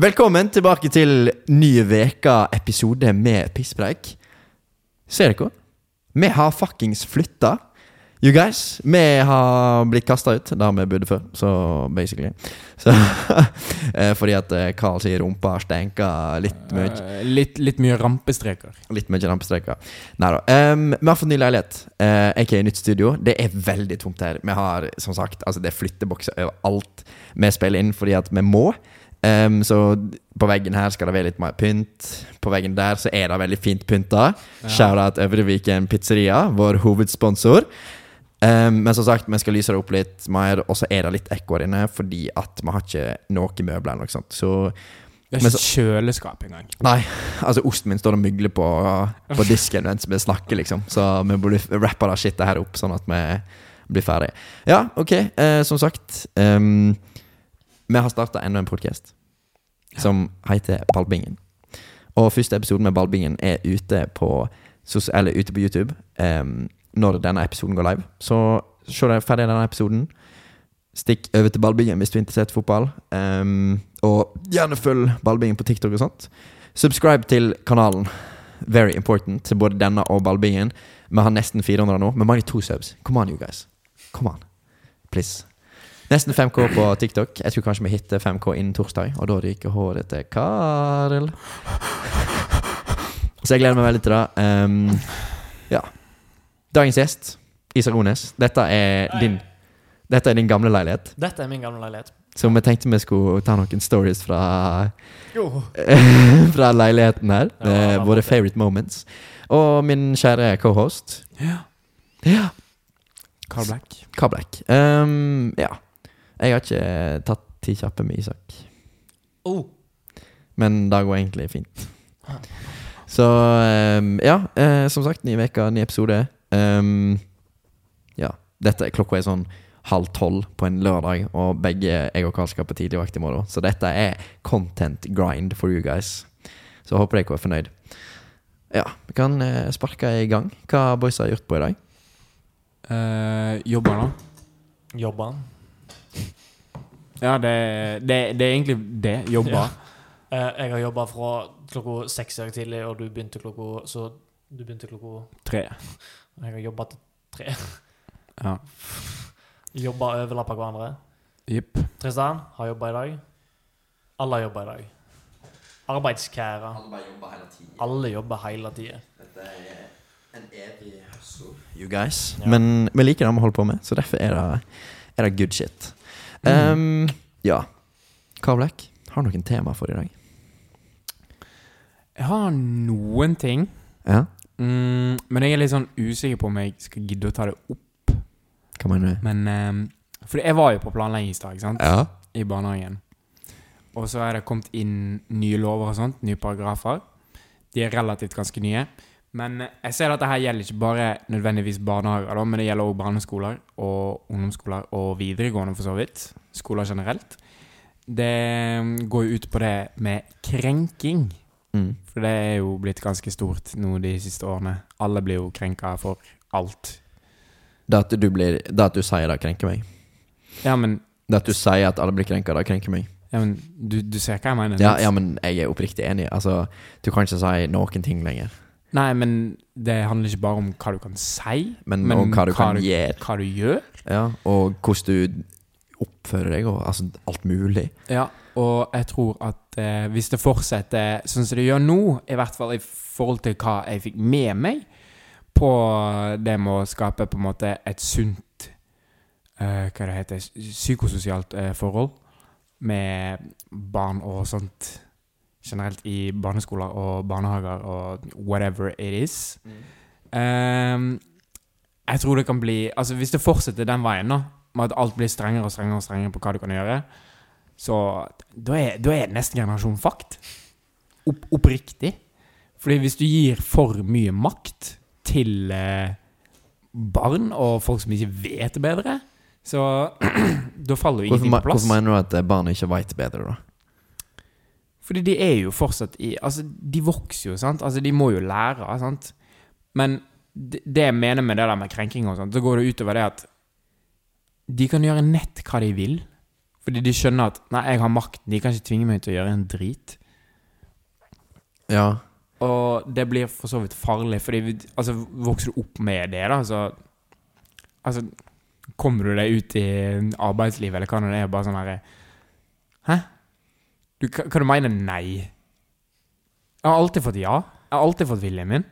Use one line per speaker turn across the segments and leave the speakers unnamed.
Velkommen tilbake til nye veka episode med pisspreik. Ser dere? Vi har fuckings flytta. You guys, vi har blitt kasta ut der vi bodde før, så basically. Så, eh, fordi at eh, Carl sier rumpa stenker litt mye.
Eh, litt, litt mye rampestreker.
Litt mye rampestreker. Nei da. Ehm, vi har fått ny leilighet, eh, aka nytt studio. Det er veldig tomt her. Vi har som sagt, altså det er flyttebokser overalt vi spiller inn fordi at vi må. Ehm, så på veggen her skal det være litt mer pynt. På veggen der så er det veldig fint pynta.
Ja.
Shout-out Øvreviken Pizzeria, vår hovedsponsor. Ehm, men som sagt, vi skal lyse det opp litt mer, og så er det litt ekko her inne fordi at vi har ikke noe møbler eller noe sånt. Så
Det er
Men
ikke kjøleskap engang.
Nei, altså osten min står og mygler på, på disken mens vi snakker, liksom. Så vi burde rappe det shitet her opp, sånn at vi blir ferdig. Ja, ok, eh, som sagt. ehm, vi har starta enda en podkast som heter Ballbingen. Og første episoden med Ballbingen er ute på, sos- eller ute på YouTube ehm, når denne episoden går live. Så se deg ferdig denne episoden. Stikk over til Ballbingen hvis du er interessert i fotball. Ehm, og gjerne følg Ballbingen på TikTok og sånt. Subscribe til kanalen. Very important til både denne og Ballbingen. Vi har nesten 400 nå. Vi mangler to subs. Come on, you guys. Come on. Please. Nesten 5K på TikTok. Jeg tror kanskje vi hitter 5K innen torsdag, og da ryker håret til Karl. Så jeg gleder meg veldig til det. Ehm, ja. Dagens gjest, Isak Ones. Dette er din Dette er din gamle leilighet.
Dette er min gamle leilighet.
Så vi tenkte vi skulle ta noen stories fra
Jo.
fra leiligheten her.
Ja,
eh,
ja,
våre
ja.
favorite moments. Og min kjære cohost,
Ja.
Ja.
Carl Black.
Kablek. Um, ja. Jeg har ikke tatt ti kjappe med Isak,
Oh.
men det går egentlig fint. Så um, ja, eh, som sagt, ny uke, ny episode. Um, ja. Dette, klokka er sånn halv tolv på en lørdag, og begge jeg og Karl skal på tidlig vakt i morgen. Så dette er content grind for you guys. Så håper dere er fornøyd. Ja, vi kan eh, sparke i gang. Hva boysa har gjort på i dag?
Eh, jobber nå?
Jobba han.
Ja, det, det, det er egentlig det. Jobber.
Eh, jeg har jobba fra klokka seks i dag tidlig, og du begynte klokka Så du begynte klokka
Tre.
Jeg har jobba til tre.
Ja.
Jobba overlappa hverandre.
Jipp.
Tristan har jobba i dag. Alle har jobba i dag. Arbeidskære. Alle jobber hele tida.
Dette er en evig hustle, you guys.
Ja.
Men vi liker det vi holder på med, så derfor er det, er det good shit. Um, ja. Kavlek, har du noen tema for i dag?
Jeg har noen ting,
Ja?
mm, men jeg er litt sånn usikker på om jeg skal gidde å ta det opp.
Hva mener du?
Men eh, Fordi jeg var jo på planleggingsdag, ikke sant?
Ja.
I barnehagen. Og så er det kommet inn nye lover og sånt. Nye paragrafer. De er relativt ganske nye. Men eh, jeg ser at dette her gjelder ikke bare nødvendigvis barnehager, da, men det gjelder også barneskoler og ungdomsskoler og videregående, for så vidt. Skoler generelt. Det mm, går jo ut på det med krenking.
Mm.
For det er jo blitt ganske stort nå de siste årene. Alle blir jo krenka for alt.
Det at du, blir, det at du sier det, krenker meg.
Ja, men,
Det at du sier at alle blir krenka, det krenker meg.
ja, men du, du ser hva jeg mener?
Ja,
sant?
ja, men jeg er oppriktig enig. Altså, du kan ikke si noen ting lenger.
Nei, men det handler ikke bare om hva du kan si,
Men,
Men
og hva du
hva
kan
du-
gjøre,
hva du gjør.
ja, og hvordan du oppfører deg, og altså alt mulig.
Ja, og jeg tror at eh, hvis det fortsetter sånn som det gjør nå, i hvert fall i forhold til hva jeg fikk med meg på det med å skape på en måte et sunt eh, Hva det heter Psykososialt eh, forhold med barn og sånt generelt i barneskoler og barnehager og whatever it is.
Mm.
Ehm, jeg tror det kan bli Altså Hvis det fortsetter den veien, da med at alt blir strengere og strengere og strengere på hva du kan gjøre, så da er, da er neste generasjon fucked. Opp, oppriktig. Fordi hvis du gir for mye makt til eh, barn og folk som ikke vet bedre, så da faller jo
Hvorfor,
ingenting
me-
på plass.
hvorfor mener du at eh, barn ikke veit bedre, da?
Fordi de er jo fortsatt i Altså, de vokser jo, sant? Altså, de må jo lære, sant? Men det det jeg mener med det der med krenking og sånt, så går det utover det at de kan gjøre nett hva de vil, Fordi de skjønner at Nei, jeg har makten. De kan ikke tvinge meg til å gjøre en drit.
Ja.
Og det blir for så vidt farlig, fordi vi- altså, vokser du opp med det, da, så Altså, kommer du deg ut i arbeidslivet, eller hva nå det er, bare sånn herre Hæ? Du, hva, hva du mener nei? Jeg har alltid fått ja. Jeg har alltid fått viljen min.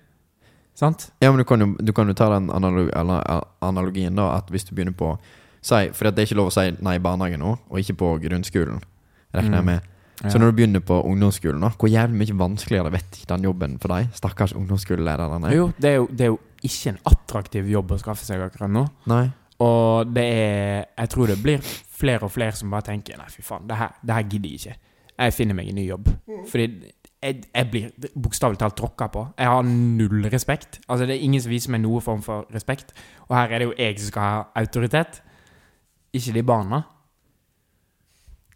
Sant?
Ja, men du kan jo, du kan jo ta den analog, eller, eh, analogien da At hvis du begynner på si, For det er ikke lov å si nei i barnehagen nå Og ikke på grunnskolen Rekner jeg
Mm.
med Så når du begynner på ungdomsskolen da Hvor jævlig mye vanskeligere vet ikke den jobben for deg Stakkars ungdomsskolelærerne
Jo, det er jo, det er jo ikke en attraktiv jobb å skaffe seg akkurat nå.
Nei
Og det er Jeg tror det blir flere og flere som bare tenker Nei, fy faen, det her, det her gidder jeg ikke. Jeg finner meg en ny jobb. Fordi jeg, jeg blir bokstavelig talt tråkka på. Jeg har null respekt. Altså Det er ingen som viser meg noe form for respekt. Og her er det jo jeg som skal ha autoritet, ikke de barna.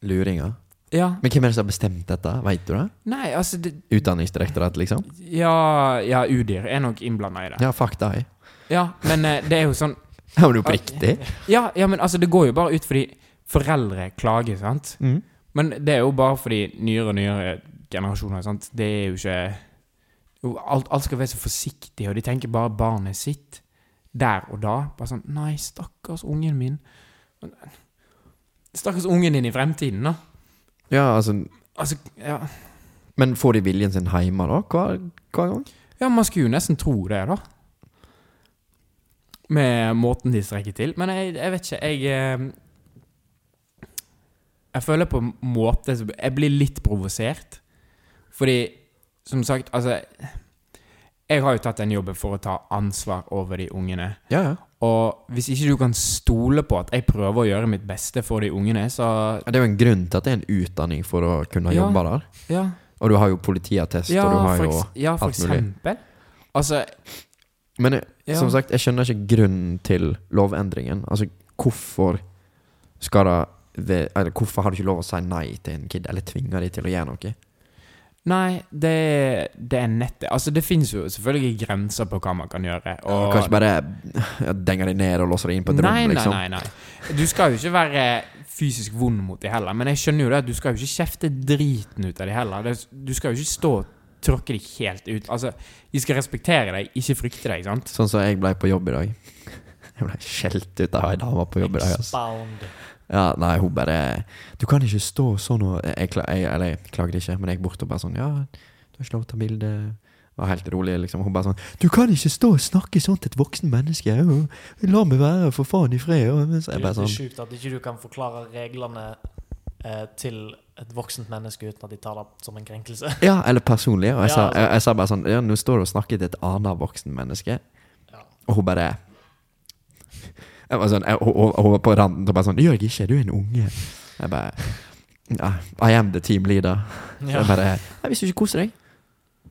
Luringer
Ja.
Men hvem er det som har bestemt dette? Vet du det?
Nei, altså det,
Utdanningsdirektorat liksom
Ja, ja Udyr er nok innblanda i det. Ja.
Ja, fuck deg
men eh, det er jo sånn
Ja, men du er oppriktig
ja, ja, men altså, det går jo bare ut fordi foreldre klager, sant?
mm.
Men det er jo bare fordi nyere og nyere generasjoner sant? Det er jo ikke jo, alt, alt skal være så forsiktig, og de tenker bare barnet sitt der og da. Bare sånn Nei, stakkars ungen min. Men, Stakkars ungen din i fremtiden, da.
Ja, altså
Altså, ja.
Men får de viljen sin hjemme da? Hver, hver gang?
ja, man skulle jo nesten tro det, da. Med måten de strekker til. Men jeg, jeg vet ikke, jeg eh, Jeg føler på en måte som- Jeg blir litt provosert. Fordi, som sagt, altså Jeg har jo tatt den jobben for å ta ansvar over de ungene.
Ja, ja
Og hvis ikke du kan stole på at jeg prøver å gjøre mitt beste for de ungene, så
Det er jo en grunn til at det er en utdanning for å kunne
Ja.
jobbe der
Ja,
Og du har jo politiattest, og du har
for,
jo
eks ja, for
alt mulig.
eksempel. Altså
Men jeg,
ja.
som sagt, jeg skjønner ikke grunnen til lovendringen. Altså, hvorfor skal det ve- Eller hvorfor har du ikke lov å si nei til en kid, eller tvinge de til å gjøre noe?
Nei, det, det er nettet. Altså, det finnes jo selvfølgelig grenser på hva man kan gjøre. Og
Kanskje bare ja, denge de ned og låse de inn på et
nei,
rom,
nei,
liksom?
nei, nei. Du skal jo ikke være fysisk vond mot de heller, men jeg skjønner jo det at du skal jo ikke kjefte driten ut av de heller. Det- Du skal jo ikke stå og tråkke de helt ut. Altså, de skal respektere deg, ikke frykte deg, sant?
Sånn som jeg ble på jobb i dag. Jeg ble skjelt ut av ei dame på jobb i dag. Altså.
Expound.
Ja, nei, hun bare 'Du kan ikke stå sånn og jeg, kla- jeg, Eller jeg klagde ikke, men jeg gikk bort og bare sånn 'Ja, du har ikke lov til å ta bilde.' Var helt rolig, liksom. Hun bare sånn 'Du kan ikke stå og snakke sånn til et voksen menneske.' «Å, 'La meg være, for faen, i fred.' Og Så jeg
Det
bare
er litt
sånn
sjukt at ikke du kan forklare reglene eh, til et voksent menneske uten at de tar det som en krenkelse.
Ja, eller personlig. Og jeg,
Ja,
sa,
altså.
jeg, jeg sa bare sånn 'Ja, nå står du og snakker til et annet voksen menneske',
Ja.
og hun bare jeg var sånn, jeg, hun, hun- hun var på randen og bare sånn 'Det gjør jeg ikke, du er en unge'. Jeg bare «Ja, 'I am the team leader'. Så
Ja.
jeg bare Nei, hvis du ikke koser deg,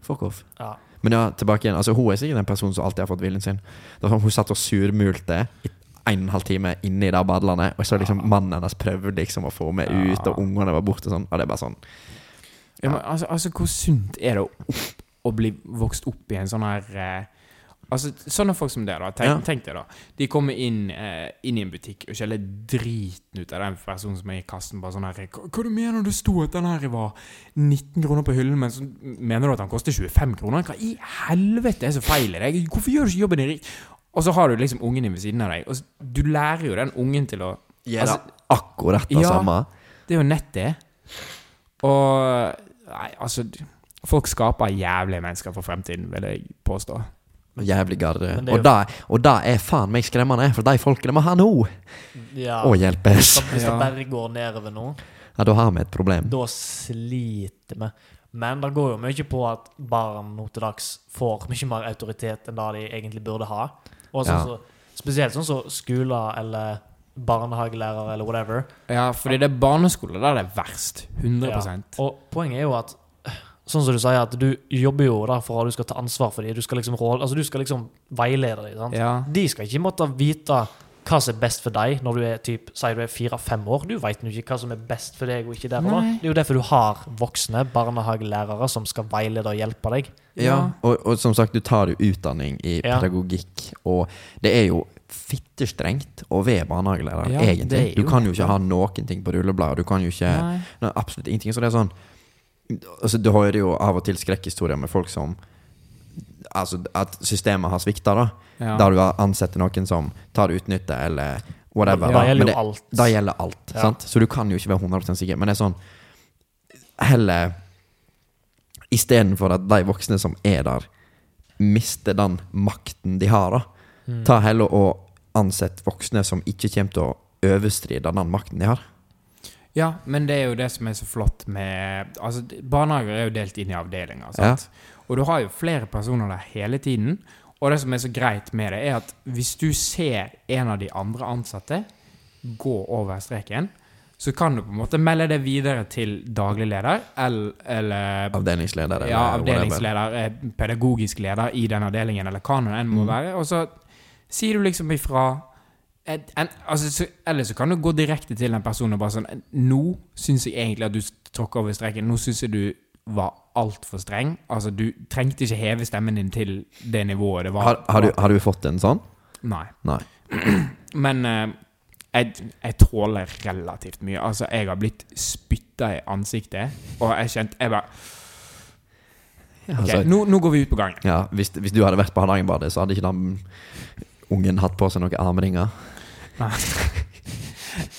fuck off.
Ja.
Men ja, tilbake igjen. Altså, hun er sikkert en person som alltid har fått viljen sin. Det var sånn, hun satt og surmulte i en og en halv time inne i det badelandet, og så liksom mannen hennes prøvde liksom å få henne med ut, og ungene var borte og sånn. Og det er bare sånn
Ja, men, altså, altså, hvor sunt er det å, opp, å bli vokst opp i en sånn her eh, Altså, Sånne folk som det, da. Tenk,
Ja.
tenk deg, da. De kommer inn, eh, inn i en butikk og skjeller driten ut av den personen som er i kassen. Bare sånn her Hva, hva du mener du sto at den her var 19 kroner på hyllen, men så mener du at den koster 25 kroner? Hva i helvete er så feil i deg? Hvorfor gjør du ikke jobben din rik? Og så har du liksom ungen din ved siden av deg. Og så, du lærer jo den ungen til å
Gjør
Altså,
akkurat det
ja.
samme.
det er jo nett det. Og Nei, altså Folk skaper jævlige mennesker for fremtiden, vil jeg påstå.
Jævlig garde.
Men det er
Og det og det er faen meg skremmende, for de folkene må ha nå
ja.
å hjelpes.
Så Hvis det
Ja.
bare går nedover nå,
Ja, da har vi et problem.
da sliter vi. Men det går jo mye på at barn nå til dags får mye mer autoritet enn det de egentlig burde ha. Og sånn
Ja.
så, spesielt sånn som skoler eller barnehagelærere eller whatever.
Ja, fordi det er barneskole der det er verst. 100
Og poenget er jo at Sånn som du sier, at du jobber jo der for at du skal ta ansvar for dem. Du skal liksom råde, altså du skal liksom veilede dem. sant?
Ja.
De skal ikke måtte vite hva som er best for deg når du er typ, sier du er fire-fem år. Du vet jo ikke hva som er best for deg og ikke der og da.
Nei.
Det er jo derfor du har voksne barnehagelærere som skal veilede og hjelpe deg.
Ja,
Ja.
og, og som sagt, du tar jo utdanning i
Ja.
pedagogikk, og det er jo fittestrengt å være barnehagelærer,
Ja, det
egentlig.
er jo
Du kan jo ikke ha noen ting på rullebladet, du kan jo ikke
Nei.
Nei, absolutt ingenting. Så det er sånn altså, Du hører jo av og til skrekkhistorier med folk som Altså at systemet har svikta, da.
Ja.
Der du ansetter noen som tar utnytte, eller whatever.
Det
da. Men
gjelder
det-
jo alt.
det gjelder alt.
Ja.
Sant? Så du kan jo ikke være 100 sikker. Men det er sånn Heller Istedenfor at de voksne som er der, mister den makten de har, da.
Mm.
Ta heller og ansett voksne som ikke kommer til å overstride den makten de har.
Ja, men det er jo det som er så flott med Altså, d- barnehager er jo delt inn i avdelinger,
Ja.
sant? Og du har jo flere personer der hele tiden. Og det som er så greit med det, er at hvis du ser en av de andre ansatte gå over streken, så kan du på en måte melde det videre til daglig leder eller, eller
Avdelingsleder eller
ja,
whatever.
avdelingsleder, eh, pedagogisk leder i den avdelingen, eller hva nå enn
Mm.
må være. Og så sier du liksom ifra et, en, altså, så, Eller så kan du gå direkte til den personen og bare sånn Nå syns jeg egentlig at du tråkka over streken. Nå syns jeg du var altfor streng. Altså, du trengte ikke heve stemmen din til det nivået det var.
Har, har, du, har du fått en sånn?
Nei.
Nei.
Men eh, jeg, jeg tåler relativt mye. Altså, jeg har blitt spytta i ansiktet, og jeg kjente Jeg bare OK,
Altså,
nå, nå går vi ut på gangen.
ja, hvis, hvis du hadde vært på Hardangerbadet, så hadde ikke den ungen hatt på seg noen armringer.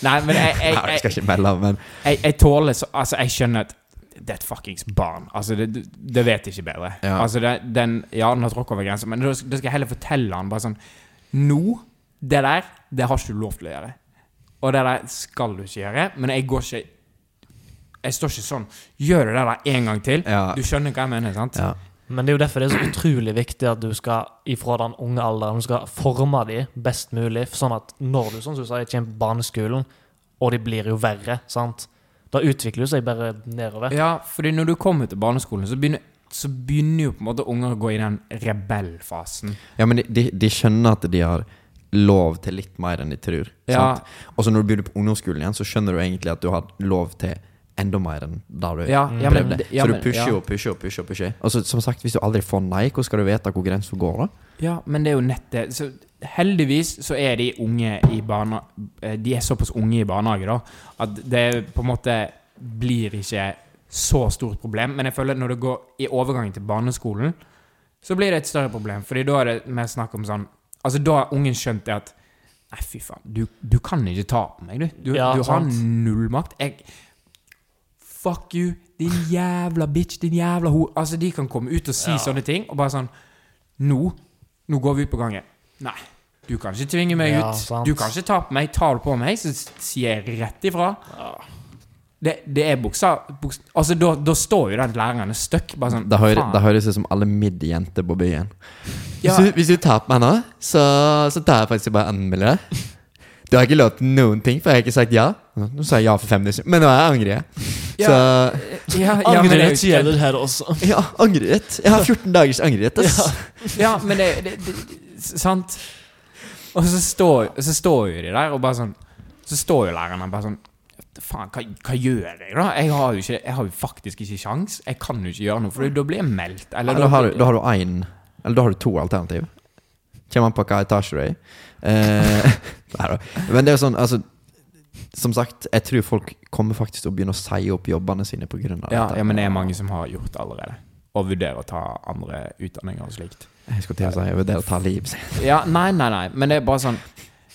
Nei, men jeg, jeg,
Nei, jeg
jeg,
skal ikke melde, men
jeg, jeg tåler så Altså, jeg skjønner at det er et fuckings barn. Altså, det, det vet ikke bedre.
Ja.
Altså, det, den Ja, den har tråkka over grensa, men da skal da skal jeg heller fortelle han bare sånn Nå, det der, det har ikke du lov til å gjøre. Og det der skal du ikke gjøre, men jeg går ikke Jeg står ikke sånn Gjør du det der en gang til?
Ja.
Du skjønner hva jeg mener, sant?
ja.
Men det er jo derfor det er så utrolig viktig at du skal ifra den unge alderen du skal forme de best mulig, sånn at når du sånn som du sier, kommer på barneskolen, og de blir jo verre, sant? da utvikler du seg bare nedover.
Ja, fordi når du kommer til barneskolen, så begynner, så begynner jo på en måte unger å gå i den rebellfasen.
ja, men de, de, de skjønner at de har lov til litt mer enn de tror.
Ja.
sant? Og så når du begynner på ungdomsskolen igjen, så skjønner du egentlig at du har lov til enda mer enn da du
Ja, ja, men
prøvde.
det-
Mm.
ja,
så du
men-
pusher
ja.
og pusher og pusher. og pusher. Og så, som sagt, hvis du aldri får nei, hvordan skal du vite hvor grensa går, da?
Ja, men det er jo nett det. Så heldigvis så er de unge i barna... eh, De er såpass unge i barnehage, da, at det på en måte blir ikke så stort problem. Men jeg føler at når det går i overgangen til barneskolen, så blir det et større problem. Fordi da er det mer snakk om sånn Altså, da har ungen skjønt det at Nei, fy faen, du, du kan ikke ta på meg, du. Du,
Ja,
du har
sant.
null makt. Jeg Fuck you, din jævla bitch, din jævla ho... Altså, de kan komme ut og si
Ja.
sånne ting, og bare sånn Nå, nå går vi ut på gangen. Nei, du kan ikke tvinge meg
Ja,
ut.
sant.
Du kan ikke ta på meg. Tar du på meg, så s- sier jeg rett ifra. Det, det er buksa, buks, Altså, da, da står jo den læreren støkk, bare sånn
Det hører-
faen.
det høres ut som alle midjenter på byen.
Ja.
Hvis, du, hvis du tar på meg nå, så, så tar jeg faktisk bare og anmelder det. Du har ikke lov til noen ting, for jeg har ikke sagt ja. Nå sa jeg ja for fem minutter, siden, men nå er jeg angrer. jeg. Så
ja, ja, men det er
Angrerett
jo ikke-
gjelder her også.
ja, angrerett. Jeg har 14 dagers angrerett. ass.
Ja, men det, det, det, det Sant? Og så står, så står jo de der og bare sånn Så står jo læreren der bare sånn Faen, hva, hva gjør jeg, da? Jeg har jo, ikke, jeg har jo faktisk ikke sjans Jeg kan jo ikke gjøre noe, for da blir jeg meldt.
Eller, da, har du, da har du én Eller da har du to alternativ. Kommer an på hva etasje du er i. Eh, nei da. Men det er jo sånn, altså Som sagt, jeg tror folk kommer faktisk til å begynne å si opp jobbene sine pga.
ja, ja, men det er mange som har gjort det allerede. Og vurderer å ta andre utdanninger og slikt.
Jeg skulle til å si jeg vurderer å ta livet sitt.
Ja, nei, nei, nei, men det er bare sånn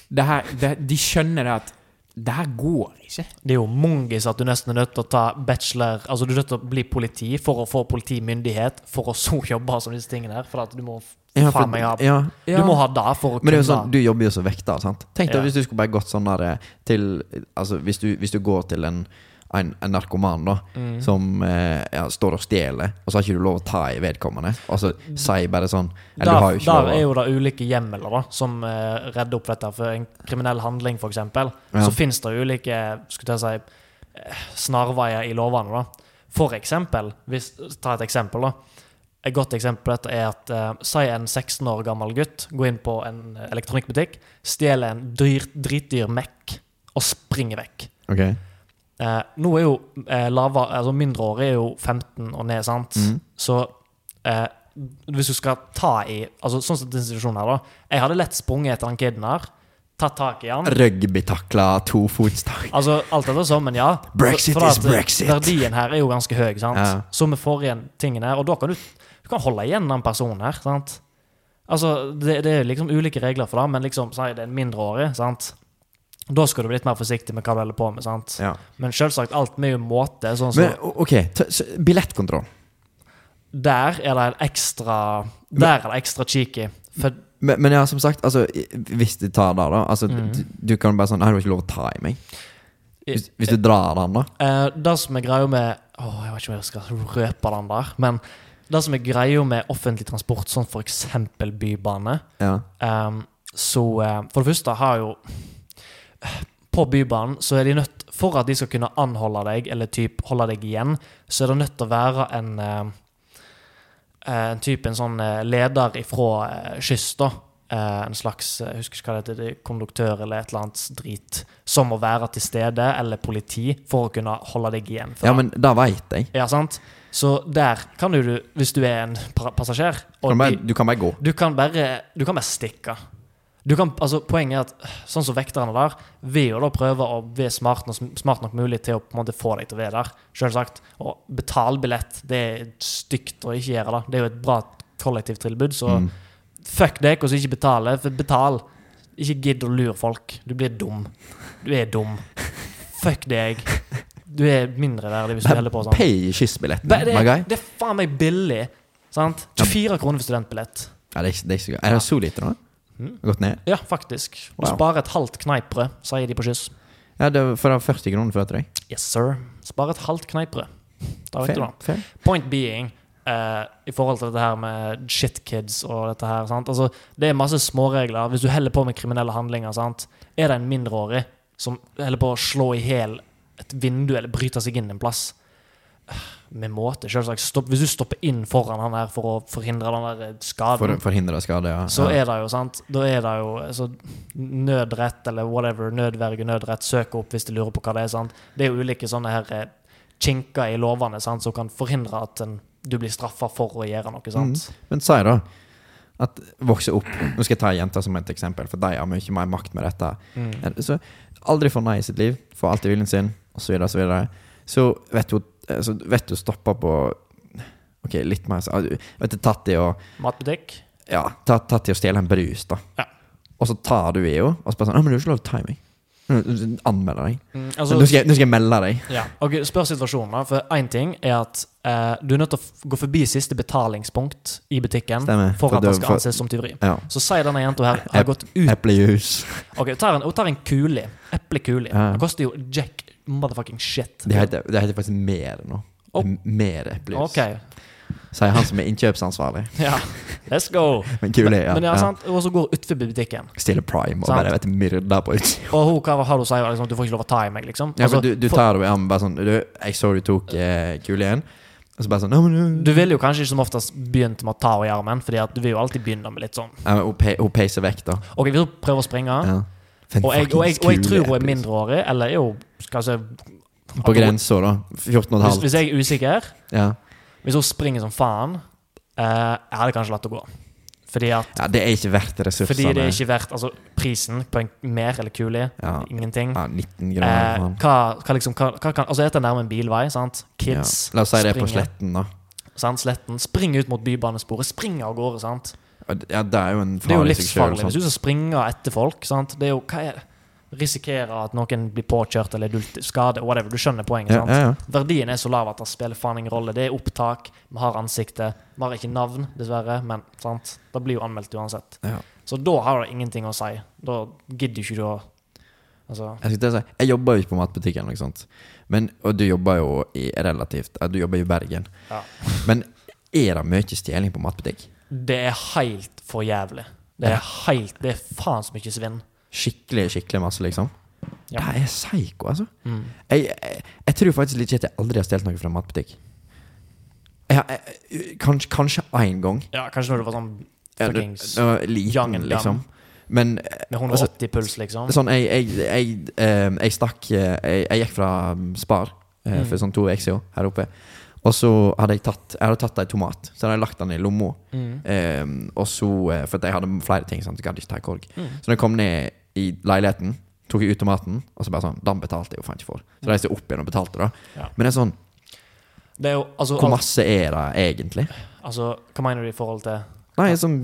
det her, det, De skjønner det at Det her går ikke.
Det er jo mongis at du nesten er nødt til å ta bachelor Altså du er nødt til å bli politi for å få politimyndighet, for å så jobbe som disse tingene her. For at du må
Ja, for-
faen meg ha
ja.
Du må ha det for å
Men det er
kunne
jo sånn, du jobber jo som vekter, sant? Tenk deg
Ja.
hvis du skulle bare gått sånn der eh, til Altså hvis du, hvis du går til en, en, en narkoman, da,
Mm.
som eh, ja, står og stjeler, og så har ikke du lov å ta i vedkommende, og så sier bare sånn Eller du har
Der,
jo ikke
der Mm. er
lov å
jo det ulike hjemler da, som eh, redder opp dette for en kriminell handling, f.eks. eksempel
Ja.
Så finnes det ulike skulle jeg si, eh, snarveier i lovene. da. For eksempel, hvis, ta et eksempel, da. Et godt eksempel på dette er at eh, si en 16 år gammel gutt går inn på en elektronikkbutikk, stjeler en dyr, dritdyr Mac og springer vekk.
Ok.
Eh, nå er jo eh, lava, altså mindreårige er jo 15 og ned, sant?
Mm.
Så eh, hvis du skal ta i altså Sånn som den situasjonen her, da. Jeg hadde lett sprunget etter han kiden her, tatt tak i han.
Rugbytakla tofotstak.
Altså, alt dette sammen, ja.
Brexit
at
is Brexit.
Verdien her er jo ganske høy, sant?
Ja.
som med forrige tingen her. Og da kan du, du kan holde igjen den personen her, sant? Altså, det, det er liksom ulike regler for det, men liksom, si det er en mindreårig, sant? Da skal du bli litt mer forsiktig med hva du holder på med, sant?
Ja.
Men selvsagt, alt med jo måte, sånn som
Men o- OK, t s- billettkontroll.
Der er det en ekstra Der er det ekstra cheeky. For
Men, men ja, som sagt, altså, i- hvis du tar det, da altså,
Mhm.
du, du kan bare sånn Nei, du har ikke lov å ta i meg. Hvis, hvis du drar den, da.
Eh, det som er greia med Åh, jeg vet ikke om jeg skal røpe den der, men det som er greia med offentlig transport, sånn for eksempel bybane,
Ja.
ehm, så eh, For det første har jo På Bybanen så er de nødt For at de skal kunne anholde deg, eller typ holde deg igjen, så er det nødt til å være en eh, en type en sånn eh, leder ifra eh, kyst, da. Eh, en slags eh, jeg husker ikke hva det heter, det er konduktør eller et eller annet drit. Som må være til stede, eller politi, for å kunne holde deg igjen. for
ja,
det.
men det veit jeg.
ja, sant? Så der kan jo du, hvis du er en pra- passasjer
Du kan
de-
bare, du kan bare gå.
du kan bare, du kan bare stikke. Du kan, altså, poenget er at øh, sånn som vekterne der, vil jo da prøve å være smart, nok- smart nok mulig til å på en måte få deg til å være der. Selvsagt. Og betale billett, det er stygt å ikke gjøre det. Det er jo et bra kollektivtilbud, så
Mm.
fuck deg og så ikke betale. For betal. Ikke gidd å lure folk. Du blir dum. Du er dum. Fuck deg. Du er mindreverdig hvis du holder på sånn.
Pay
Ba-
kyssbilletten,
Det
my guy.
er, det er faen meg billig. Sant? 24 kroner for studentbillett.
Ja, det er, ikke- det er, ikke så gøy. er det så lite nå?
Mm.
Gått ned?
Ja, faktisk. Du
Wow.
sparer et halvt kneippbrød, sier de på kyss.
Ja, det var for det var 40 kroner før til deg.
Yes, sir. Sparer et halvt kneippbrød. Da vet
Fair,
du det.
fair.
Point being, eh, i forhold til dette her med shitkids og dette her, sant? Altså, det er masse småregler. Hvis du heller på med kriminelle handlinger, sant? er det en mindreårig som heller på å slå i hjel et vindu eller bryte seg inn en plass med måte, selvsagt. Stopp. Hvis du stopper inn foran han her for å forhindre den der eh, skaden
For, forhindre skade, ja.
så
ja.
er det jo sant Da er det jo altså, nødrett eller whatever, nødverge, nødrett, søk opp hvis du lurer på hva det er. sant Det er jo ulike sånne her eh, kinker i lovene sant som kan forhindre at en, du blir straffa for å gjøre
Mm.
noe. sant
Men si da at vokse opp Nå skal jeg ta jenter som et eksempel, for de har mye mer makt med dette.
Mm.
Så aldri få nei i sitt liv. Få alltid viljen sin, osv., osv. Så vet hun eh, så vet du stoppa på Ok, litt mer så, Vet du, tatt i å
Matbutikk.
Ja, tatt, tatt i å stjele en brus, da.
Ja.
Og så tar du i henne, og så bare sånn «Å, men 'Du har ikke lov til å ta i meg.' Mm, Nå- Anmelde deg.
Mm,
nå, skal jeg, nå skal jeg melde deg.
Ja. Ok, Spør situasjonen, da. For én ting er at eh, du er nødt til å f- gå forbi siste betalingspunkt i butikken
Stemmer.
for at
du-
det skal anses som tyveri.
Ja.
Så sier denne jenta her har gått ut
Eplejus.
Ok, hun tar en, hun tar en kule. Eplekule.
Ja.
Det koster jo jack motherfucking shit.
Det heter, det heter faktisk mer nå.
Opp.
M- Mer eplejus.
Ok,
Sier han som er innkjøpsansvarlig.
Ja, let's go.
Men kul er, ja.
Men ja,
ja.
sant? Og så går hun utenfor butikken.
Stille prime og
Sant.
bare vet, du, myrda på utsida.
Og hun, hva har hun sagt? Liksom, du får ikke lov å ta i meg, liksom.
Ja,
Altså,
men du, du
for,
tar henne i armen bare sånn Du, jeg så du tok eh, kul igjen. Og så bare sånn «Å, men,
du vil jo kanskje ikke som oftest begynt med å ta henne i armen, Fordi at du vil jo alltid begynne med litt sånn
ja, men Hun pe- hun peiser vekk, da.
Ok, hvis hun prøver å springe,
Ja. For en
og, jeg, og, jeg,
fuckings
og jeg
kul
tror hun er
eplejus.
mindreårig, eller er hun skal jeg si,
På grensa, da. 14
hvis,
15.
hvis jeg er usikker
Ja.
Hvis hun springer som faen, eh, jeg hadde kanskje latt det gå. Fordi at
ja, det er ikke verdt ressursene.
fordi det er ikke verdt Altså, prisen på en mer eller kule,
ja.
ingenting.
ja, 19
Eh,
grader. faen.
hva, hva liksom hva, hva kan, Altså, dette er nærmere en bilvei, sant?
ja.
Kids
La oss si det er på
springer.
Sletten, da.
sant, sletten, springer ut mot bybanesporet, springer av gårde. sant?
Og det- Ja, det er jo en
Det er jo
fare i seg sjøl.
livsfarlig hvis du skal springe etter folk. sant? Det er jo, hva er det? Risikerer at noen blir påkjørt eller dult skade, whatever. Du skjønner poenget.
sånn. Ja,
sant?
ja, ja.
Verdien er så lav at det spiller faen ingen rolle. Det er opptak, vi har ansiktet. Vi har ikke navn, dessverre, men sant? det blir jo anmeldt uansett.
Ja.
Så da har det ingenting å si. Da gidder ikke du å Altså,
Jeg, skulle til å si, jeg jobber jo ikke på matbutikken, eller noe sånt. Men, og du jobber jo i relativt ja, Du jobber jo i Bergen.
Ja.
Men er det mye stjeling på matbutikk?
det er helt for jævlig. Det er helt, det er faen så mye svinn.
Skikkelig, skikkelig masse, liksom?
Ja.
Det er psyko, altså.
Mm.
Jeg, jeg, jeg tror faktisk legit jeg aldri har stjålet noe fra en matbutikk. Jeg jeg, jeg, kanskje, kanskje en gang.
Ja, kanskje når du var sånn
Eller,
Fuckings
jeg var
young
liten,
dumb.
liksom. Men
med 180 puls, liksom.
Sånn, jeg, jeg, jeg, eh, jeg stakk eh, jeg, jeg gikk fra mm, Spar eh, for sånn to uker siden her oppe. Og så hadde jeg tatt Jeg hadde tatt en tomat, så hadde jeg lagt den i lomma.
Mm.
Eh, og så, eh, for at jeg hadde flere ting, sant? jeg gadd ikke ta en korg.
Mm.
Så når jeg kom ned i leiligheten, tok jeg ut tomaten, og så bare sånn Den betalte jeg jo faen ikke for. Så reiste jeg opp igjen og betalte, da.
Ja.
Men det er sånn
Det er jo altså,
Hvor
alt,
masse er det egentlig?
altså Hva mener du i forhold til
Nei, sånn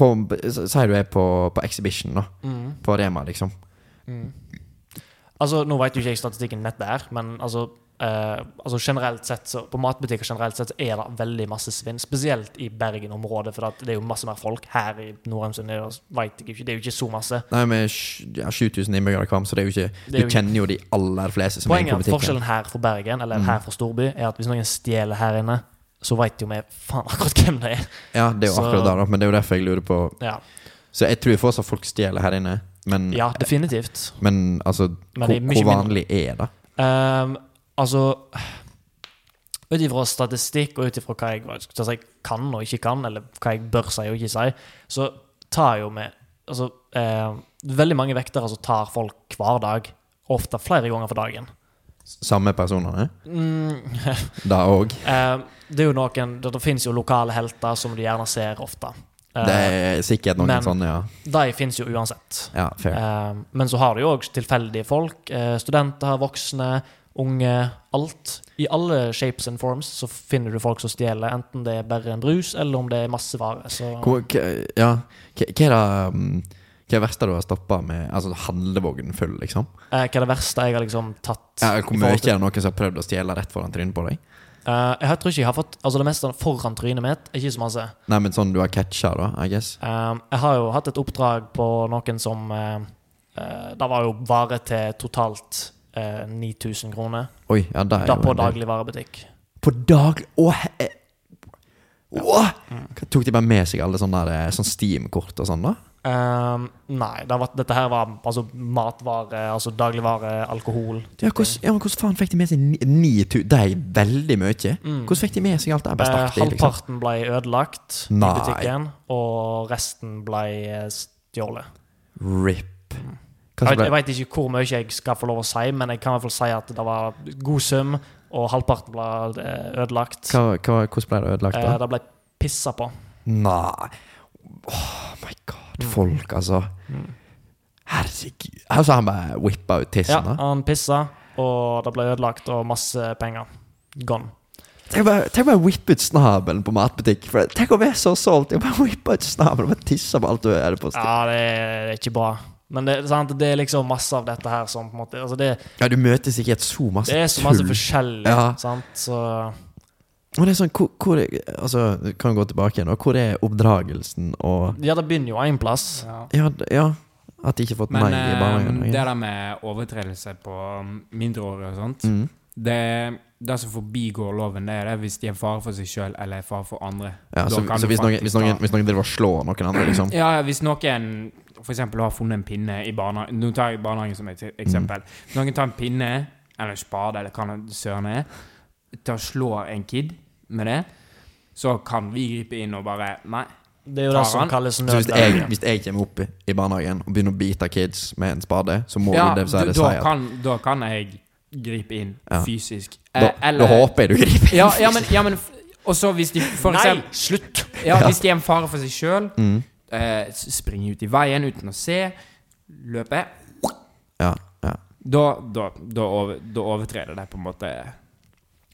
på, Sier du er på, på Exhibition, da.
mm.
På Rema, liksom.
Mm. Altså, Nå vet jo ikke jeg statistikken nett der, men altså, eh, altså generelt sett så, på matbutikker generelt sett så er det veldig masse svinn. Spesielt i Bergen-området, for at det er jo masse mer folk. Her i Norheimsund er det- vet jeg ikke, det er jo ikke så masse.
Nei, med sj- ja, 7000 innbyggere i Kvam, så det er jo ikke
Det
Du
er jo-
kjenner jo de aller fleste som
Poenget
er
er
på
at
butikken.
forskjellen her for Bergen, eller
Mm.
her for storby, er at hvis noen stjeler her inne, så vet jo vi faen akkurat hvem det er.
Ja, det er jo
Så-
akkurat der, da, men det er jo derfor jeg lurer på
Ja,
Så jeg tror fortsatt folk stjeler her inne, men,
ja definitivt.
men altså
Men det er
hvor,
mye
hvor vanlig
mindre.
er det?
Ehm, altså Ut ifra statistikk og ut ifra hva jeg, hva skal jeg si, kan og ikke kan, eller hva jeg bør si og ikke si, så tar jo vi altså, ehm, Veldig mange vektere som tar folk hver dag, ofte flere ganger for dagen.
Samme personene?
Mm,
Da òg?
ehm, det er jo noen Det, det finnes jo lokale helter som du gjerne ser ofte. Ehm,
Det er sikkert noen
men-
sånne, ja.
De finnes jo uansett.
Ja, fair.
Ehm, men så har du jo òg tilfeldige folk. eh, studenter, voksne, unge. Alt. I alle shapes and forms så finner du folk som stjeler, enten det er bare en brus, eller om det er masse varer. Så
Hvor, hva, ja. Hva, hva er det mm, Hva er det verste du har stoppa med Altså handlevognen full, liksom?
eh, hva er det verste jeg har liksom tatt?
Ja,
i
hvor mye
forhold til-
er det noen som har prøvd å stjele rett foran trynet på deg?
Eh, jeg tror ikke jeg har fått Altså, det meste foran trynet mitt er ikke så masse.
Nei, men sånn du har catcha, da, I guess?
Ehm, jeg har jo hatt et oppdrag på noen som uh, Det var jo varer til totalt eh, 9000 kroner.
Oi, ja, det er
Da
jo
på
en del.
dagligvarebutikk.
På dag Å, he- eh, Åh! Hva- Tok de bare med seg alle sånne, der, eh, sånn Steam-kort og sånn, da?
Ehm, nei, det var, dette her var altså matvare, altså dagligvare, alkohol.
Ja, hvordan, ja, men hvordan faen fikk de med seg ni- 9000? Det er veldig mye. Hvordan fikk de med seg alt det? her? Bare
Eh,
stakk de, liksom.
halvparten ble ødelagt
Nei.
i butikken, og resten ble eh, stjålet.
RIP. Hva som
Jeg, vet- jeg
ble
vet ikke hvor mye jeg skal få lov å si, men jeg kan i hvert fall si at det var god sum, og halvparten ble eh, ødelagt.
hva, hva, hvordan ble det ødelagt,
Eh,
da?
det ble pissa på.
Nei Oh my god, folk, altså. Herregud. Altså, han bare whippa ut
Ja,
tissen, da.
han pissa, og det ble ødelagt, og masse penger. Gone.
Tenk å bare- tenk å bare whippe ut snabelen på matbutikk. For tenk å være så solgt. Jeg bare whippa ut snabelen og bare tissa på alt du hadde på. Ja.
Ja, det er, det er ikke bra. Men det, er sant, det er liksom masse av dette her som på en måte altså det,
ja, du møter sikkert så masse
det er så masse
tull.
forskjellig,
Ja.
sant? Så
Men det er sånn, hvor, hvor er, altså, du kan gå tilbake igjen, og hvor er oppdragelsen og
Ja, det begynner jo én plass.
Ja, d- ja at de ikke har fått
Men
meg i barnehagen.
eh, det
ja.
der med overtredelse på um, mindreårige og sånt
Mm.
det, det som forbigår loven, det er det hvis de er fare for seg sjøl eller er fare for andre.
Ja,
Da
så
kan
så
du
hvis, noen,
faktisk
hvis,
ta-
noen, hvis noen driver og slår noen andre, liksom
Ja, ja, hvis noen f.eks. har funnet en pinne i barnehagen Nå tar jeg barnehagen som et eksempel.
Mm.
Hvis noen tar en pinne, eller en spade, eller hva det søren er, til å slå en kid med det, så kan vi gripe inn og bare Nei.
Det er jo
Tar
det som
han?
kalles
Så hvis jeg,
nødverge.
hvis jeg kommer opp i- i barnehagen og begynner å bite kids med en spade, så må
Ja,
du
da,
dessverre si
da,
at
kan, da kan jeg gripe inn
Ja.
fysisk.
da, da håper jeg du griper inn.
eh, ja, ja, men, ja, men f- også hvis de for
Nei,
eksempel
slutt!
Ja, hvis de er en fare for seg sjøl,
Mm.
eh, s- springer ut i veien uten å se, løper
Ja, ja.
Da, da, da, over, da overtreder de på en måte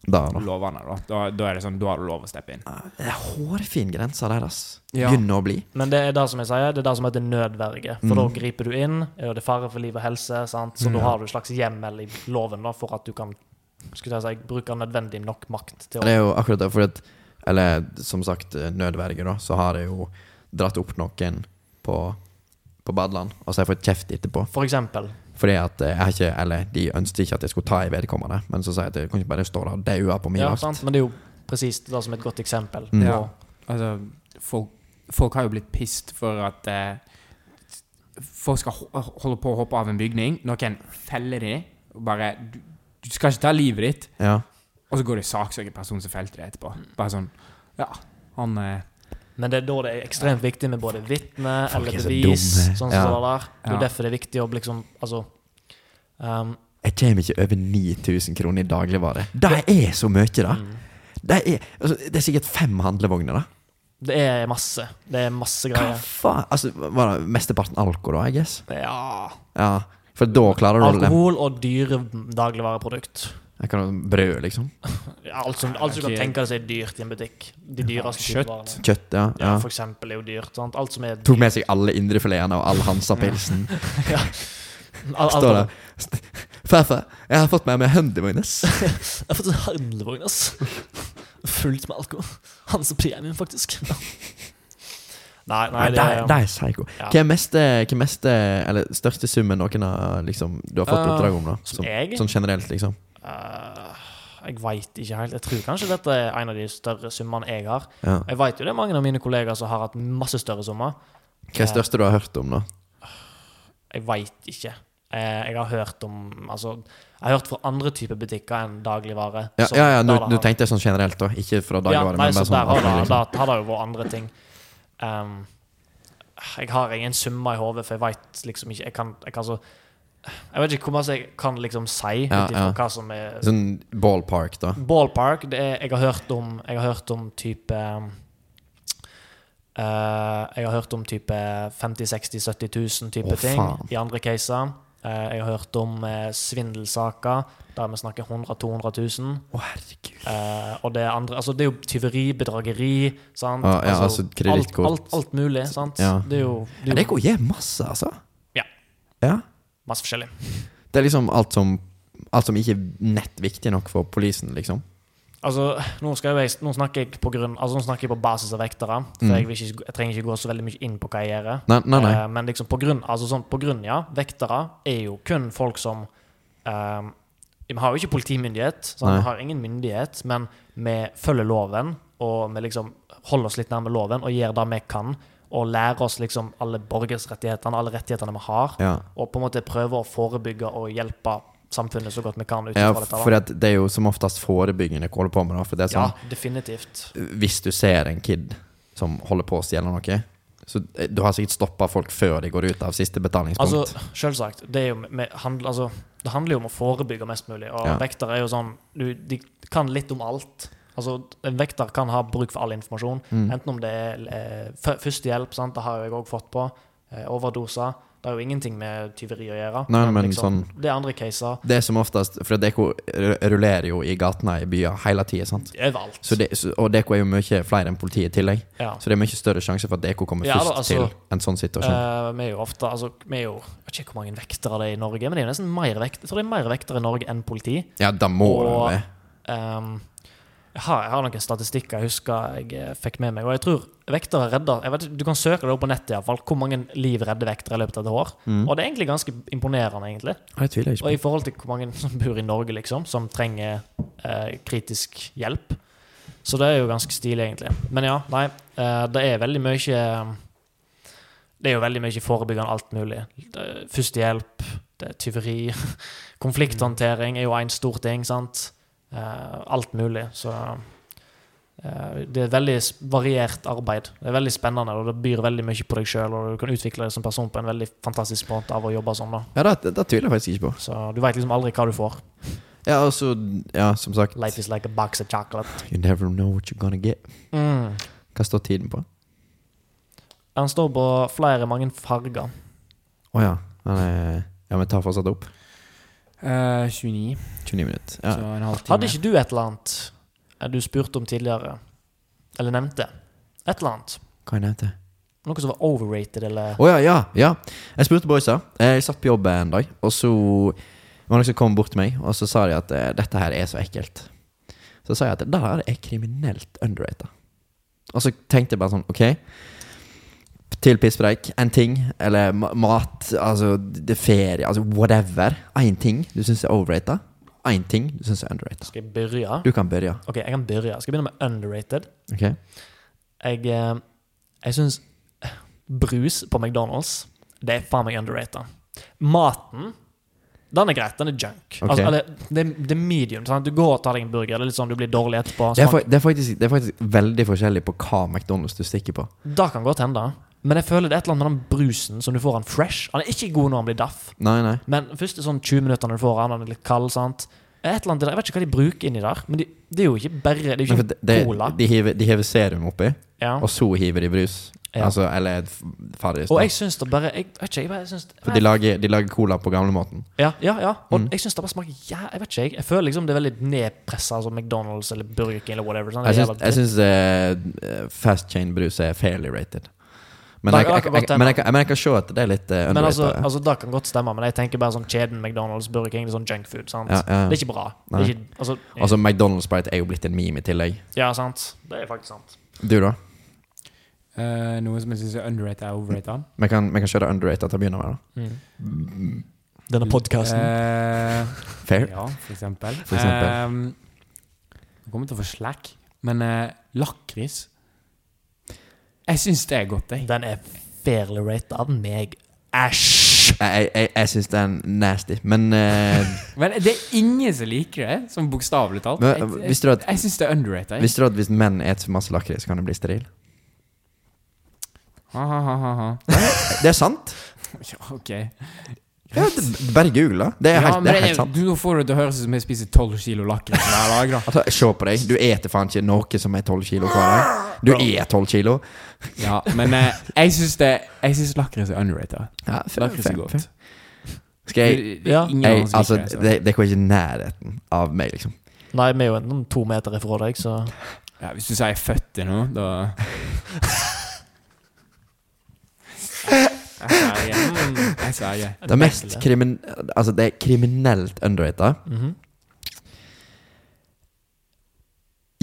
Da, da.
lovene. Da. Da, da er det sånn, da har du lov å steppe inn.
Det er hårfin grense der, ass.
Ja.
Begynner å bli.
Men det er det som jeg sier, det er det som heter nødverge. For
Mm.
da griper du inn, og det er fare for liv og helse, sant? så da har du en slags hjemmel i loven da, for at du kan skulle jeg si, bruke nødvendig nok makt til å
Det er jo akkurat det, fordi at Eller som sagt, eh, nødverge, da, så har jeg jo dratt opp noen på, på badeland, og så har jeg fått kjeft etterpå.
For eksempel.
Fordi at eh, jeg har ikke Eller de ønsket ikke at jeg skulle ta i vedkommende, men så sier jeg at jeg kan ikke bare stå der og daue på min
Ja,
vakt.
sant? Men det er jo presis det som er et godt eksempel.
Mm.
Ja. Altså, folk, folk har jo blitt pissed for at eh, folk skal ho holde på å hoppe av en bygning. Noen feller de og bare du, du skal ikke ta livet ditt.
Ja.
Og så går det saksøker personen som felte det etterpå. Bare sånn Ja, han eh,
Men det er da det er ekstremt viktig med både vitne
Folk
eller
er så
bevis.
dumme.
Sånn som
Ja.
det der. Det er
Ja.
jo derfor det er viktig å liksom Altså um,
Jeg kommer ikke over 9000 kroner i dagligvare. Det er så mye, da!
mm.
Det er, altså, det er sikkert fem handlevogner, da.
Det er masse. Det er masse
Hva
greier.
faen? Altså, var det mesteparten alko, da, I guess?
Ja.
Ja, for da klarer du å lem-
Alkohol og dyre dagligvareprodukt.
Jeg kan ha Brød, liksom.
Alt som, alt som
Ok.
kan tenke deg er dyrt i en butikk. De dyreste
Kjøtt.
kjøttvarene.
Kjøtt, ja.
Ja,
ja.
for eksempel er jo dyrt. Sant? Alt som er
Tok med seg alle indrefiletene og all Hansa-pilsen.
Al- alt-
Står det. Farfar, jeg har fått med meg Hundevognes.
Jeg har fått en handlevogn, ass. Fullt med alkohol. Hans premium, faktisk. Nei, nei,
Nei,
det
de
er
de er psycho. eh,
Ja.
Hva er meste, hva er meste eller største summen noen har liksom, du har fått
Eh,
oppdrag om, da?
Som
Som,
jeg
sånn generelt, liksom.
Eh, Jeg veit ikke helt. Jeg tror kanskje dette er en av de større summene jeg har.
Ja.
Jeg veit jo det er mange av mine kollegaer som har hatt masse større summer.
Hva er det største du har hørt om, da?
Jeg veit ikke. Eh, Jeg har hørt om Altså, jeg har hørt fra andre typer butikker enn dagligvare.
Ja,
som-
ja, ja nå,
der det
nå
har-
tenkte jeg sånn generelt, da. Ikke fra dagligvare,
ja, nei,
men bare
så der
sånn.
har det,
allmenn, liksom.
da har det jo vært andre ting. Ehm, jeg har ingen summer i hodet, for jeg veit liksom ikke Jeg kan, jeg kan så Jeg vet ikke hvor mye jeg kan liksom si
Ja,
ut ifra
ja.
hva som er
Sånn ballpark, da.
Ballpark det er, jeg, har hørt om, jeg har hørt om type ehm, eh, Jeg har hørt om type 50 60 70 000 type
Å,
ting
faen.
i andre caser. Eh, jeg har hørt om eh, svindelsaker der vi snakker 100 200 000.
Å, herregud.
Eh, og det er andre Altså, det er jo tyveri, bedrageri, sant?
Ah, ja, altså, kredittkort.
Alt, alt, alt mulig, sant?
Ja.
Det er jo, det
Ja,
er
det
jo
går hjem masse, altså.
Ja.
ja.
masse forskjellig.
Det er liksom alt som Alt som ikke er nett viktig nok for polisen, liksom.
Altså, nå, skal jeg, nå snakker jeg på grunn Altså, nå snakker jeg på basis av vektere, for
Mm.
jeg, vil ikke, jeg trenger ikke gå så veldig mye inn på hva jeg gjør.
Nei, nei. nei.
Eh, men liksom på grunn, altså sånn, på grunn, ja. Vektere er jo kun folk som eh, Vi har jo ikke politimyndighet, sant?
Nei.
vi har ingen myndighet, men vi følger loven, og vi liksom holder oss litt nærme loven og gjør det vi kan. Og lærer oss liksom alle borgersrettighetene, alle rettighetene vi har.
Ja.
Og på en måte prøver å forebygge og hjelpe samfunnet så godt vi kan. Ut
Ja,
ifra dette. da.
for at det er jo som oftest forebyggende jeg holder på med. Da, for det er
ja,
sånn,
definitivt.
Hvis du ser en kid som holder på å stjele noe, så eh, du har sikkert stoppa folk før de går ut av siste betalingspunkt.
Altså, selvsagt. Det, er jo med, handl, altså, det handler jo om å forebygge mest mulig. Og
Ja.
vektere er jo sånn du, De kan litt om alt. Altså, en vekter kan ha bruk for all informasjon.
Mm.
Enten om det er eh, fø- førstehjelp, sant? det har jo jeg òg fått på. Eh, overdoser. Det er jo ingenting med tyveri å gjøre. liksom,
Nei, men sånn-
Det er andre caser.
Det er som oftest For DK rullerer jo i gatene i byer hele tida, sant.
Overalt.
Så det, så, og DK er jo mye flere enn politiet i tillegg.
ja.
Så det er mye større sjanse for at DK kommer
Ja, da,
først
altså-
til en sånn situasjon.
Eh, vi er jo ofte altså, Vi er jo Jeg vet ikke hvor mange vektere det er i Norge, men det er jo nesten mer vekt, jeg tror det er mer vektere i Norge enn politi.
ja, da må det
og-
være.
Ehm, jeg, har, jeg har noen statistikker jeg husker jeg eh, fikk med meg. Og jeg tror vektere redder jeg vet, ikke, Du kan søke det opp på nettet i hvert fall, hvor mange liv redder vektere i løpet av et år.
Mm.
Og det er egentlig ganske imponerende, egentlig.
Ja, Det tviler jeg
Og
ikke på.
i forhold til hvor mange som bor i Norge, liksom, som trenger eh, kritisk hjelp. Så det er jo ganske stilig, egentlig. Men ja, nei. eh, det er veldig mye Det er jo veldig mye forebyggende alt mulig. Det er Førstehjelp, det er tyveri, konflikthåndtering er jo en stor ting, sant. Eh, alt mulig. Så eh, det er et veldig s- variert arbeid. Det er veldig spennende, og det byr veldig mye på deg sjøl, og du kan utvikle deg som person på en veldig fantastisk måte av å jobbe sånn, da.
Ja, da, da tviler jeg faktisk ikke på.
Så du veit liksom aldri hva du får.
Ja, altså, ja, som sagt
Life is like a box of chocolate.
You never know what you're gonna get.
Mm.
Hva står tiden på?
Den står på flere mange farger.
Å ja. Den er, ja, men ta fortsatt opp.
eh, 29,
29 minutter.
så
Ja.
en halvtime.
Hadde ikke du et eller annet eh, du spurte om tidligere? Eller nevnte? Et eller annet?
Hva er det til?
Noe som var overrated, eller
Å ja, ja, ja. Jeg spurte boysa. Eh, Jeg satt på jobb en dag, og så var det noen som kom bort til meg, og så sa de at eh, dette her er så ekkelt. Så sa jeg at det der er kriminelt underrated. Og så tenkte jeg bare sånn, ok Til pisspreik, en ting, eller ma- mat, altså det ferie, altså whatever. Én ting du syns er overrated, én ting du syns er underrated.
Skal jeg begynne?
Du kan begynne.
OK, jeg kan begynne. Skal jeg begynne med underrated?
ok?
Jeg, eh, jeg syns eh, brus på McDonald's, det er faen meg underrated. Maten Den er greit. Den er junk.
Ok.
Altså, eller, det, er- det er medium. Sant? Du går og tar deg en burger. Det er litt sånn du blir dårlig etterpå.
Det er,
smak-
fa- det, er faktisk, det er faktisk veldig forskjellig på hva McDonald's du stikker på.
Det kan godt hende. Men jeg føler det er et eller annet med den brusen som du får han fresh. Han er ikke god når han blir daff.
Nei, nei.
Men første sånn 20 minutter når du får han, han er litt kald, sant. Et eller annet, der. jeg vet ikke hva de bruker inni der. Men de, det er jo ikke bare Det er
Men
jo
for
ikke
det, det,
cola.
de, hiver, de hiver serum oppi,
ja.
og så hiver de brus.
Ja.
Altså, eller f- Farris.
Og
da.
jeg syns det bare Jeg, jeg vet ikke, jeg bare syns
For de lager, de lager cola på gamlemåten.
Ja, ja, ja. Og
Mm.
jeg syns det bare smaker ja, Jeg vet ikke, jeg. Jeg føler liksom det er veldig nedpressa, som McDonald's eller Burger King eller whatever. Sånn.
Jeg
Det er
syns-
jævla
Jeg
dritt.
syns eh, fast chain-brus er fairly rated. Men
Da-
jeg,
da
jeg,
kan
jeg,
godt
men jeg, kan- men jeg kan se at det er litt uh,
men altså,
underrated.
altså, det kan godt stemme, men jeg tenker bare sånn kjeden McDonald's, Burger King, det er sånn junkfood. sant?
ja, ja.
Det er ikke bra. Det
Nei.
er ikke, altså,
altså, McDonald's Sprite er jo blitt en meme i tillegg.
ja, sant. Det er faktisk sant.
Du, da?
Eh, noe som jeg syns er underrated og overrated.
Vi kan, vi kan kjøre underrated til å begynne med.
Denne
Mm. Eh,
da Fair.
ja, for eksempel.
For eksempel.
Ehm, jeg kommer til å få slack, men eh, lakris Jeg syns det er godt, jeg.
Eh, den er fairly rated av meg. Æsj!
Jeg, jeg, jeg, jeg syns det er nasty, men eh,
Men det er ingen som liker det, som bokstavelig talt.
Men, eh,
Jeg- jeg-
visste du at-
Jeg syns det er underrated. jeg.
Visste du at hvis menn spiser masse lakris, kan de bli sterile?
Ha, ha, ha, ha, ha.
Det er sant!
Ja, ok.
Ja, det, bare google. da. Det er
Ja,
helt,
men
det
det
er
er
helt sant.
Du, nå får det til å høres ut som jeg spiser 12 kilo lakris hver dag. da.
Altså, Se på deg. Du eter faen ikke noe som er 12 kilo hver dag. Du er 12 kilo.
Ja, men eh, jeg syns det Jeg synes lakris er underrated.
Ja,
Lakris er godt.
Skal jeg
Det- det er
Ja.
ingen
jeg,
andre som
altså,
liker så.
det, det går ikke i nærheten av meg, liksom.
Nei, vi er jo enten to meter ifra deg, så
Ja, hvis du sier føtter nå, da Jeg sverger. Jeg sverger.
Det, er mest krimin altså, det er kriminelt underrated.
Mhm.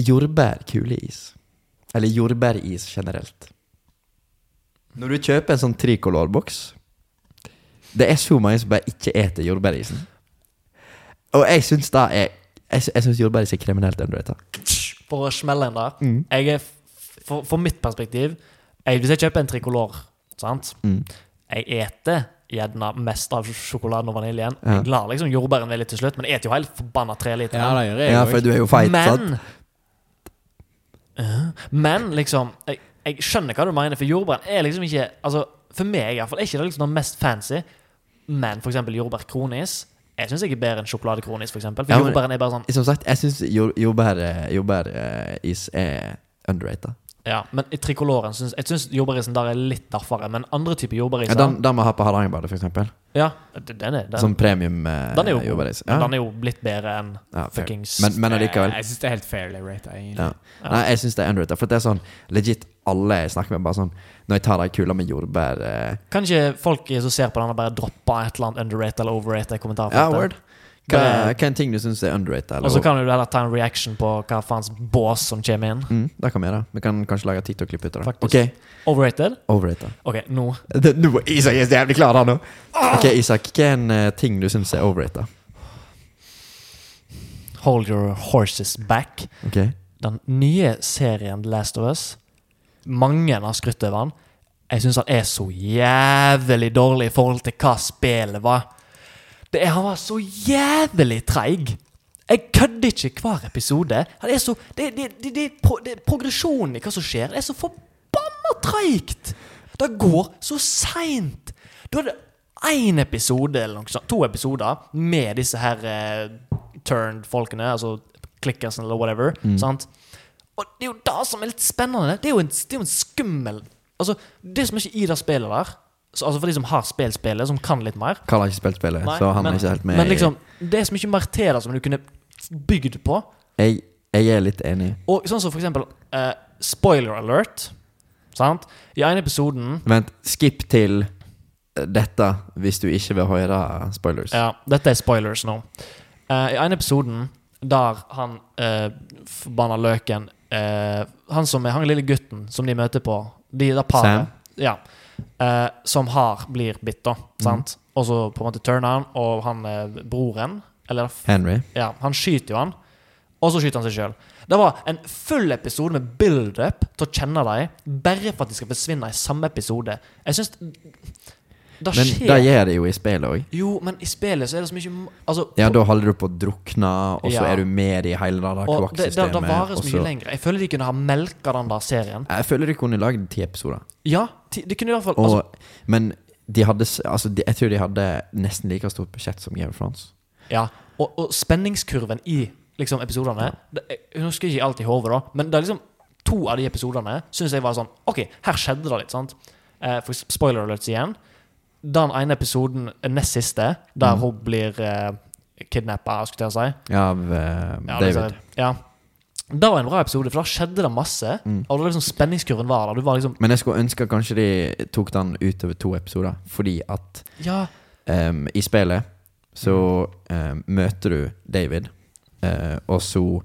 Jordbærkuleis. Eller jordbæris generelt. Når du kjøper en sånn tricolorboks Det er så mange som bare ikke eter jordbærisen. Og jeg syns da er Jeg, sy- jeg syns jordbæris er kriminelt underrated.
For å smelle inn der.
Mm.
Jeg er, f- for, for mitt perspektiv jeg, Hvis jeg kjøper en tricolor, sant
Mm.
Jeg eter gjerne mest av sj- sjokoladen og vaniljen.
Ja.
Jeg lar liksom jordbæren være litt til slutt, men jeg eter jo helt forbanna tre liter.
Ja, det gjør jeg
Ja,
også.
for du er jo feit, sant?
men Eh, Men liksom jeg, jeg skjønner hva du mener, for jordbæren er liksom ikke Altså, For meg i hvert fall er ikke det liksom den mest fancy, men for eksempel jordbær kronis Jeg syns jeg er bedre enn sjokoladekronis, for eksempel. For
Ja, men-
jordbæren er bare sånn
Som sagt, jeg syns jord, jordbær, jordbæris er underrated.
Ja, men i trikoloren synes, Jeg syns jordbærisen der er litt daffere, men andre typer
Ja,
jordbæriser
den, den må ha på Hardangerbadet, for eksempel.
ja, d- den, er, den,
Som premium eh,
den er jo god,
jordbæris.
men
Ja.
den er jo blitt bedre enn
Ja, fair.
fuckings eh,
Men, men allikevel.
Jeg, jeg syns det er helt fairly rated, egentlig.
Ja. Nei, jeg syns det er underrated. For det er sånn legit alle jeg snakker med, bare sånn Når jeg tar ei kule med jordbær eh,
Kan ikke folk som ser på den, og bare droppe et eller annet underrated eller overrated i
Ja,
kommentarfeltet?
word. Hva hva er en ting du syns er underrated?
og så
Eller?
kan du heller ta en reaction på hva faens bås som kommer inn.
Mm, det kan vi gjøre. Vi kan kanskje lage et TikTok-klipp ut av det.
Faktisk.
Ok,
Overrated?
overrated.
OK, nå.
Det, nå er Isak er så jævlig klar, han nå. Ok, Isak, hva er en eh, ting du syns er overrated?
Hold your horses back.
Ok
Den nye serien The Last of Us Mange har skrytt over den. Jeg syns han er så jævlig dårlig i forhold til hva spillet var. Det er, han var så jævlig treig. Jeg kødder ikke hver episode. Han er så, det, det, det, det, er pro, det er Progresjonen i hva som skjer, det er så forbanna treigt! Det går så seint! Du hadde én episode, eller noe sånt, to episoder, med disse her eh, turned-folkene, altså klikkersen eller whatever. sant? Og det er jo det som er litt spennende. Det er jo en, det er jo en skummel Altså, det som er ikke i det spillet der så, Altså For de som har spilt spillet, som kan litt mer
Karl har ikke spilt spillet,
Nei,
så han
men-
er ikke helt med.
Men
i-
liksom, det er så mye mer til det som du kunne bygd på.
jeg, jeg er litt enig.
Og sånn som for eksempel eh, spoiler alert. Sant? I ene episoden
Vent, skip til eh, dette hvis du ikke vil høre spoilers.
Ja, dette er spoilers nå. Eh, I ene episoden der han uh, forbanna løken eh, Han som er han lille gutten som de møter på de, det
Sam?
paret, Ja. eh, som har blir bitt, da.
Mm.
Sant? Og så på en måte turner han, og han eh, broren Eller f-
Henry.
Ja, han skyter jo han, og så skyter han seg sjøl. Det var en full episode med build-up til å kjenne dem, bare for at de skal forsvinne i samme episode. Jeg syns det
Men
skjer
det gjør det jo i spillet òg.
Jo, men i spillet så er det så mye ma- Altså,
Ja, da holder du på å drukne, og så
Ja.
er du med i hele det der
og det, det, det varer
kloakksystemet.
så
og
mye
så-
lenger. Jeg føler de kunne ha melka den der serien.
Jeg føler de kunne lagd ti episoder.
Ja, de, de kunne i hvert fall
Og,
altså,
men de hadde s- altså, de, jeg tror de hadde nesten like stort budsjett som Game of Thrones.
Ja, og, og spenningskurven i liksom episodene det, Jeg husker ikke alt i hodet, da, men det er liksom to av de episodene syns jeg var sånn OK, her skjedde det litt, sant? Eh, for eks- spoiler alerts igjen. Den ene episoden, eh, nest siste, der
Mhm.
hun blir eh, kidnappa, skulle jeg si.
Ja, av eh,
Ja,
David.
liksom, ja. Det var en bra episode, for da skjedde det masse.
Mm.
Og det var liksom Spenningskurven var der. Du var liksom
Men jeg skulle ønske at kanskje de tok den utover to episoder, fordi at
Ja,
em, i spillet så em, møter du David, eh, og så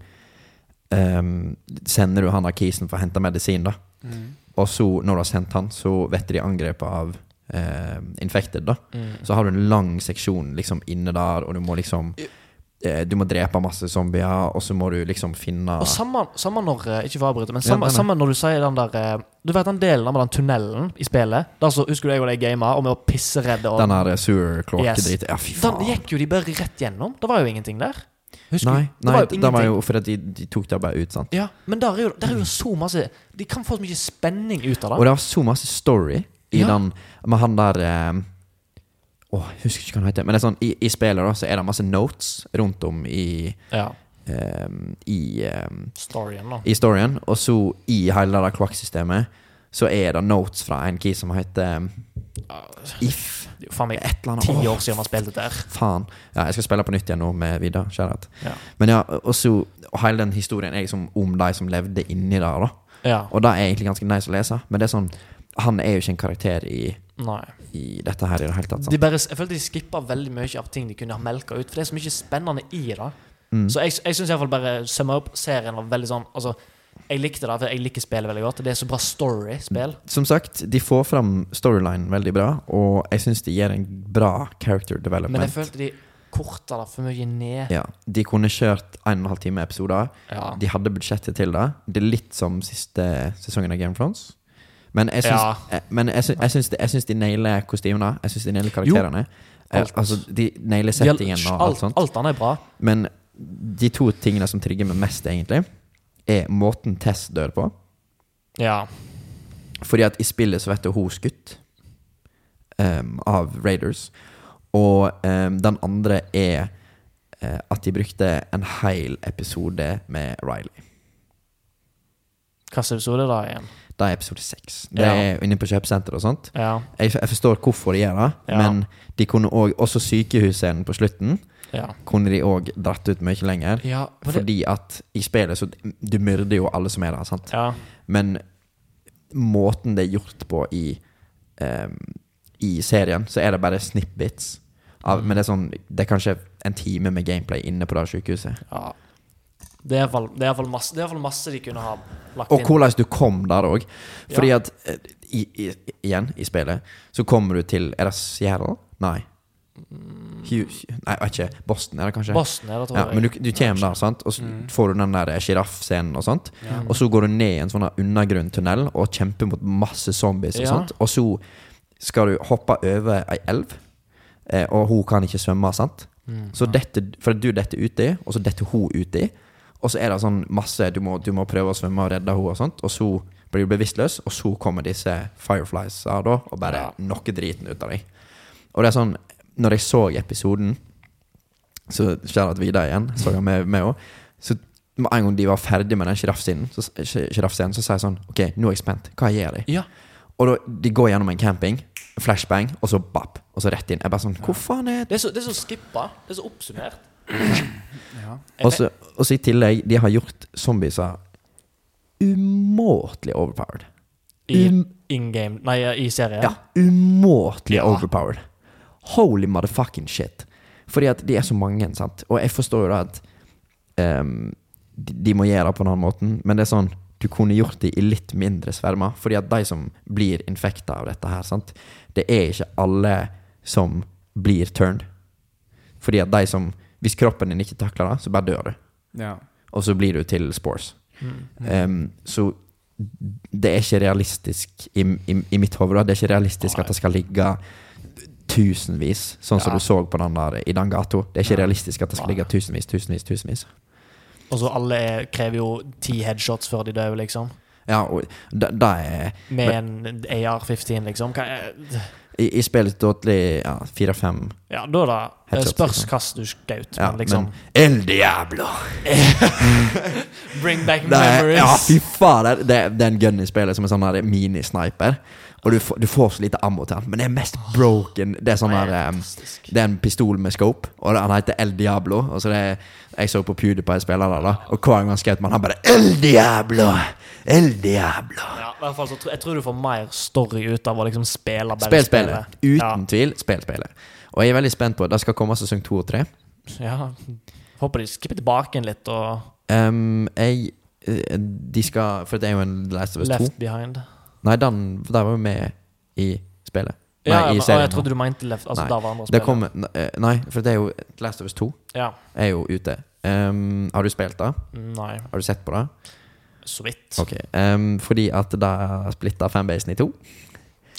em, sender du han av kisen for å hente medisin, da.
Mm.
Og så, når du har sendt han, så vet de angrepet av eh, infected, da.
mm.
Så har du en lang seksjon liksom inne der, og du må liksom eh, Du må drepe masse zombier, og så må du liksom finne
Og samme, samme når eh, Ikke for å avbryte, men samme,
nei, nei.
samme når du sier den der eh, Du vet den delen med den tunnelen i spillet? Der så husker du jeg og deg gama, og vi var pisseredde. Og
den her sewer kloakkedriten. Ja, fy
den
faen.
gikk jo de bare rett gjennom. Det var jo ingenting der. Husker
Nei,
du?
nei,
det var jo
den var
ingenting.
jo fordi at de, de tok det bare ut, sant.
Ja, men der er jo, der er jo så masse De kan få så mye spenning ut av
Og
det.
det var så masse story i
Ja.
den med han der eh, Åh, jeg husker ikke hva han heter. Men det er sånn, i, i spillet da, så er det masse notes rundt om i
Ja,
eh, I eh,
storyen da
i storyen, og så i hele det kloakksystemet, så er det notes fra en key som heter um, If
Det er jo faen meg
Et eller annet.
ti
Åh,
år siden man spilte der.
faen. Ja, jeg skal spille på nytt igjen nå med Vidar. Kjærlighet.
Ja.
Men ja, og så og hele den historien er liksom om de som levde inni der, da.
Ja,
Og det er egentlig ganske nice å lese, men det er sånn Han er jo ikke en karakter i,
nei
i dette her i det hele tatt. sånn.
de
Sant?
bare, jeg følte de skippa veldig mye av ting de kunne ha melka ut. For det er så mye spennende i det.
Mm.
Så jeg, jeg syns iallfall bare summa opp serien var veldig sånn Altså, jeg likte det, for jeg liker spillet veldig godt. Det er så bra story-spill.
Som sagt, de får fram storylinen veldig bra, og jeg syns de gir en bra character development.
Men jeg følte de korta det for mye ned.
ja, de kunne kjørt en og en halv time episoder.
Ja.
De hadde budsjettet til det. Det er litt som siste sesongen av Game of Thrones. Men jeg syns,
Ja.
eh, men jeg syns, jeg syns, de, jeg syns de nailer kostymene. Jeg syns de nailer karakterene. Eh,
alt.
altså, de nailer settingen og alt sånt.
Alt annet er bra.
Men de to tingene som trigger meg mest, egentlig, er måten Tess dør på.
Ja.
Fordi at i spillet så vet du hun skutt ehm, av Raiders. Og ehm, den andre er eh, at de brukte en hel episode med Riley.
Hvilken episode er det igjen?
Det er episode seks. Det
Ja.
er inne på kjøpesenteret og sånt.
Ja.
Jeg, jeg forstår hvorfor de gjør det,
Ja.
men de kunne òg Også sykehusscenen på slutten
Ja.
kunne de òg dratt ut mye lenger.
ja men det,
Fordi at i spillet så Du myrder jo alle som er der, sant?
ja.
Men måten det er gjort på i ehm, I serien, så er det bare snippets. Av, Men det er sånn Det er kanskje en time med gameplay inne på det sykehuset.
ja. Det er iallfall masse, det er i hvert fall masse de kunne ha lagt
Og
inn.
hvordan du kom der òg. Fordi
Ja.
at eh, i, i, Igjen, i spillet, så kommer du til Er det Seattle? Nei. Hugh, nei, jeg vet ikke. Boston, er det kanskje?
Boston Mm. er det, tror
Ja,
jeg.
men du, du kommer der, sant? og så får du den der sjiraffscenen og sånt.
Ja.
Og så går du ned i en sånn her undergrunntunnel og kjemper mot masse zombies og
Ja.
sånt. Og så skal du hoppe over ei elv, eh, og hun kan ikke svømme, sant.
Mm.
Så dette, for du detter uti, og så detter hun uti. Og så er det sånn masse Du må, du må prøve å svømme og redde henne og sånt. Og så blir du bevisstløs, og så kommer disse fireflies da, og bare
Ja.
knocker driten ut av deg. Og det er sånn Når jeg så episoden, så skjer det at Vidar igjen, så han med meg òg. Så med en gang de var ferdig med den sjiraffscenen, så, sjiraffscenen, så sier jeg sånn OK, nå er jeg spent. Hva gjør de?
Ja.
Og da, de går gjennom en camping, flashbang, og så bap, og så rett inn. Jeg bare sånn Hvor faen er
Det er så, det er så skippa. Det er så oppsummert.
Ja.
Og så og så i tillegg, de har gjort zombiser umåtelig overpowered.
I
Um,
in game Nei, i serien.
Ja, umåtelig overpowered. Holy motherfucking shit. Fordi at de er så mange, sant. Og jeg forstår jo da at ehm, de, de må gjøre det på en annen måte, men det er sånn du kunne gjort det i litt mindre svermer. Fordi at de som blir infekta av dette her, sant, det er ikke alle som blir turned. Fordi at de som Hvis kroppen din ikke takler det, så bare dør du.
ja.
Og så blir du til spores.
Mm.
Um, så det er ikke realistisk i, i, i mitt hode. da. Det er ikke realistisk
Nei.
at det skal ligge tusenvis, sånn som
Ja.
du så på den der i den gata. Det er ikke
Ja.
realistisk at det skal
Nei.
ligge tusenvis, tusenvis, tusenvis.
Og så alle er, krever jo ti headshots før de dør, liksom.
Ja, og det, det er
Med en AR-15, liksom. Hva er,
I, i spillet Dotli ja, fire-fem.
ja, da er det eh,
Headshots,
spørs
liksom.
hva du skjøt,
Ja,
men liksom
Men El Diablo!
Bring back
Det er,
memories!
ja, fy fader! Det, er- det er en gun i spillet som er sånn der minisniper. Og du, får- du får så lite ammo til den, men det er mest broken. Det er sånn
Det er
der em,
fantastisk.
Det er en pistol med scope, og det- han heter El Diablo. Og så det er, Jeg så på PewDiePie spiller der, da, og hver gang han skjøt med han bare El Diablo! El Diablo!
Ja, i hvert fall så tro, Jeg tror du får mer story ut av å liksom spille bare
Spill spillet. Uten
Ja.
tvil. Spill spillet. Og jeg er veldig spent på Det skal komme sesong to og tre.
Ja. Håper de skipper tilbake en litt og
Em, jeg eh, De skal For det er jo en Last of Us 2.
Left Behind.
Nei, den der var jo med i spillet. Nei,
ja,
i
men, å,
serien.
jeg trodde du mente Left Altså,
Nei,
der var andre
det
spillet.
kommer ne- Nei, for det er jo Last of Us 2
Ja.
er jo ute. Em, har du spilt det?
Nei,
Har du sett på det?
så vidt.
Ok, em, Fordi at det splitta fanbasen i to.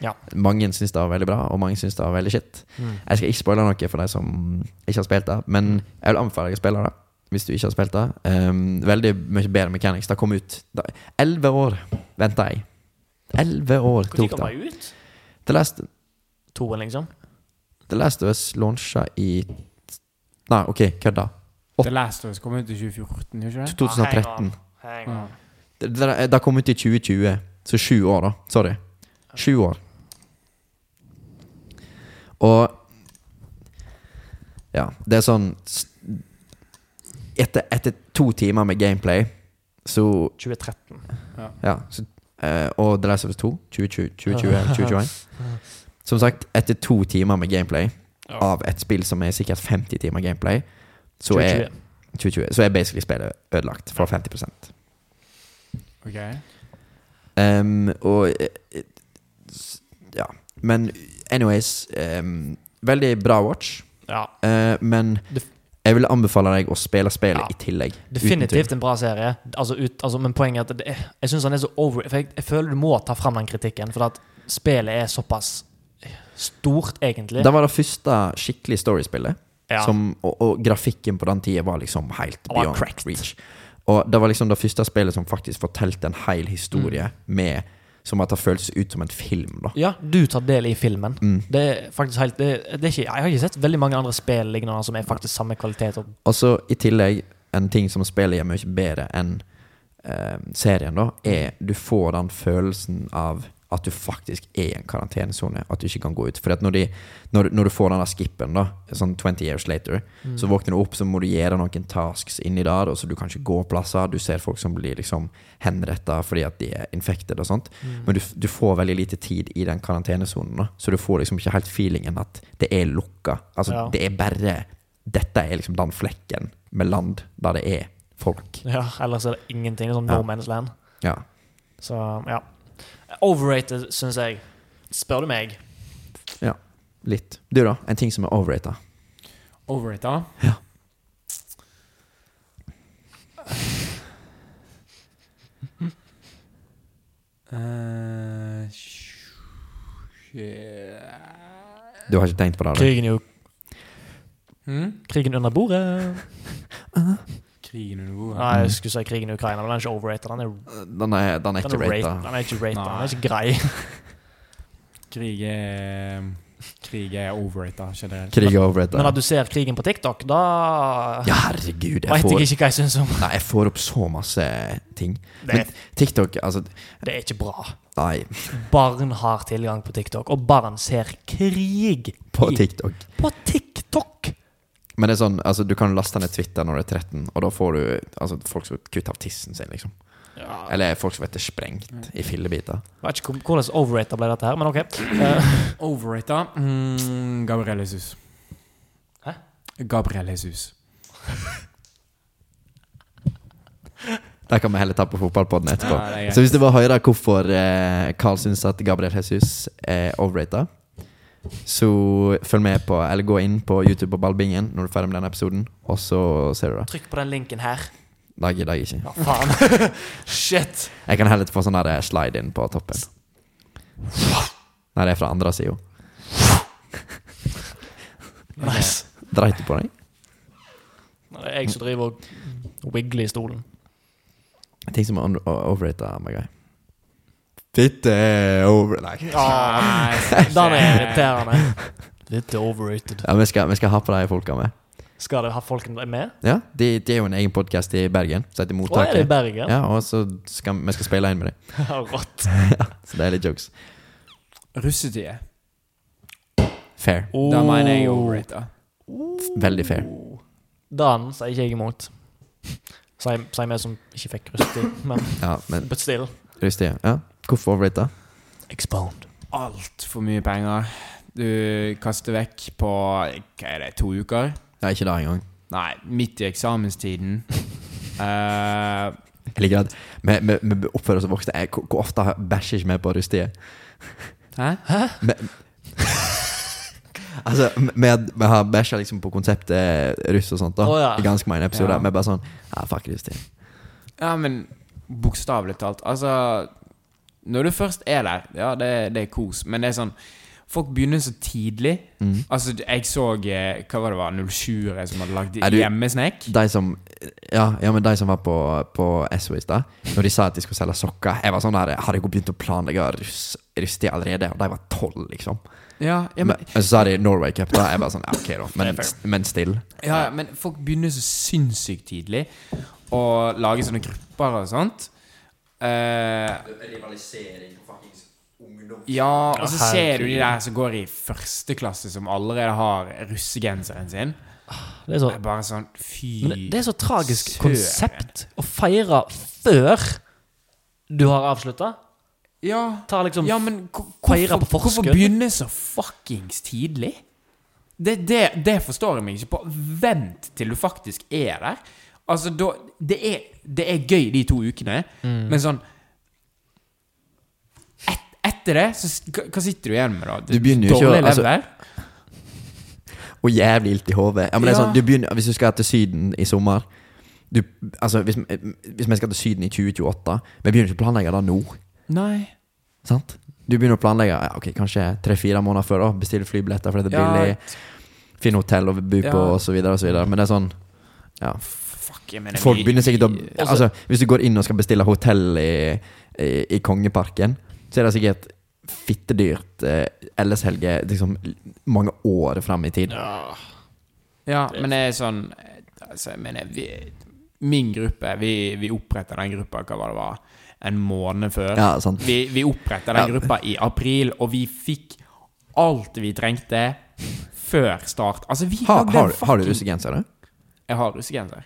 Ja.
Mange syns det var veldig bra, og mange syns det var veldig shit.
Mm.
Jeg skal ikke spoile noe for de som ikke har spilt det, men jeg vil anbefale deg å spille det. Hvis du ikke har spilt det. Ehm, veldig mye bedre mechanics. Det kom ut da- Elleve år venta jeg. Elleve år
Når
tok
kom
det.
de ut?
The Last,
Toen, liksom?
The Last of Us launcha i Nei, OK, kødda. Åt-
The Last of Us kom ut i 2014, gjorde ikke det?
Ah,
2013.
Hang
Ja.
on.
Det, det, det kom ut i 2020. Så sju år, da. Sorry. Sju år. Og Ja, det er sånn s- Etter, etter to timer med gameplay, så
2013.
Ja. Så, eh, og The Last of Us 2, 2020, 2020 eller 2021. Som sagt, etter to timer med gameplay
Ja.
av et spill som er sikkert 50 timer gameplay, så er
2020.
2020, så er basically spillet ødelagt fra 50
Ok.
Ehm, og eh, eh, s- Ja. Men anyways ehm, Veldig bra watch,
Ja.
eh, men
Det f-
jeg vil anbefale deg å spille spillet
Ja.
i tillegg.
Definitivt en bra serie, altså ut, altså, men poenget er at det, er- jeg syns han er så over for jeg, jeg føler du må ta fram den kritikken, for at spillet er såpass stort, egentlig.
Det var det første skikkelig storiespillet.
ja.
Som, og, og grafikken på den tida var liksom helt
Den var
beyond
cracked.
reach. Og det var liksom det første spillet som faktisk fortalte en hel historie
Mm.
med Som at det føltes ut som en film, da.
ja, du tar del i filmen.
Mm.
Det er faktisk helt det, det er ikke, Jeg har ikke sett veldig mange andre spill lignende som er faktisk samme kvalitet. Og,
Og så i tillegg, en ting som spillet gjør mye bedre enn eh, serien, da, er du får den følelsen av at du faktisk er i en karantenesone, at du ikke kan gå ut. For at når, de, når, når du får den der skippen, da, sånn 20 years later, så våkner du opp, så må du gjøre noen tasks inni der, og så du kan ikke gå plasser. Du ser folk som blir liksom henretta fordi at de er infected og sånt. Men du, f- du får veldig lite tid i den karantenesonen, da, så du får liksom ikke helt feelingen at det er lukka. Altså,
Ja.
det er bare dette er liksom den flekken med land der det er folk.
ja, ellers er det ingenting. Det er sånn
Ja.
No Man's Land.
Ja.
Så ja. Overrated, syns jeg. Spør du meg.
Litt. Du, da? En ting som er overrated.
Over it, da?
Ja.
Eh, shit.
Du har ikke tenkt på det? Du.
Krigen, er jo,
Hm?
krigen under bordet.
Krigen under bordet.
Nei, jeg skulle si krigen i Ukraina, men den er ikke overrated. Den er,
Eh, Den er, den er
den
ikke
er, rate,
rated.
den er ikke rated. Den
Nei.
er ikke grei.
Krig er Krig er overrated generelt.
Krig er overrated.
Men at du ser krigen på TikTok, da
Ja, herregud. Jeg
vet
får,
jeg ikke hva jeg syns om.
nei, jeg får opp så masse ting.
Det,
Men TikTok, altså
det er ikke bra.
Nei,
Barn har tilgang på TikTok, og barn ser krig
på
i-
TikTok.
på TikTok!
Men det er sånn, altså du kan laste ned Twitter når du er 13, og da får du altså, folk som kutter av tissen sin, liksom.
Jeg
Eller folk som blir sprengt i fillebiter.
vet ikke hvor- hvordan overrated ble dette her, men OK. Eh,
Overrated mm, Gabriel Jesus.
Hæ?
Gabriel Jesus.
Der kan vi heller ta på fotballpodden etterpå.
Ja, det er greit.
Så hvis du vil høre hvorfor eh, Carl syns at Gabriel Jesus er overrated, så følg med på, eller gå inn på YouTube på Ballbingen når du er ferdig med denne episoden, og så ser du det.
Trykk på den linken her.
Det gidder jeg ikke.
Ja, faen. Shit.
Jeg kan heller få sånn der slide inn på toppen. Nei, det er fra andre sida.
Nice.
Dreit du på deg?
Det er jeg som driver og wigler i stolen.
Ting som er overrata, my guy. Fitte er over... Nei.
Ah, Den er irriterende. Litt overrated.
Ja, vi skal, vi skal ha på de folka med.
Skal du ha folken med?
Ja, Det de er jo en egen podkast i Bergen som heter
Å, er det i
Mottaket.
Bergen?
Ja, og så skal vi skal spille inn med dem.
Rått.
Så det er litt jokes.
Russetida.
Fair.
Da mener jeg overrata.
Veldig fair.
Den sier ikke jeg imot. Sier sier vi som ikke fikk russetid, men
Ja, men
but still.
Rustia, ja. Hvorfor overrata?
Expound.
Altfor mye penger. Du kaster vekk på hva er det, to uker?
Ja, ikke det engang.
Nei, midt i eksamenstiden. Eh,
Jeg liker at vi, vi, vi oppfører oss som voksne. Jeg, hvor, hvor ofte har- bæsjer ikke vi på Rustia?
hæ?
Altså, vi- vi, har- vi har bæsja liksom på konseptet eh, russ og sånt, da.
Å, ja.
I ganske mange episoder.
Ja.
Vi er bare sånn Ja, fuck Rustia.
Ja, men bokstavelig talt. Altså, når du først er der, ja, det, det er kos, men det er sånn Folk begynner så tidlig.
Mhm.
Altså, jeg så eh, Hva var det, var 07-ere som hadde lagd
Er du-
hjemmesnekk?
De som Ja, ja men de som var på, på SO i stad, når de sa at de skulle selge sokker Jeg var sånn der Har jeg begynt å planlegge russ, russtid allerede? Og de var tolv, liksom.
Ja, ja,
men,
men,
så sa de Norway Cup, da. Jeg bare sånn ja, Ok, da. Men,
Det er fair.
men still.
ja, ja, men folk begynner så sinnssykt tidlig å lage sånne grupper og sånt. Eh,
Rivalisering på fuckings ungdom.
ja, og
Ja,
så ser du
herregud.
de der som går i første klasse, som allerede har russegenseren sin.
Det er så,
Det er bare sånn Fy
men det er så tragisk
Søren.
konsept å feire før du har avslutta.
Ja.
Ta liksom
Ja, men hvor-
feire
hvorfor,
på forskudd.
hvorfor begynne så fuckings tidlig? Det, det, det forstår jeg meg ikke på. Vent til du faktisk er der. Altså, da Det er, det er gøy de to ukene,
Mm.
men sånn et, Etter det, så s- hva hva sitter du igjen med, da?
Du begynner jo ikke å-
Dårlig
altså-
lever?
Og jævlig ilt i hodet. Ja, men det er
Ja.
sånn, du begynner- hvis du skal til Syden i sommer du, altså, hvis, hvis vi skal til Syden i 2028 Vi begynner ikke å planlegge det nå.
Nei.
Sant? Du begynner å planlegge ja, ok, kanskje tre-fire måneder før. da. Bestille flybilletter fordi det er billig. Finne hotell å bo på,
Ja.
og så videre og så videre. Men det er sånn ja.
Fuck, jeg mener
Folk
vi-
begynner sikkert å
vi-
altså, Hvis du går inn og skal bestille hotell i, i, i Kongeparken, så er det sikkert fittedyrt eh, LS-helge liksom, mange år fram i tid.
Ja, men det er sånn altså, jeg mener, vi, Min gruppe, vi, vi oppretta den gruppa hva var det var, en måned før.
Ja, sant.
Vi, vi oppretta den
Ja.
gruppa i april, og vi fikk alt vi trengte før start. Altså, vi
Har,
lagde
har,
en
har du
fucking-
russegenser? du?
Jeg har russegenser.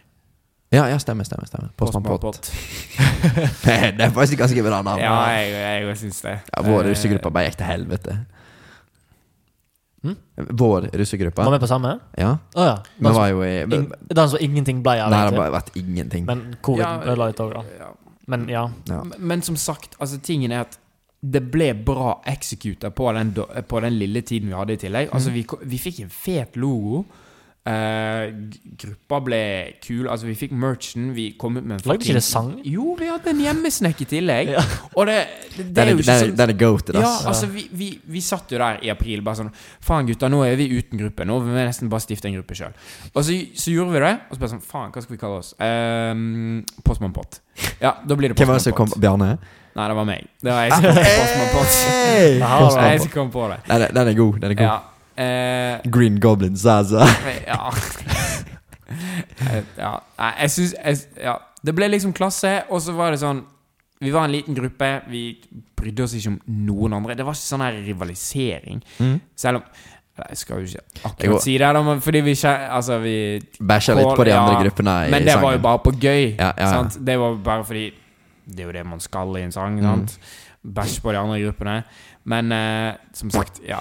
Ja, ja, stemmer, stemmer. stemmer. Postmann
Postmann
Pott. det er faktisk ganske bra navn. Ja,
Ja, jeg, jeg, jeg syns det.
vår
Eh,
russegruppe bare gikk til helvete.
Hm?
Vår
Var
russegruppe.
vi på samme?
Ja,
Å ja.
vi
Den som,
var jo i Nei,
ing, den som ingenting ble av,
det har
egentlig.
bare vært ingenting.
Men covid
Ja,
ødela litt òg, da.
ja.
Men ja.
Ja.
Men- Men som sagt, altså tingen er at det ble bra executa på den, do- på den lille tiden vi hadde i tillegg. Altså, vi, ko- vi fikk en fet logo. Eh, g- gruppa ble kul. Altså, vi fikk merchen. Vi kom ut med en
Lagde ikke det sang?
fucking- Jo, vi hadde en hjemmesnekk i tillegg.
Ja.
Og det, det, det
Den
er
er,
jo ikke
den er,
sånn
den er goated,
ja,
ass.
altså vi, vi, vi satt jo der i april bare sånn Faen, gutta, nå er vi uten gruppe. Nå vil vi nesten bare stifte en gruppe sjøl. Og så, så gjorde vi det. Og så bare sånn Faen, hva skal vi kalle oss? Um, Postmann Pott. Ja, da blir det
Hvem var det som
Postmann
kom
Pott.
Bjarne?
Nei, det var meg. Det var jeg som kom på Postmann Pott.
Hey!
Det
Aha,
var
Postmann
jeg
Pott.
som Ah, eh! kom på det.
Den, er- den er god. Den er god.
Ja. Eh,
Green Goblin Zaza.
ja. Eh, ja. Nei, jeg syns jeg, Ja. Det ble liksom klasse, og så var det sånn Vi var en liten gruppe. Vi brydde oss ikke om noen andre. Det var ikke sånn her rivalisering. Selv om Nei, Jeg skal jo ikke
Jeg går-
akkurat si det, da, men fordi vi ikke Altså, vi
Bæsja litt på de
Ja,
andre gruppene i
Men det var jo
sangen.
bare på gøy.
Ja, ja, ja.
Sant? Det var bare fordi Det er jo det man skal i en sang.
Mm.
Sant? Bæsj på de andre gruppene. Men eh, som sagt, ja.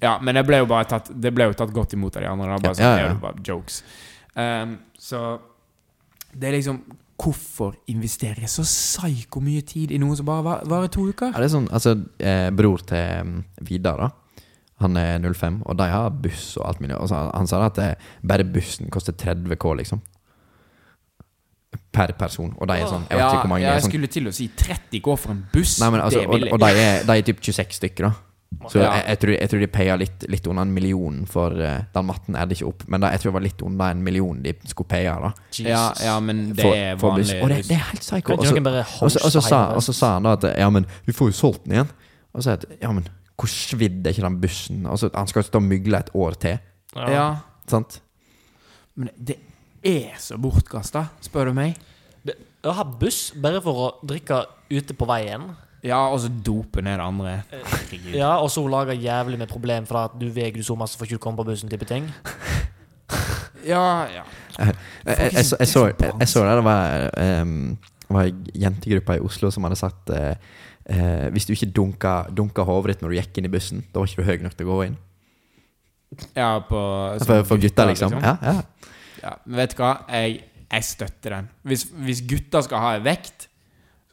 Ja, Men det ble jo bare tatt Det ble jo tatt godt imot av de andre. Da. Bare, sånn,
Ja, ja,
Det
ja.
er jo bare jokes. Ehm, så det er liksom Hvorfor investere så psyko mye tid i noe som bare va- varer to uker?
Ja, det er sånn, altså, eh, bror til mm, Vidar, da. Han er 05, og de har buss og alt mulig. Og så, han- han sa at eh, bare bussen koster 30 K, liksom. Per person. Og de er sånn Jeg vet
ja,
ikke hvor mange.
ja,
det er
jeg
sånn,
skulle til å si 30 går for en buss.
nei, men, altså,
det
og
vil jeg.
og de, er, de er typ 26 stykker, da. Så
Ja.
jeg, jeg, tror, jeg tror de paya litt, litt under en million for eh, den matten er det ikke opp, men da, jeg tror det var litt under en million de skulle paye. da
Ja, ja, men det
for-
er
for å bli-
vanlig.
Og det, det er helt psycho.
Kan
Og
ikke
så-
noen bare
og så- og så
hoste
sa-
hele-
og så sa han da at ja, men vi får jo solgt den igjen. Og så sa jeg at ja, men hvor svidd er ikke den bussen? Altså, han skal jo stå og mygle et år til.
ja,
Sant?
men det er så bortkasta, spør du meg.
Å ha buss bare for å drikke ute på veien,
Ja, og så dope ned det andre. Eh, Herregud.
ja, og så lage jævlig med problem for at du veier du så masse for ikke du komme på bussen, type ting.
Ja, ja.
Jeg, jeg, jeg, så- jeg, så, jeg, jeg så det, det var um, var ei jentegruppe i Oslo som hadde sagt eh, eh, hvis du ikke dunka, dunka hodet ditt når du gikk inn i bussen, da var ikke du høy nok til å gå inn.
ja på,
For, for gutta, liksom. Ja, ja.
Ja, men vet du hva? Jeg, jeg støtter den. Hvis, hvis gutter skal ha en vekt,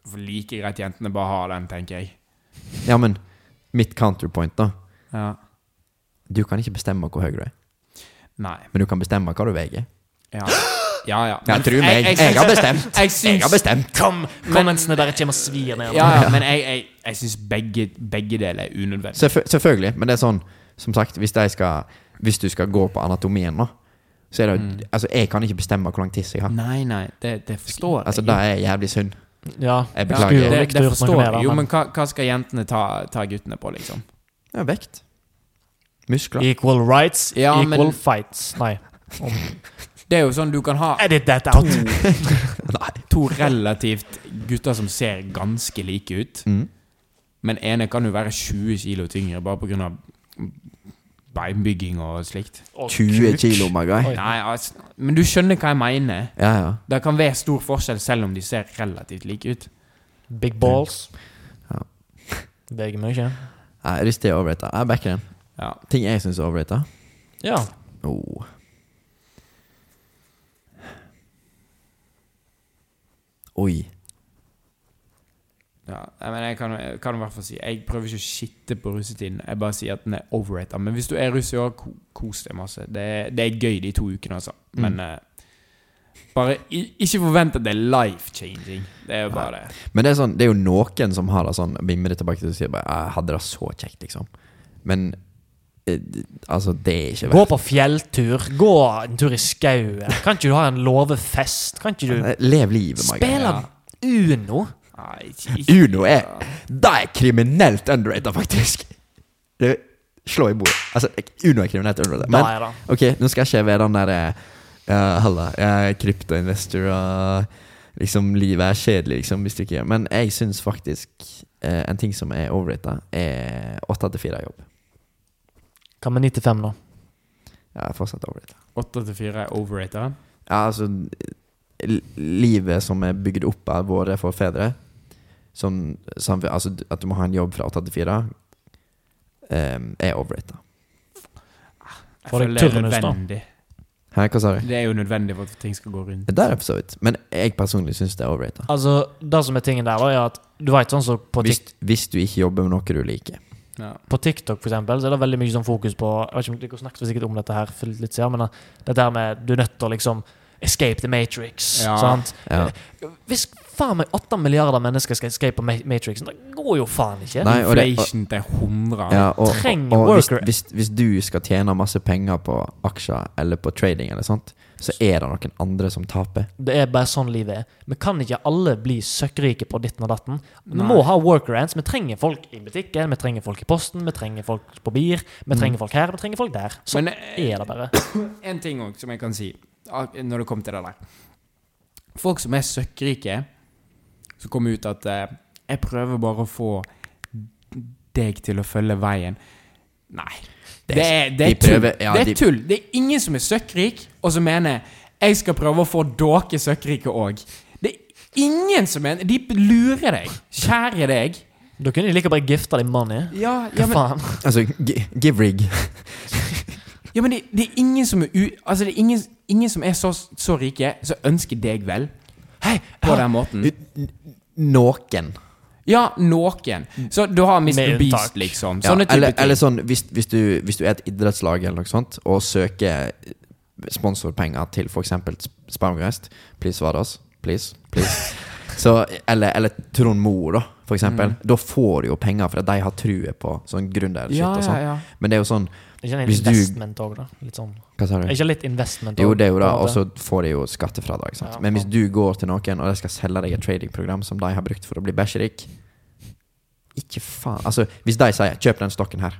så får like greit jentene bare ha den, tenker jeg.
ja, men mitt counterpoint, da.
Ja.
Du kan ikke bestemme hvor høy du er,
Nei.
men du kan bestemme hva du veier.
Ja, ja. ja.
Ja, tro meg, jeg,
syns-
har bestemt.
Jeg
Jeg har
syns
bestemt.
Kom!
Men-
Kommentsene bare kommer og svir ned.
Ja, ja, men jeg, jeg, jeg syns begge, begge deler er unødvendig.
Selvfø- selvfølgelig, men det er sånn Som sagt, hvis, de skal, hvis du skal gå på anatomien nå, så er det jo Altså, jeg kan ikke bestemme hvor lang tiss jeg har.
Nei, nei, det, det forstår jeg.
Altså, det er jævlig synd.
Ja.
Jeg
Ja,
beklager.
Skulle jo
det,
likt å
det
gjort noe
forstår
med det,
jeg. Jo,
men-
men hva, hva skal jentene ta, ta guttene på, liksom?
Ja, vekt. Muskler.
Equal rights,
Ja,
equal
men-
fights. Nei.
Det er jo sånn du kan ha
Edit that out!
Nei.
to relativt gutter som ser ganske like ut,
Mm.
men ene kan jo være 20 kilo tyngre bare på grunn av beinbygging og slikt.
Og
20
kuk.
kilo, my guy.
Oi.
Nei, altså, men du skjønner hva jeg mener.
Ja, ja.
Det kan være stor forskjell selv om de ser relativt like ut.
Big balls.
Ja.
Veier mye.
Nei, Rist er overrated. Jeg backer den.
Ja.
Ting jeg syns er overrated.
Ja.
Oh. Oi.
Ja, nei, men jeg kan, jeg kan i hvert fall si Jeg prøver ikke å shitte på russetiden. Jeg bare sier at den er overrated. Men hvis du er russ i år, ko- kos deg masse. Det er, det er gøy de to ukene, altså. Men eh, bare i, ikke forvent at det er life-changing. Det er jo bare det.
Men det er, sånn, det er jo noen som har det sånn Bimmer det tilbake til og sier bare «Ah, Jeg hadde det så kjekt, liksom. Men eh, altså, det er ikke
Gå på fjelltur. Gå en tur i skauen. Kan ikke du ha en låvefest? Kan ikke du
verdt Lev livet, my guy.
spille Uno?
Nei, ikke, ikke.
Uno er Det er kriminelt underrated, faktisk. Det Slå i bordet. Altså, Uno er kriminelt underrated.
Da
Men
er det.
ok, nå skal jeg ikke være den derre uh, Halla, jeg er kryptoinvestor og liksom livet er kjedelig, liksom, hvis du ikke gjør Men jeg syns faktisk eh, en ting som er overrated, er 8-4-jobb.
Hva med 95 nå?
Jeg er fortsatt overrated.
8 til 4 er overrated.
Ja, altså l- Livet som er bygd opp av våre forfedre sånn, samf- altså, d- At du må ha en jobb fra 8 til 4 em, Er overrated
Jeg
Var det
føler det er
turnus, da?
nødvendig.
Hæ, hva sa du?
Det er jo nødvendig for at ting skal gå rundt.
Det der er for så vidt Men jeg personlig synes det er overrated
Altså, det som er tingen der, da, er at du vet sånn som på,
hvis,
Tik
hvis du ikke jobber med noe du liker
Ja.
på TikTok, for eksempel, så er det veldig mye sånn fokus på Jeg vet ikke om dere snakket sikkert om dette her for litt siden, men eh, dette her med du er nødt til å liksom Escape the Matrix.
Ja.
Sant?
ja.
Hvis faen meg åtte milliarder mennesker skal escape Ma- Matrixen, det går jo faen ikke.
Nei, og det-
Inflation til 100.
Ja, og, og,
trenger
og hvis,
worker-
hvis, hvis du skal tjene masse penger på aksjer Eller på trading eller sånt Så er det noen andre som taper
Det er bare sånn livet er. Vi kan ikke alle bli søkkrike på ditten og datten. Vi
Nei.
må ha workarounds. Vi trenger folk i butikken, vi trenger folk i posten, vi trenger folk på bier, vi trenger folk her, vi trenger folk der. Sånn
Mm. Men eh,
er det bare.
en ting òg som jeg kan si ah, når det kommer til det der. Folk som er søkkrike, som kommer ut at eh, 'Jeg prøver bare å få deg til å følge veien'. Nei.
Det-
Det er, det er
de prøver-
tull.
ja,
det er
de-
tull. Det er ingen som er søkkrik, og som mener 'Jeg skal prøve å få dere søkkrike òg'. Det er ingen som mener De lurer deg. Kjære deg.
Da kunne de like bare gifta deg money.
Ja,
Hva
ja, men,
faen?
Altså, gi- give rig
ja, men det, det er ingen som er u... Altså, det er ingen, ingen som er så, så rike, som ønsker deg vel. Hei, på den måten.
Noen
Ja, noen. Så du har Mr.
Med
Beast,
unntak.
liksom.
Ja,
Sånne type
eller,
ting.
eller sånn, hvis, hvis, du, hvis du er et idrettslag eller noe sånt, og søker eh, sponsorpenger til f.eks. Sparmgeist, please svare oss. Please. please. Så, eller, eller Trond Moe, da, for eksempel,
Mm.
da får du jo penger fordi de har trua på sånn gründershit
Ja,
og
ja,
sånn.
ja.
Men det er jo sånn
Er Ikke en
Hvis du-
investment òg, da? Litt sånn.
Hva sa
Er
du?
Ikke litt investment
Mm. Jo,
også,
det er jo
på
det, altså-
en måte?
og så får de jo skattefradrag. Sant?
Ja.
Men hvis du går til noen og de skal selge deg et tradingprogram som de har brukt for å bli bæsjerik Ikke faen Altså, hvis de sier 'kjøp den stokken her',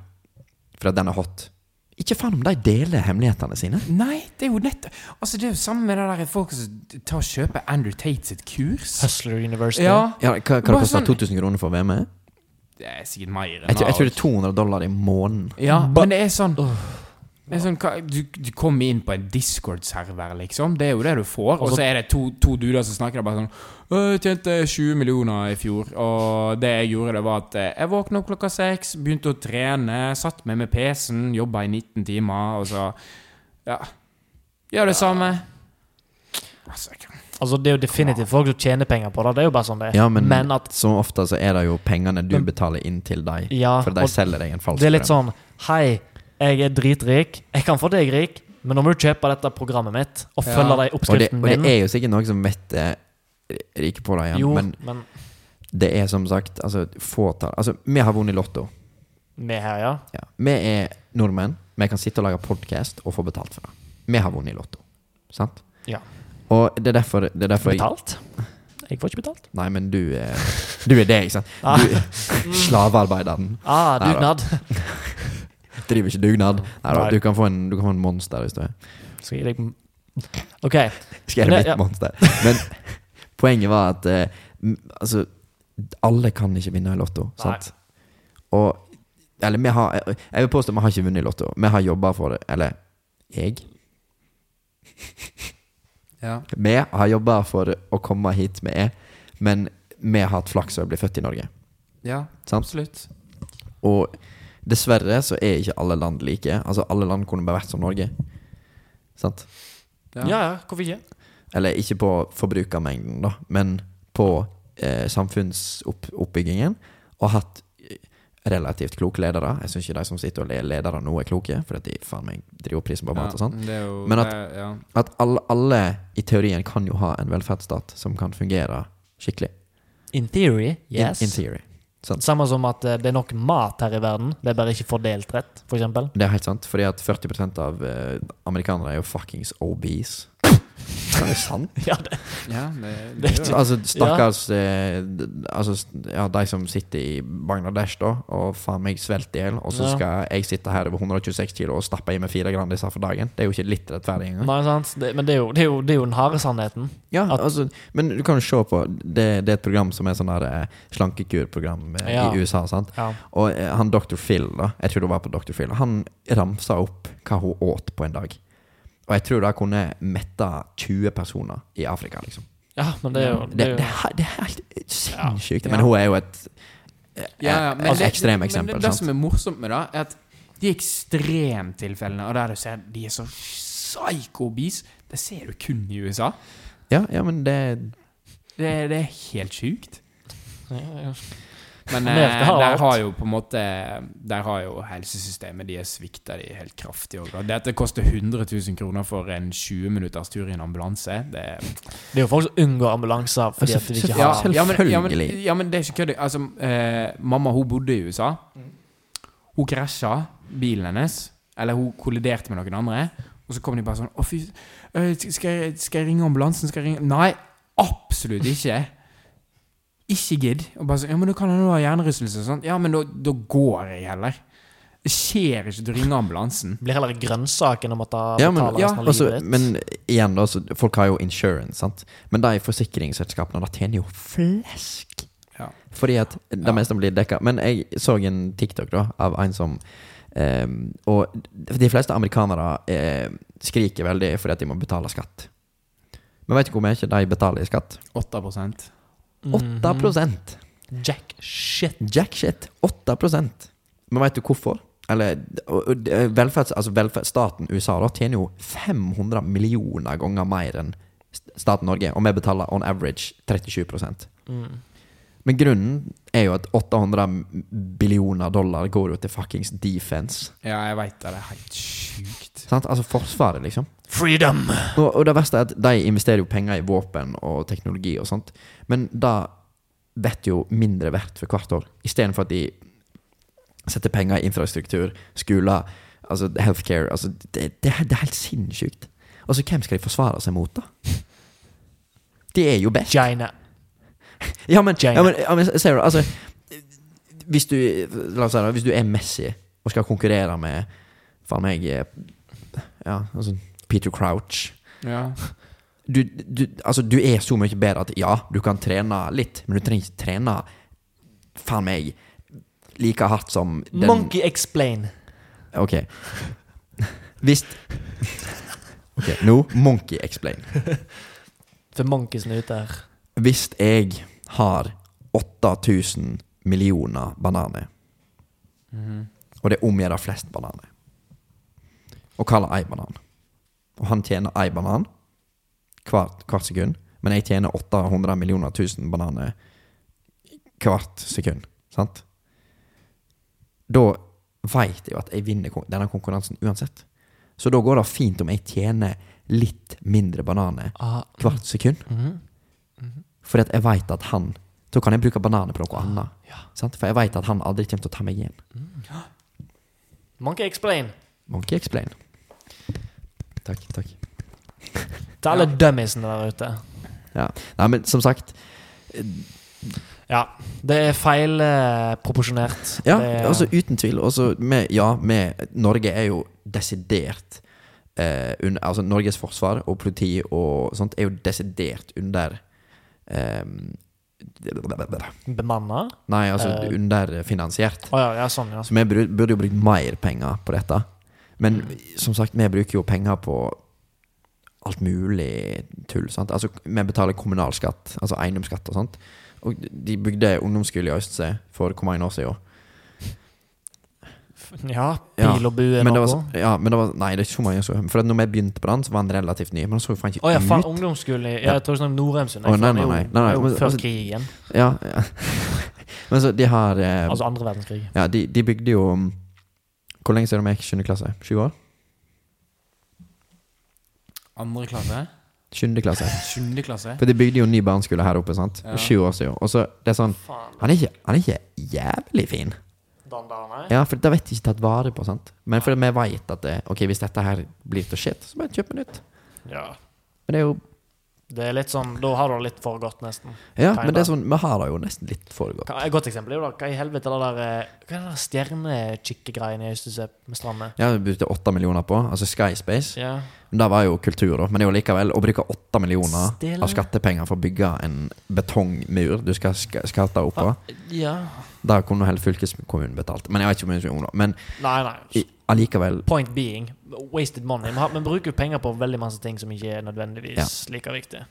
fordi den er hot Ikke faen om de deler hemmelighetene sine.
Nei, det er jo nettopp Altså, det er jo samme med det der folk som tar og kjøper Andrew Tate sitt kurs.
Hustler University.
Ja.
Ja, hva hva det
Bare
koster
sånn-
2000 kroner for å være med?
Det er sikkert mer enn
Jeg, tror- jeg tror
det.
det er 200 dollar i måneden.
Ja,
Ba-
men det er sånn, det er sånn hva- du, du kommer inn på en Discord-server, liksom. Det er jo det du får. Og
Altså-
så er det to, to duder som snakker og bare sånn «Øh, Jeg tjente 20 millioner i fjor, og det jeg gjorde, det var at eh, jeg våkna opp klokka seks, begynte å trene, satt meg med PC-en, jobba i 19 timer, og så Ja. Gjør det samme. Altså, jeg kan-
Altså, det er jo definitivt folk som tjener penger på det. Det er jo bare sånn det er.
Ja, men,
Men at
som ofte så er det jo pengene du
Men-
betaler inn til dem,
Ja,
for de
og
selger deg altså, en falsk
det er litt
drøm.
sånn Hei, jeg er dritrik. Jeg kan få deg rik, men nå må du kjøpe dette programmet mitt og
Ja.
følge sånn, de
og, det,
oppskriften
og det
min.
er jo sikkert noen som vet eh, rike på det igjen,
Jo,
men
men
det er som sagt altså, fåtall Altså, vi har vunnet i Lotto.
vi her, ja.
Ja. Vi er nordmenn. Vi kan sitte og lage podkast og få betalt for det. Vi har vunnet i Lotto. Sant?
Ja.
Og det er derfor, det er derfor jeg,
Betalt? Jeg får ikke betalt.
Nei, men du er, du er det, ikke sant?
Ah.
Du, slavearbeideren.
Ah,
Nei da.
dugnad.
Driver ikke dugnad. Nei, da,
Nei.
du, kan få en, du kan få en monster hvis du er
Skal jeg gi deg OK.
Skal jeg
Men det-
bli et
ja.
monster? Men poenget var at eh, m- altså, alle kan ikke vinne i Lotto,
Nei.
sant? Og Eller vi har Jeg jeg vil påstå vi har ikke vunnet i Lotto. Vi har jobba for det. Eller jeg.
ja.
Vi har jobba for å komme hit vi er, men vi har hatt flaks og blitt født i Norge.
Ja,
Sant?
absolutt.
Og dessverre så er ikke alle land like. Altså, alle land kunne bare vært som Norge. Sant?
Ja.
Ja, ja, hvorfor ikke?
Eller ikke på forbrukermengden, da, men på eh, samfunnsoppbyggingen. Og hatt eh, relativt kloke ledere. Jeg syns ikke de som sitter og er ledere nå, er kloke, for at de faen meg driver prisen på mat og sånn.
Det er jo,
Men
det, ja.
At alle, alle i teorien kan jo ha en velferdsstat som kan fungere skikkelig.
In theory,
In-
yes.
in theory. Sant?
Samme som at eh, det er nok mat her i verden, det er bare ikke fordelt rett, for eksempel.
Det er helt sant, fordi at 40 av eh, amerikanere er jo fuckings obese. Er det sant?
Ja, det,
ja det,
Det er
det,
Så, altså, stakkars eh, d- Altså, st- ja, de som sitter i Bangladesh, da, og faen meg svelter i hjel, og så
Ja.
skal jeg sitte her over 126 kilo og stappe i meg fire Grandiser for dagen. Det er jo ikke litt rettferdig engang.
nei, sant? Det, men det er, jo, det, er jo, det er jo den harde sannheten.
Ja,
At-
altså, men du kan jo se på Det, det er et program som er sånn der eh, slankekurprogram eh,
Ja.
i USA, sant?
Ja.
Og eh, han Dr. Phil, da jeg tror det var på Dr. Phil, han ramsa opp hva hun åt på en dag. Og jeg tror det kunne metta 20 personer i Afrika, liksom.
ja, men det er jo,
Det,
det
det,
er jo
er- det er helt sinnssykt.
Ja.
Men hun er jo et eh,
Ja, ja, men
altså,
det-
ekstremeksempel,
Men det, det
sant?
som er morsomt med det, er at de ekstremtilfellene, og der du ser de er så psyko-obese, det ser du kun i USA.
Ja, ja, men det
Det, det er helt sjukt.
Ja, ja.
Men eh,
Amerika har
der
alt.
har jo på en måte Der har jo helsesystemet De er svikta de helt kraftig òg. Dette koster 100 000 kroner for en 20 minutters tur i en ambulanse. Det er
Det er jo folk som unngår ambulanser fordi
Altså,
at de ikke
ja,
har
selv-
men, ja, men,
Selvfølgelig.
ja, men det er ikke kødd. Altså, eh, mamma hun bodde i USA. Hun krasja bilen hennes. Eller hun kolliderte med noen andre. Og så kom de bare sånn Å, fy eh, skal, jeg- skal jeg ringe ambulansen? Skal jeg ringe Nei, absolutt ikke. Ikke gidd. Og bare sånn Ja, men da kan han jo ha hjernerystelse og sånn. Ja, men da, da går jeg heller. Det skjer ikke at du ringer ambulansen.
Blir heller grønnsaken å måtte
ja, men,
betale
ja,
resten av
altså,
livet ditt.
men igjen, da, så folk har jo insurance, sant. Men de forsikringsselskapene, de tjener jo flesk.
Ja.
Fordi at det
Ja.
meste blir dekka. Men jeg så en TikTok da av en som eh, Og de fleste amerikanere eh, skriker veldig fordi at de må betale skatt. Men vet du hvor mye de betaler i skatt?
8
Mhm.
8
Jack shit.
Jack shit. 8 Men veit du hvorfor? Eller og- og det- velferds, altså velferdsstaten USA da tjener jo 500 millioner ganger mer enn st- staten Norge, og vi betaler on average 37
Mm.
Men grunnen er jo at 800 billioner dollar går jo til fuckings defense.
Ja, jeg veit det. Det er helt sjukt.
Sant? Altså Forsvaret, liksom.
Freedom!
Og, og det verste er at de investerer jo penger i våpen og teknologi og sånt, men da vet jo mindre verdt for hvert år. Istedenfor at de setter penger i infrastruktur, skoler, altså healthcare. Altså det, det, er- det er helt sinnssykt. Altså, hvem skal de forsvare seg mot, da? De er jo best.
China.
Ja, men,
Jane.
ja, men, ja, men ser du, altså Hvis du, la oss si det, hvis du er Messi og skal konkurrere med faen meg eh, Ja, altså Peter Crouch
Ja.
du, du, altså, du er så mye bedre at ja, du kan trene litt, men du trenger ikke trene faen meg like hardt som den
Monkey explain.
Ok. Hvis Ok, nå Monkey explain.
For monkeysene ute her.
Hvis jeg har 8000 millioner bananer
Mhm.
Og det omgjør av flest bananer. Og kaller ei banan. Og han tjener ei banan hvert, hvert sekund. Men jeg tjener 800 millioner tusen bananer hvert sekund. Sant? Da veit jeg jo at jeg vinner kon- denne konkurransen uansett. Så da går det fint om jeg tjener litt mindre bananer
Ah,
hvert sekund.
mhm.
Fordi at jeg veit at han Da kan jeg bruke bananer på noe annet.
ja.
Sant? For jeg veit at han aldri kommer til å ta meg igjen.
Monkey explain.
Monkey explain. Takk, takk.
Til alle
Ja.
dummiesene der ute.
Nei, men som sagt
Ja. Det er feil eh, proporsjonert.
Ja,
det, er-
altså uten tvil. Også med, ja, med Norge er jo desidert eh, under, Altså Norges forsvar og politi og sånt er jo desidert under eh,
Bemanna? Å
Nei, altså
Eh.
underfinansiert.
ja, ja, sånn, ja.
Så Altså, vi bru- burde jo brukt mer penger på dette. Men
Mm.
som sagt, vi bruker jo penger på alt mulig tull. Sant? Altså, vi betaler kommunalskatt, altså eiendomsskatt og sånt. Og de bygde ungdomsskole i Øystse for hvor mange år siden?
Ja,
Ja,
pil og bue
Men det
noe.
var, så- ja, men det var, nei, det er ikke så mange år siden. For at når vi begynte på den, så var den relativt ny. Men den så jo faen ikke
Å ja, faen,
ut.
ungdomsskolen i
Ja.
Jeg tror ikke om Norheimsund.
Å,
jeg, for
nei,
den
nei,
er jo-
nei, nei,
er jo
men-
Før
altså-
krigen.
Ja, ja. Men så de har eh,
Altså andre verdenskrig.
Ja, de, de bygde jo Hvor lenge siden de gikk 7. klasse? 7 år?
Andre klasse?
7. klasse.
Sjuende klasse?
For de bygde jo en ny barneskole her oppe, sant?
Ja.
Sju år siden. Og så det er sånn
Faen.
han er, ikke, han er ikke jævlig fin.
Den der, nei.
Ja, for det vet de ikke tatt vare på, sant. Men fordi vi vet at det, Ok, hvis dette her blir til shit, så bare kjøp nytt.
Ja.
Men det er jo
Det er litt sånn, Da har du det litt for godt, nesten.
Ja,
Kinda.
men det er sånn, vi har det jo nesten litt for godt.
Hva- Et godt eksempel er jo da, hva i helvete er det der eh, Hva er det der stjernekikkegreiene i Øystese med strandene?
Ja, vi brukte åtte millioner på, altså Skyspace.
Ja.
Men det var jo kultur, da. Men det er jo likevel å bruke åtte millioner
Stille.
av skattepenger for å bygge en betongmur du skal sk- skatte oppå,
Ah, ja.
det kunne hele fylkeskommunen betalt. Men jeg vet ikke hvor mye som er om det. Men
Nei, nei.
i- allikevel
Point being, wasted money. Vi har- Vi bruker jo penger på veldig masse ting som ikke er nødvendigvis like viktig.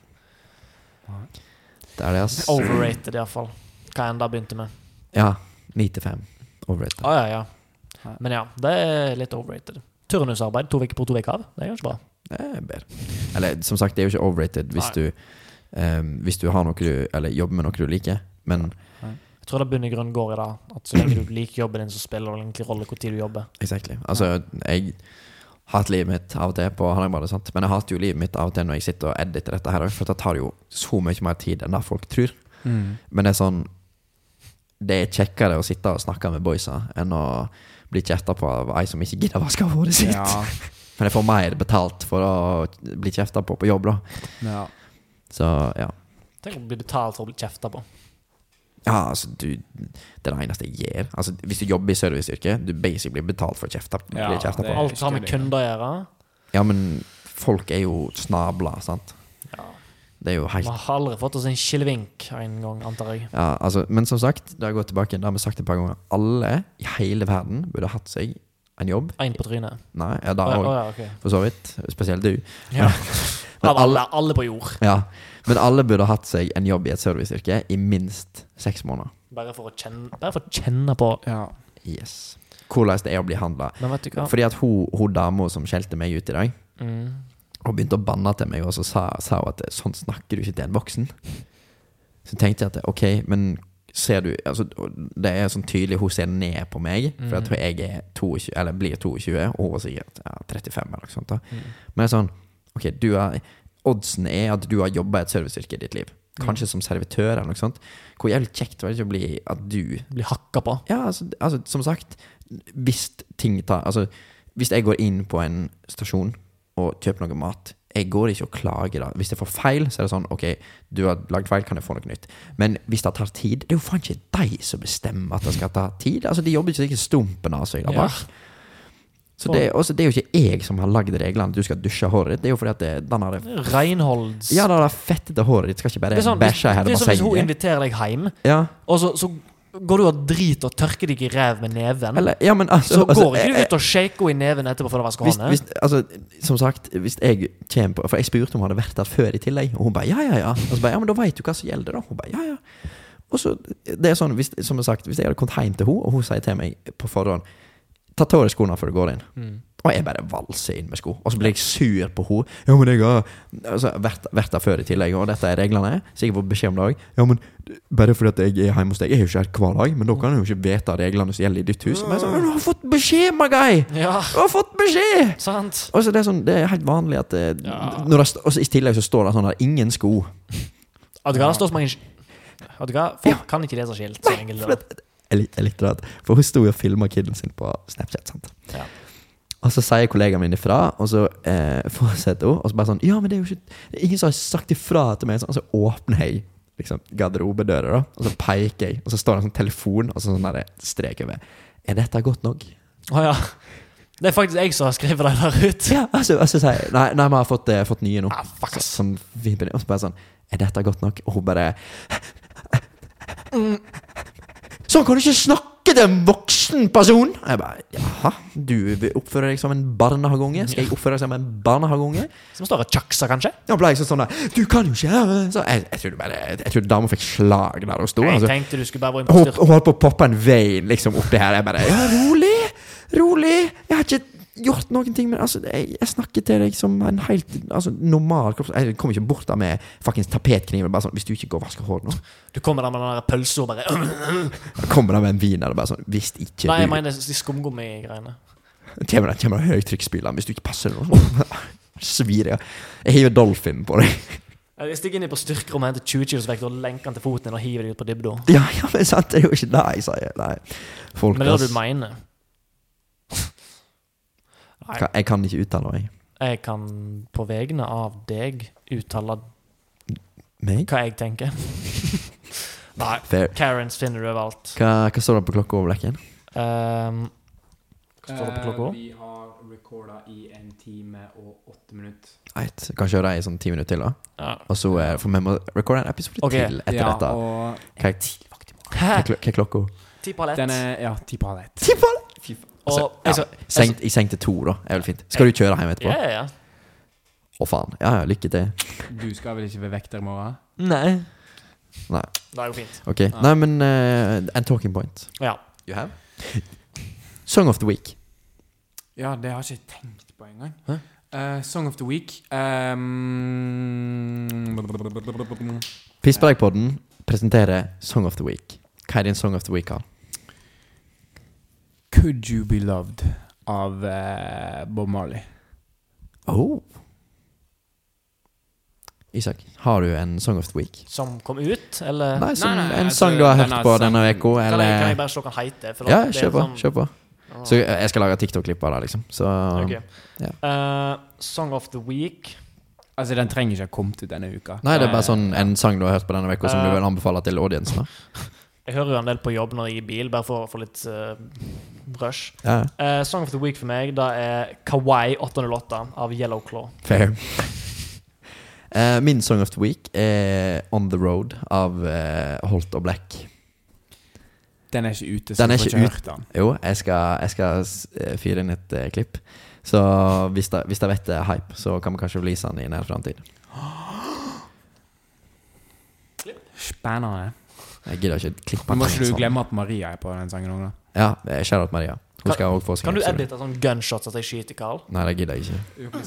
Det er det, ass.
Overrated, iallfall. Hva enn det begynte med.
Ja. 95. Overrated.
Å ja, ja. Men ja, det er litt overrated. Turnusarbeid to uker på, to uker av. Det er ganske bra.
Det er bedre. Eller som sagt, det er jo ikke overrated hvis
Nei.
du ehm, Hvis du har noe du Eller jobber med noe du liker, men
Jeg tror det bunn i grunn går i det. At så lenge du liker jobben din, så spiller det egentlig rolle hvor tid du jobber.
Exactly. Altså, jeg hater livet mitt av og til på Hardangbadet, sant. Men jeg hater jo livet mitt av og til når jeg sitter og editer dette her òg, for det tar jo så mye mer tid enn det folk tror.
Mm.
Men det er sånn Det er kjekkere å sitte og snakke med boysa enn å bli kjefta på av ei som ikke gidder å vaske håret sitt.
Ja.
Men jeg får mer betalt for å bli kjefta på på jobb, da.
ja.
Så ja.
Tenk å bli betalt for å bli kjefta på.
Ja, altså, du Det er det eneste jeg gjør. Altså, hvis du jobber i serviceyrket, du basically blir betalt for å kjefte
Ja,
bli kjefta
det-
på.
Alt har med kunder å gjøre.
Ja, men folk er jo snabla, sant?
Ja.
Det er jo
Vi
helt
har aldri fått oss en skillevink en gang, antar jeg.
ja, altså, Men som sagt, da jeg går tilbake, det har vi sagt et par ganger, alle i hele verden burde hatt seg en jobb.
Én på trynet.
Nei, ja,
Å
da
ja,
òg,
å ja, ok.
for så vidt. Spesielt du.
Ja.
Men
Av alle, alle på jord.
Ja, men alle burde hatt seg en jobb i et serviceyrke i minst seks måneder.
Bare for å kjenne, bare for å kjenne på
ja.
Yes. Hvordan det er å bli handla.
Men vet du hva?
Fordi at hun, hun dama som skjelte meg ut i dag,
Mm.
hun begynte å banne til meg og så sa, sa hun at sånn snakker du ikke til en voksen. Så tenkte jeg at ok, men ser du altså, Det er sånn tydelig hun ser ned på meg, for at
Mhm.
jeg er 22, eller blir 22, og hun var sikkert ja, 35 eller noe sånt. da
Mm.
Men det er sånn Ok, du er Oddsen er at du har jobba i et serviceyrke i ditt liv. kanskje som servitør eller noe sånt. Hvor jævlig kjekt var det ikke å bli at du
Bli hakka på.
Ja, altså, altså som sagt Hvis ting tar Altså, hvis jeg går inn på en stasjon og kjøper noe mat Jeg går ikke og klager da Hvis jeg får feil, så er det sånn Ok, du har lagd feil, kan jeg få noe nytt Men hvis det tar tid Det er jo faen ikke de som bestemmer at det skal ta tid Altså, de jobber ikke sikkert stumpen av seg da
Ja.
bak Så det, også, det er jo ikke jeg som har lagd reglene at Du skal dusje håret ditt Det er jo fordi at det, den har det
Reinholds
Ja, den har det fettete håret ditt Skal ikke bare
Det er sånn, hvis,
bæsje her
det
i
er som hvis hun
bassenget
inviterer deg hjem,
Ja,
og så, så går du og driter og tørker deg i ræv med neven.
eller Ja, men altså
så
altså,
går ikke
jeg-
du ut og shaker henne i neven etterpå for å vaske
hvis,
hånda.
hvis, altså, som sagt, hvis jeg kommer på For jeg spurte om hun hadde vært der før i tillegg, og hun bare ja, ja, ja. Og så bare, ja, men da veit du hva som gjelder, da. Hun bare ja, ja. Og så, det er sånn, hvis, som sagt, hvis jeg hadde kommet hjem til henne, og hun sier til meg på forhånd Ta av deg skoene før du går inn. Og jeg bare valser inn med sko. Og så blir jeg sur på henne. Ja, men jeg har altså, vært, vært der før i tillegg, og dette er reglene. Så jeg får beskjed om det òg. Ja, men bare fordi at jeg er hjemme hos deg Jeg er jo ikke her hver dag, men da kan jeg jo ikke vite reglene som gjelder i ditt hus. Men jeg er sånn, men du har fått beskjed, my guy!
Ja,
Du har fått beskjed!
sant?
Og så det, er sånn, det er helt vanlig at eh,
Ja.
når det, st- også I tillegg så står det sånn her 'ingen sko'.
Vet du hva, det står så mange Vet du hva, folk kan ikke lese skilt. Så enkelt.
For,
er det.
det, jeg, lik- jeg likte det. at- For hun sto jo og filma kiden sin på Snapchat. sant?
Ja.
Og så sier kollegaen min ifra, og så eh, fortsetter hun. Og så bare sånn 'Ja, men det er jo ikke det er ingen som har sagt ifra til meg.' Sånn, og så åpner jeg liksom, garderobedøra, da, og så peker jeg, og så står det en sånn telefon, og så sånn der strek over. Er dette godt nok?
Å, ja. Det er faktisk jeg som har skrevet det der ut.
Ja, altså, altså sier jeg, Nei, nei, vi har fått, eh, fått nye nå.
Ah, fuck,
Så-
ass.
Sånn fin på det. Og så bare sånn Er dette godt nok? Og hun bare
Mm.
Sånn kan du ikke snakke til en voksen person! Og jeg bare Jaha? Du vil oppføre deg som en barnehageunge? Skal jeg oppføre deg som en barnehageunge?
Som står og tjakser, kanskje.
Da ble jeg sånn sånn der Du kan jo ikke øh, Så jeg, jeg trodde bare Jeg trodde dama fikk slag der hun sto.
Jeg
Altså.
tenkte du skulle bare være
Hun
innpåstyrt.
hun holdt på å poppe en vein liksom oppi her. Jeg bare Ja, rolig! Rolig! Jeg har ikke gjort noen ting, men altså, jeg, jeg snakker til deg som en helt altså, normal kropps... Jeg kommer ikke bort der med fuckings tapetkniv og bare sånn Hvis du ikke går og vasker håret nå,
Du kommer der med den der pølsa og bare
da kommer det med en wiener og bare sånn Hvis ikke
Nei, jeg
du
mener de skumgummigreiene.
Kommer det kommer det høytrykksspyler hvis du ikke passer deg nå? Svir, ja. Jeg hiver dolphin på deg.
Jeg stikker inn i på styrkerommet, henter 20 kilos vekt og lenker den til foten din og hiver deg ut på dybda.
Ja, ja, men sant, det er jo ikke det jeg sier. Nei. Folk,
Men det er
ass.
det du mener. Nei,
Ka- Jeg kan ikke uttale meg.
jeg kan på vegne av deg uttale
Meg?
hva jeg tenker. Nei,
Fair.
Karens finner du overalt.
Hva, hva står det på klokka over blekken?
Um, hva står det på
Eh,
klokka?
Vi har recorda i en time og åtte minutter.
Eit, kan kjøre i sånn ti minutter til, da.
Ja.
Og så eh, For vi må recorde en episode
Ok,
til etter
ja,
dette.
og
Hva er, ti-
Hæ?
hva er klo- hva er klokka?
Ti på
den
halett.
er Ja, ti på halv ett.
Og
Altså,
jeg skal
Senkt, I seng til to, da. Er vel fint. Skal du kjøre hjem etterpå?
Ja,
Å,
ja, ja.
faen. Ja, ja, lykke til.
Du skal vel ikke være vekter i morgen?
Nei.
Nei.
Det er jo fint.
Ok. Nei, men eh, En talking point.
Ja.
You have? Song of the week.
Ja, det har jeg ikke tenkt på engang.
Hæ?
Eh, Song of the Week ehm,
Pisspreikpodden presenterer Song of the week. Hva er din Song of the week, Karl?
Could You Be Loved av eh, Bob Marley.
Oh. Isak, har du en Song of the week?
Som kom ut, eller
Nei, som
nei, nei,
en
altså,
sang du har
denne
hørt på denne
sangen-
uka,
kan, jeg, kan
eller
jeg bare se hva den heter? For
Ja,
det er
kjør på.
sånn-
Kjør på. Så eh, jeg skal lage TikTok-klipp av det, liksom. Så
Ok.
ja.
Eh, Song of the Week.
Altså, den trenger ikke ha kommet ut denne uka.
Nei, det er
Eh,
bare sånn en sang du har hørt på denne uka, som du vil anbefale til audiencen. da.
Jeg hører jo en del på jobb når jeg er i bil, bare for å få litt eh, rush.
Ja, ja.
Eh, Song of the Week for meg da er Kawaii 808 av Yellow Claw.
fair. Eh, min Song of the Week er On The Road av eh, Holt og Black.
Den er ikke ute, så
Den
du
er
får
ikke
ikke hørt den.
Jo, jeg skal, jeg skal s- eh, fyre inn et eh, klipp. Så hvis det, hvis det vet det er hype, så kan vi kanskje release den i nær framtid.
Spennende.
Jeg gidder ikke klippe
Men må
den
ikke du
sånn.
glemme at Maria er på den sangen òg, da?
Ja, eh, shout out Maria. Hun
Kan-
skal også få sin
Kan du
episode.
edite sånn gunshots at jeg skyter, Carl?
Nei, det gidder jeg ikke.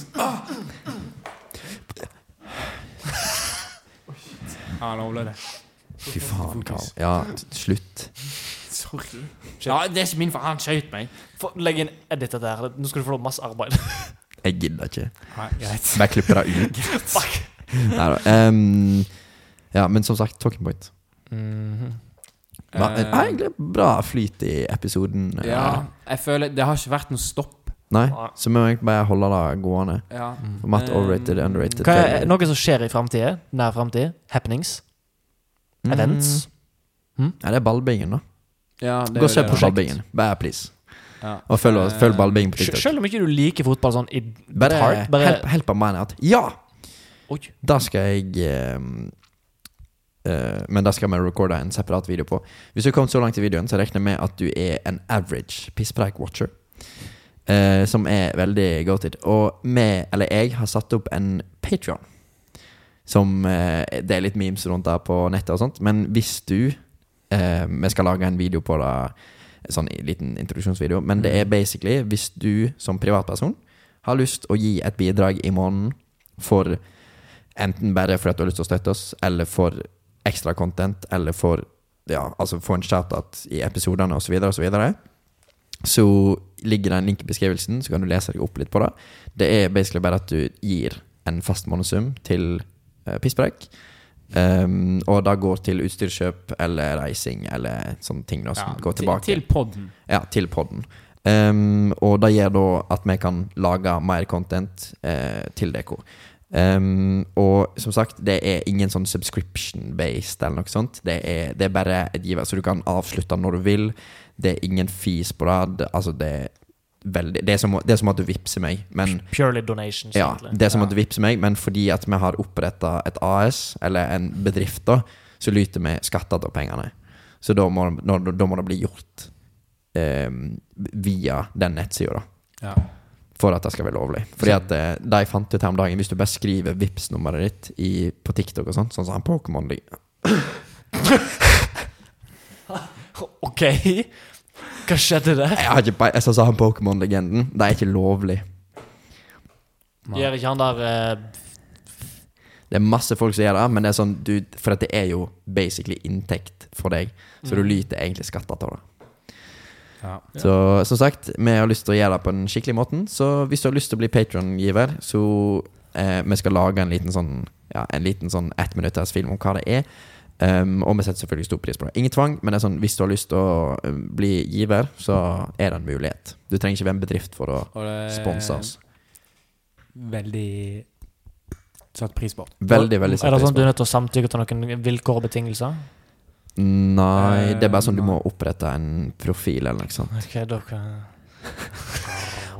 Ja, lovlig det.
Fy faen, Karl. Ja, t- slutt.
Sorry. Ja, det er ikke min, for han skjøt meg.
Få- Legg inn edit dette her. Nå skal du få masse arbeid.
Jeg gidder ikke.
Nei, greit.
Bare klipp det ut.
Fuck!
Nei da. ehm, Ja, men som sagt, talking point.
Mhm.
Ja,
Eh,
en- ja, egentlig bra flyt i episoden. eh.
ja, jeg føler Det har ikke vært noe stopp.
Nei,
Nei.
så vi må egentlig bare holde det gående.
Ja.
For Matt
Eh,
overrated, underrated.
Hva er noe som skjer i fremtiden? Nær fremtid? Happenings?
Mm.
Events?
Ja, det er ballbingen, da.
Ja, det
Gå
er jo
og se
det,
på
da.
ballbingen. Bare please.
Ja.
Og følg, oss-
Eh,
følg ballbingen på
Sel-
TikTok.
Selv om ikke du liker fotball sånn i
Bare,
heart, bare-
Help, help a man out. Ja!
Oi.
Da skal jeg eh, eh, Men da skal vi recorde en separat video på. Hvis du har kommet så langt i videoen, så regner jeg med at du er en average pisspreik-watcher. eh, som er veldig goated. Og vi, eller jeg, har satt opp en Patreon Som eh, Det er litt memes rundt der på nettet og sånt, men hvis du eh, Vi skal lage en video på det, en sånn liten introduksjonsvideo, men
Mm.
det er basically hvis du som privatperson har lyst å gi et bidrag i måneden for Enten bare fordi at du har lyst til å støtte oss, eller for ekstra content, eller for ja, altså få en shout-out i episodene osv., osv. Så, videre. så ligger det en link i beskrivelsen, så kan du lese deg opp litt på det. Det er basically bare at du gir en fast månedssum til uh, pisspreik. Um, og da går til utstyrskjøp eller reising eller sånne ting da, som
Ja,
går
til-
tilbake
Til podden.
ja, til podden. Ehm, og det gjør da at vi kan lage mer content eh, til dere. Ehm, og som sagt, det er ingen sånn subscription-based eller noe sånt. Det er, det er bare et giver, så du kan avslutte når du vil. Det er ingen fis på det. Det- Altså, det er veldig Det er som, det er som at du vippser meg, men
Purely donations,
ja,
egentlig.
det er som
Ja.
at du vippser meg, men fordi at vi har oppretta et AS, eller en bedrift, da, så lyter vi skatter av pengene. Så da må, når, da må det bli gjort eh, via den nettsida, da.
Ja.
For at det skal være lovlig. Fordi at eh, de fant ut her om dagen Hvis du bare skriver vips nummeret ditt i, på TikTok og sånt, sånn som han Pokémon
OK. Hva skjedde der?
Jeg har ikke pe- Jeg sa sa han Pokémon-legenden. Det er ikke lovlig.
Gjør ikke han der eh,
Det er masse folk som gjør det, men det er sånn du, For at det er jo basically inntekt for deg, så du
Mm.
lyter egentlig skatter av det.
Ja.
Så som sagt, vi har lyst til å gjøre det på den skikkelige måten. Så hvis du har lyst til å bli Patron-giver, så eh, vi skal lage en liten sånn Ja, en liten sånn ettminutters film om hva det er. Um, og vi setter selvfølgelig stor pris på det. Ingen tvang, men det er sånn, hvis du har lyst til å eh, bli giver, så er det en mulighet. Du trenger ikke være en bedrift for å
Og det er
sponse oss.
Eh,
Veldig satt pris på.
Veldig, veldig
Er
satt
det sånn
pris
at du
på.
er nødt til å samtykke til noen vilkår og betingelser?
Nei, det er bare sånn du
Eh,
må opprette en profil eller noe sånt.
Ok, dere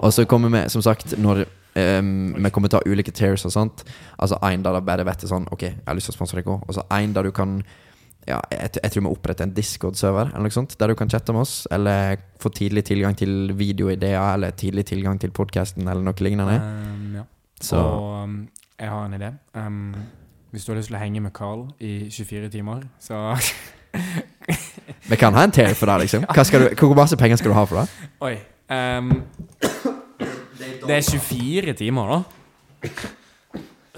Og så kommer vi, som sagt, når ehm, vi kommer til å ha ulike tiers og sånt Altså en der det bare vet det sånn Ok, jeg har lyst til å sponse deg også Og så en der du kan ja, jeg, jeg tror vi oppretter en Discord-server eller noe sånt, der du kan chatte med oss, eller få tidlig tilgang til videoideer, eller tidlig tilgang til podcasten, eller noe lignende.
Um, ja.
Så
Og um, jeg har en idé. Um, hvis du har lyst til å henge med Carl i 24 timer, så
vi kan ha en tier for det, liksom. Hva skal du, hvor masse penger skal du ha for det?
Oi. Um, det er 24 timer, da.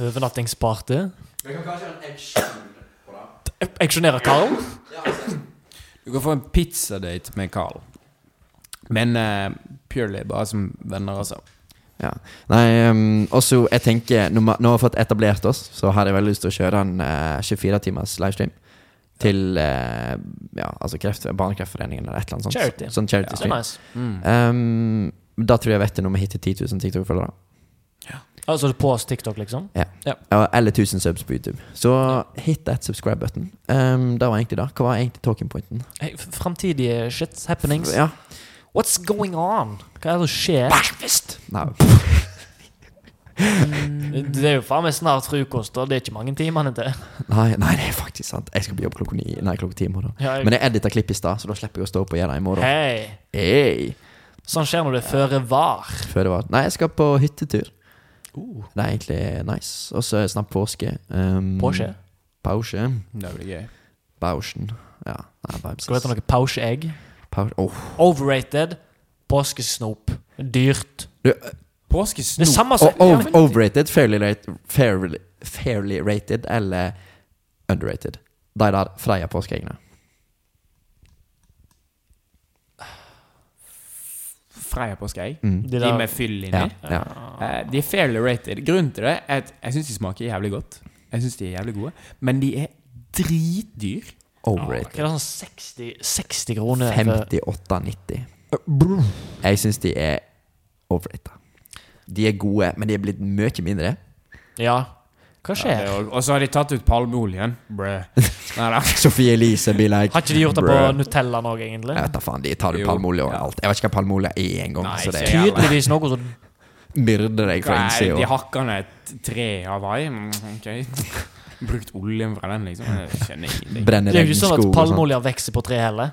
Overnattingsparty?
Vi kan kanskje ha en action på det.
Auksjonerer Karl?
Du kan få en pizzadate med Carl. Men eh, purely bare som venner, altså.
Ja. Nei, um, også jeg tenker når ma- Når vi har fått etablert oss, så har jeg veldig lyst til å kjøre en eh, 24 timers livestream. Til eh, ja, altså kreft, Barnekreftforeningen eller et eller annet sånt.
Charity.
Sånn charity
Det er
stream.
nice.
Mm.
Um, da tror jeg jeg vet det når vi hitter 10 000 TikTok-følgere.
Altså på oss TikTok, liksom?
Ja, Eller 1000 subs på YouTube. Så hit that subscribe button. Um, det var egentlig det. Hva var egentlig talking pointen?
Hey, f- Fremtidige shit happenings?
Ja.
What's going on? Hva er det som skjer?
Breakfast! Nei.
Det er jo faen meg snart frokost, og det er ikke mange timene til.
nei, nei, det er faktisk sant. Jeg skal på jobb klokka ni Nei, klokka ti i morgen.
Ja, jeg-
Men jeg edita klipp i stad, så da slipper jeg å stå opp og gjøre det i morgen.
Hei!
Hey.
Sånn skjer når du er føre var.
Før det var Nei, jeg skal på hyttetur.
Uh.
Det er egentlig nice. Og så er det snart påske. Um,
Påskje.
Pause.
Det blir gøy.
Pausen. Ja. Nei, vibes.
Skal du hete noe pauseegg?
Pau- oh. Åh.
Overrated. Påskesnop. Dyrt.
Påskesnop
Det er samme som
Og ov- Oh, overrated, fairly, rate, fairly, fairly rated eller underrated. De der Freia påskeeggene.
Freia påskeegg.
Mm.
De
De
der-
med fyll inni.
Ja, ja.
Eh, de er fairly rated. Grunnen til det er at jeg syns de smaker jævlig godt. Jeg syns de er jævlig gode, men de er dritdyr.
Hva
Overrated.
er det sånn 60, 60 kroner for
58,90. Jeg syns de er overrated. De er gode, men de er blitt mye mindre.
Ja. Hva
Ja, det
skjer?
er jo- Og så har de tatt ut palmeoljen. Brø. Nei da.
Sophie Elise blir like
Har ikke de gjort det på
bruh.
Nutella nå, egentlig?
Jeg vet da faen, de tar jo
Jo,
palmeolje og
ja.
alt. Jeg vet ikke hva palmeolje er engang,
Nei,
så det
ikke
Tydeligvis noe som
myrder deg fra
Nei, de
innsida.
hakker ned et tre i Hawaii. Mm, Ok. Brukt oljen fra den, liksom. Jeg skjønner ingenting.
Brenner
Det er jo
deg i
ikke sånn
skog
at
og sånn.
palmeolje vokser på tre heller.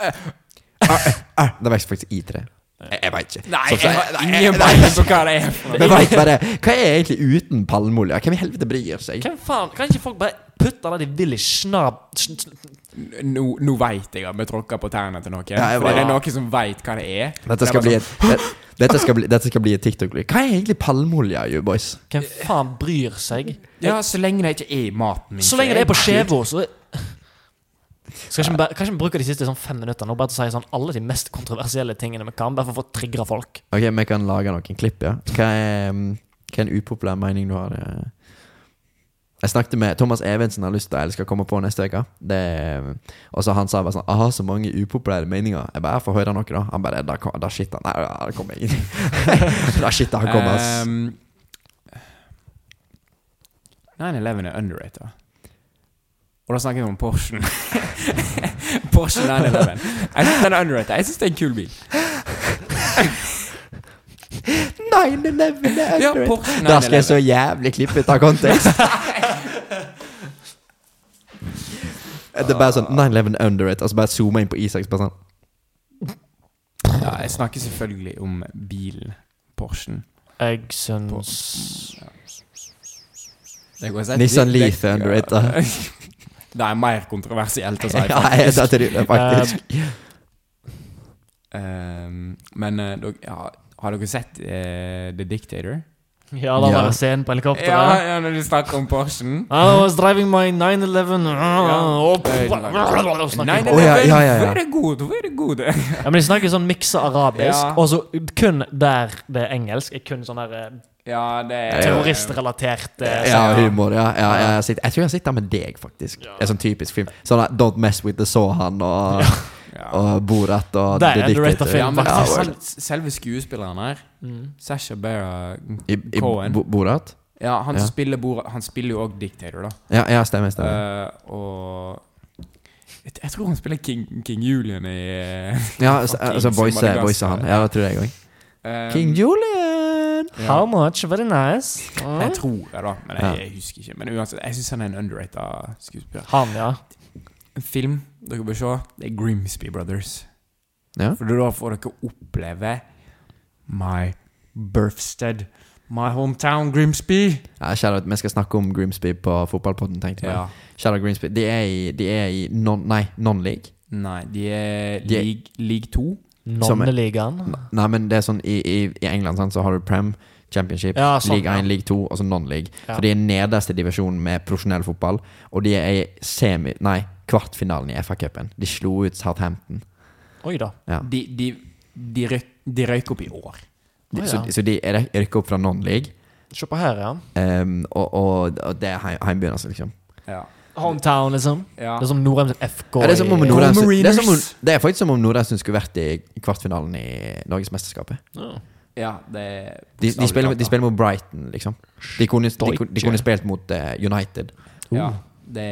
Ah, Det vokser faktisk i tre. Jeg, jeg veit ikke.
Nei,
Så-
jeg
så-
har
Nei, jeg-
ingen peiling på hva det er. for noe.
Men vet bare, hva er egentlig uten palmeolje? Hvem i helvete bryr seg?
Hvem faen, Kan ikke folk bare putte det de vil i snab... sn- sn-
Nå, nå veit jeg at vi tråkker på tærne til noen.
Ja, jeg
for det
bare-
er noen som veit hva det er.
Dette skal
det
bli
er bare sånn
et det- dette skal bli, dette skal bli et TikTok-lyd. Hva er egentlig palmeolje, you boys?
Hvem faen bryr
sånn,
seg?
Ja, så lenge det ikke er i maten min.
Så
så
lenge det er på
jeg-
skjeva, så Skal ikke vi bare, Kanskje vi bruker de siste sånn fem minuttene nå bare til å si sånn alle de mest kontroversielle tingene vi kan, bare for å få trigga folk.
Ok, Vi kan lage noen klipp, ja. Hva er, mm, hva er en upopulær mening du har? eh? Jeg snakket med Thomas Evensen har lyst til eller skal komme på neste uke. Det- um, Og så han sa bare sånn Jeg har så mange upopulære meninger. Jeg bare, jeg får høre noe, da. Han bare Da, kom- da shit, han. Nei, da kommer jeg ingen. da shit, han kommer, ass.
Ehm, 9-11 er underrated. Og da snakker vi om Porschen. Porsche 911. Jeg syns den er underrated. Jeg syns det er en kul bil.
Nei, det nevner
Ja,
jeg.
Porsche
Da skal jeg så
911.
jævlig klippe ut av kontekst. Det er bare sånn 9-11 under it, og så bare zoome inn på Isaks. Bare sånn
Ja, jeg snakker selvfølgelig om bilen. Porschen.
Jeg syns
Det går sett-
Nissan
det- det-
Leaf er underrated.
Det er mer kontroversielt å si.
Ja,
faktisk.
jeg satte det ut, faktisk.
Ehm, men eh, dere- ja, har dere sett eh, The Dictator?
Ja, da
Ja.
var det scenen på helikopteret.
Ja, ja, når de snakker om Porschen.
I was driving my 911
Ja.
og snakker
Å, ja, ja, ja, ja.
Very good, very good.
Ja, men De snakker sånn miksa arabisk,
Ja.
og så kun der det er engelsk. Er kun sånn der eh,
Ja, det er
terroristrelatert eh,
Ja,
ja.
humor. Ja, ja, ja, jeg, sitter, jeg tror jeg sitter med deg, faktisk. Det er sånn typisk film. Sånn der, Don't Mess With The Saw Han og,
Ja.
og Borat og
Det er
The
en underrated
Dictator.
film,
Ja, men
Ja,
sel-
vel.
selve skuespilleren her,
mm.
Sasha Barra
I, i
Cohen.
Bo- Borat?
Ja, han
Ja.
som spiller Borat- Han spiller jo òg Dictator, da.
Ja, ja stemmer. stemmer.
Eh, og jeg, jeg tror han spiller King, King Julian i eh,
ja, så-
fucking
altså voice,
Madagaskar.
voice han. Ja, det tror jeg òg.
eh,
King Julian!
ja.
How much? Very nice.
Jeg
Mm.
tror det, da. Men jeg, jeg husker ikke. Men uansett, jeg syns han er en underrated skuespiller.
Han, ja.
En film dere bør se, det er Grimsby Brothers.
Ja.
For da får dere oppleve my birthstead. My hometown Grimsby.
Ja, Shoutout, vi skal snakke om Grimsby på fotballpodden, tenkte jeg.
Ja.
Shoutout Grimsby. De er i, de er i non, nei, non-league.
Nei, de er
De-
league, league 2.
Som-
Nonneligaen.
Nei, men det er sånn i, i, i England sant, så har du Prem, Championship,
Ja, sånn,
League 1,
ja.
League 2 og så non-league.
Ja.
Så de er nederste divisjon med profesjonell fotball, og de er i semi... Nei, kvartfinalen i FA-cupen. De slo ut Southampton.
Oi da.
Ja.
De, de, de, røk, de røyk opp i år.
De,
Å,
Så,
ja.
så de rek- rykker opp fra non-league,
Se på her, ja.
ehm, og, og, og det er heim, heimbegynnelse, liksom.
Ja.
Hometown, liksom.
Ja.
Det er som Norheim sitt FK.
Ja, det, er som om
i-
Nordheim- det, er som om,
Mariners.
det er faktisk som om Nordheimsund skulle vært i kvartfinalen i Norgesmesterskapet.
Ja.
Ja, det er
Altså- De, de, spiller, mot- de spiller mot Brighton, liksom. De kunne, de, kunne- de kunne spilt mot eh, United.
Ja,
Oh.
det,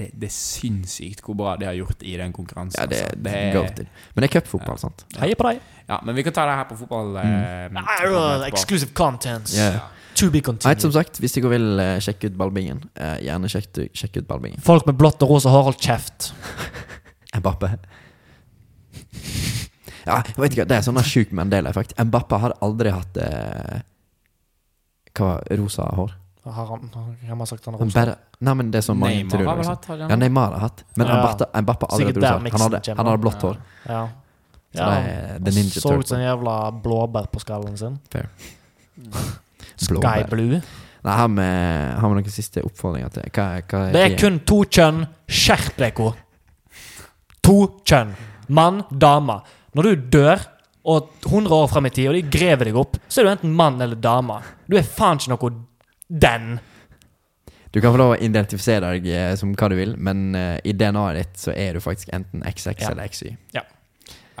det, det er sinnssykt hvor bra de har gjort i den konkurransen.
Ja, det,
altså.
det er goated. Sånn, Men det er cupfotball, sant?
Heier på deg.
Ja, men vi kan ta det her på
Mm.
fotball. eh,
Ah, Exclusive contents.
Ja.
To be
Nei, som
continued.
sagt, hvis dere vil eh, sjekke ut ballbingen, eh, gjerne sjekk, sjekk ut ballbingen.
Folk med blått og rosa hår, hold kjeft.
Mbappe. Ja, jeg vet ikke, det er sånn der sjuk Mandela-effekt. Mbappe har aldri hatt eh, Hva var rosa hår?
Har han, hvem har sagt han
Han
rosa?
bare Nei, men det er sånn mange
Neymar
tror,
har vel
liksom.
hatt har han
Ja, Neymar har hatt. Men
Ja.
Mbappe, Mbappe har aldri hatt rosa
Sikkert der
hår. Han
mixen
hadde,
kommer.
han hadde blått hår.
Ja.
Så det er The
han
Ninja
så ut som
Turtle.
en jævla blåbær på skallen sin. Sky
Blåbær.
blue.
Nei, har vi, har vi noen siste oppfordringer til hva, hva
Det er kun to kjønn. Skjerp deg, ko. To kjønn. Mann, dame. Når du dør, og 100 år fram i tid, og de graver deg opp, så er du enten mann eller dame. Du er faen ikke noe den.
Du kan få lov å identifisere deg eh, som hva du vil, men eh, i DNA-et ditt så er du faktisk enten XX
Ja.
eller XY.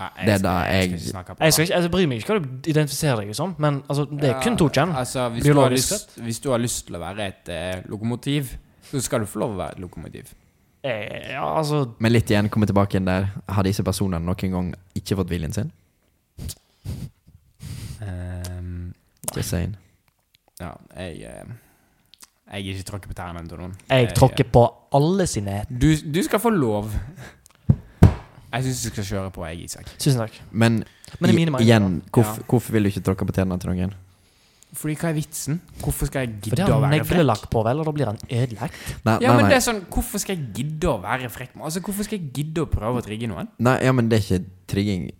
Nei,
Det er
skal-
da jeg-
ikke snakke på
Jeg,
det.
skal ikke, jeg bryr meg ikke hva du identifiserer deg som, men altså, det er kun to kjønn.
Altså, hvis, du har
Biologisk
lyst, hvis du har lyst til å være et eh, lokomotiv, så skal du få lov å være et lokomotiv.
Eh, Ja, altså
Men litt igjen, komme tilbake igjen der. Har disse personene noen gang ikke fått viljen sin?
Ehm,
Just saying.
ja, jeg eh, Jeg er ikke tråkket på tærne til noen.
Jeg tråkker på alle sine
Du, du skal få lov. Jeg syns du skal kjøre på, jeg, Isak.
Tusen takk.
Men,
Men det er mine
i-
meninger,
igjen, hvorf,
Ja.
hvorfor vil du ikke tråkke på tærne til noen?
Fordi hva er vitsen? Hvorfor skal jeg
For
gidde
det
å
har
være frekk?
neglelakk på, vel, og da blir han ødelagt.
Nei,
Ja,
nei,
men
nei.
det er sånn, Hvorfor skal jeg gidde å være frekk? med- Altså, Hvorfor skal jeg gidde å prøve å trigge noen?
nei, ja, men det er ikke trigging.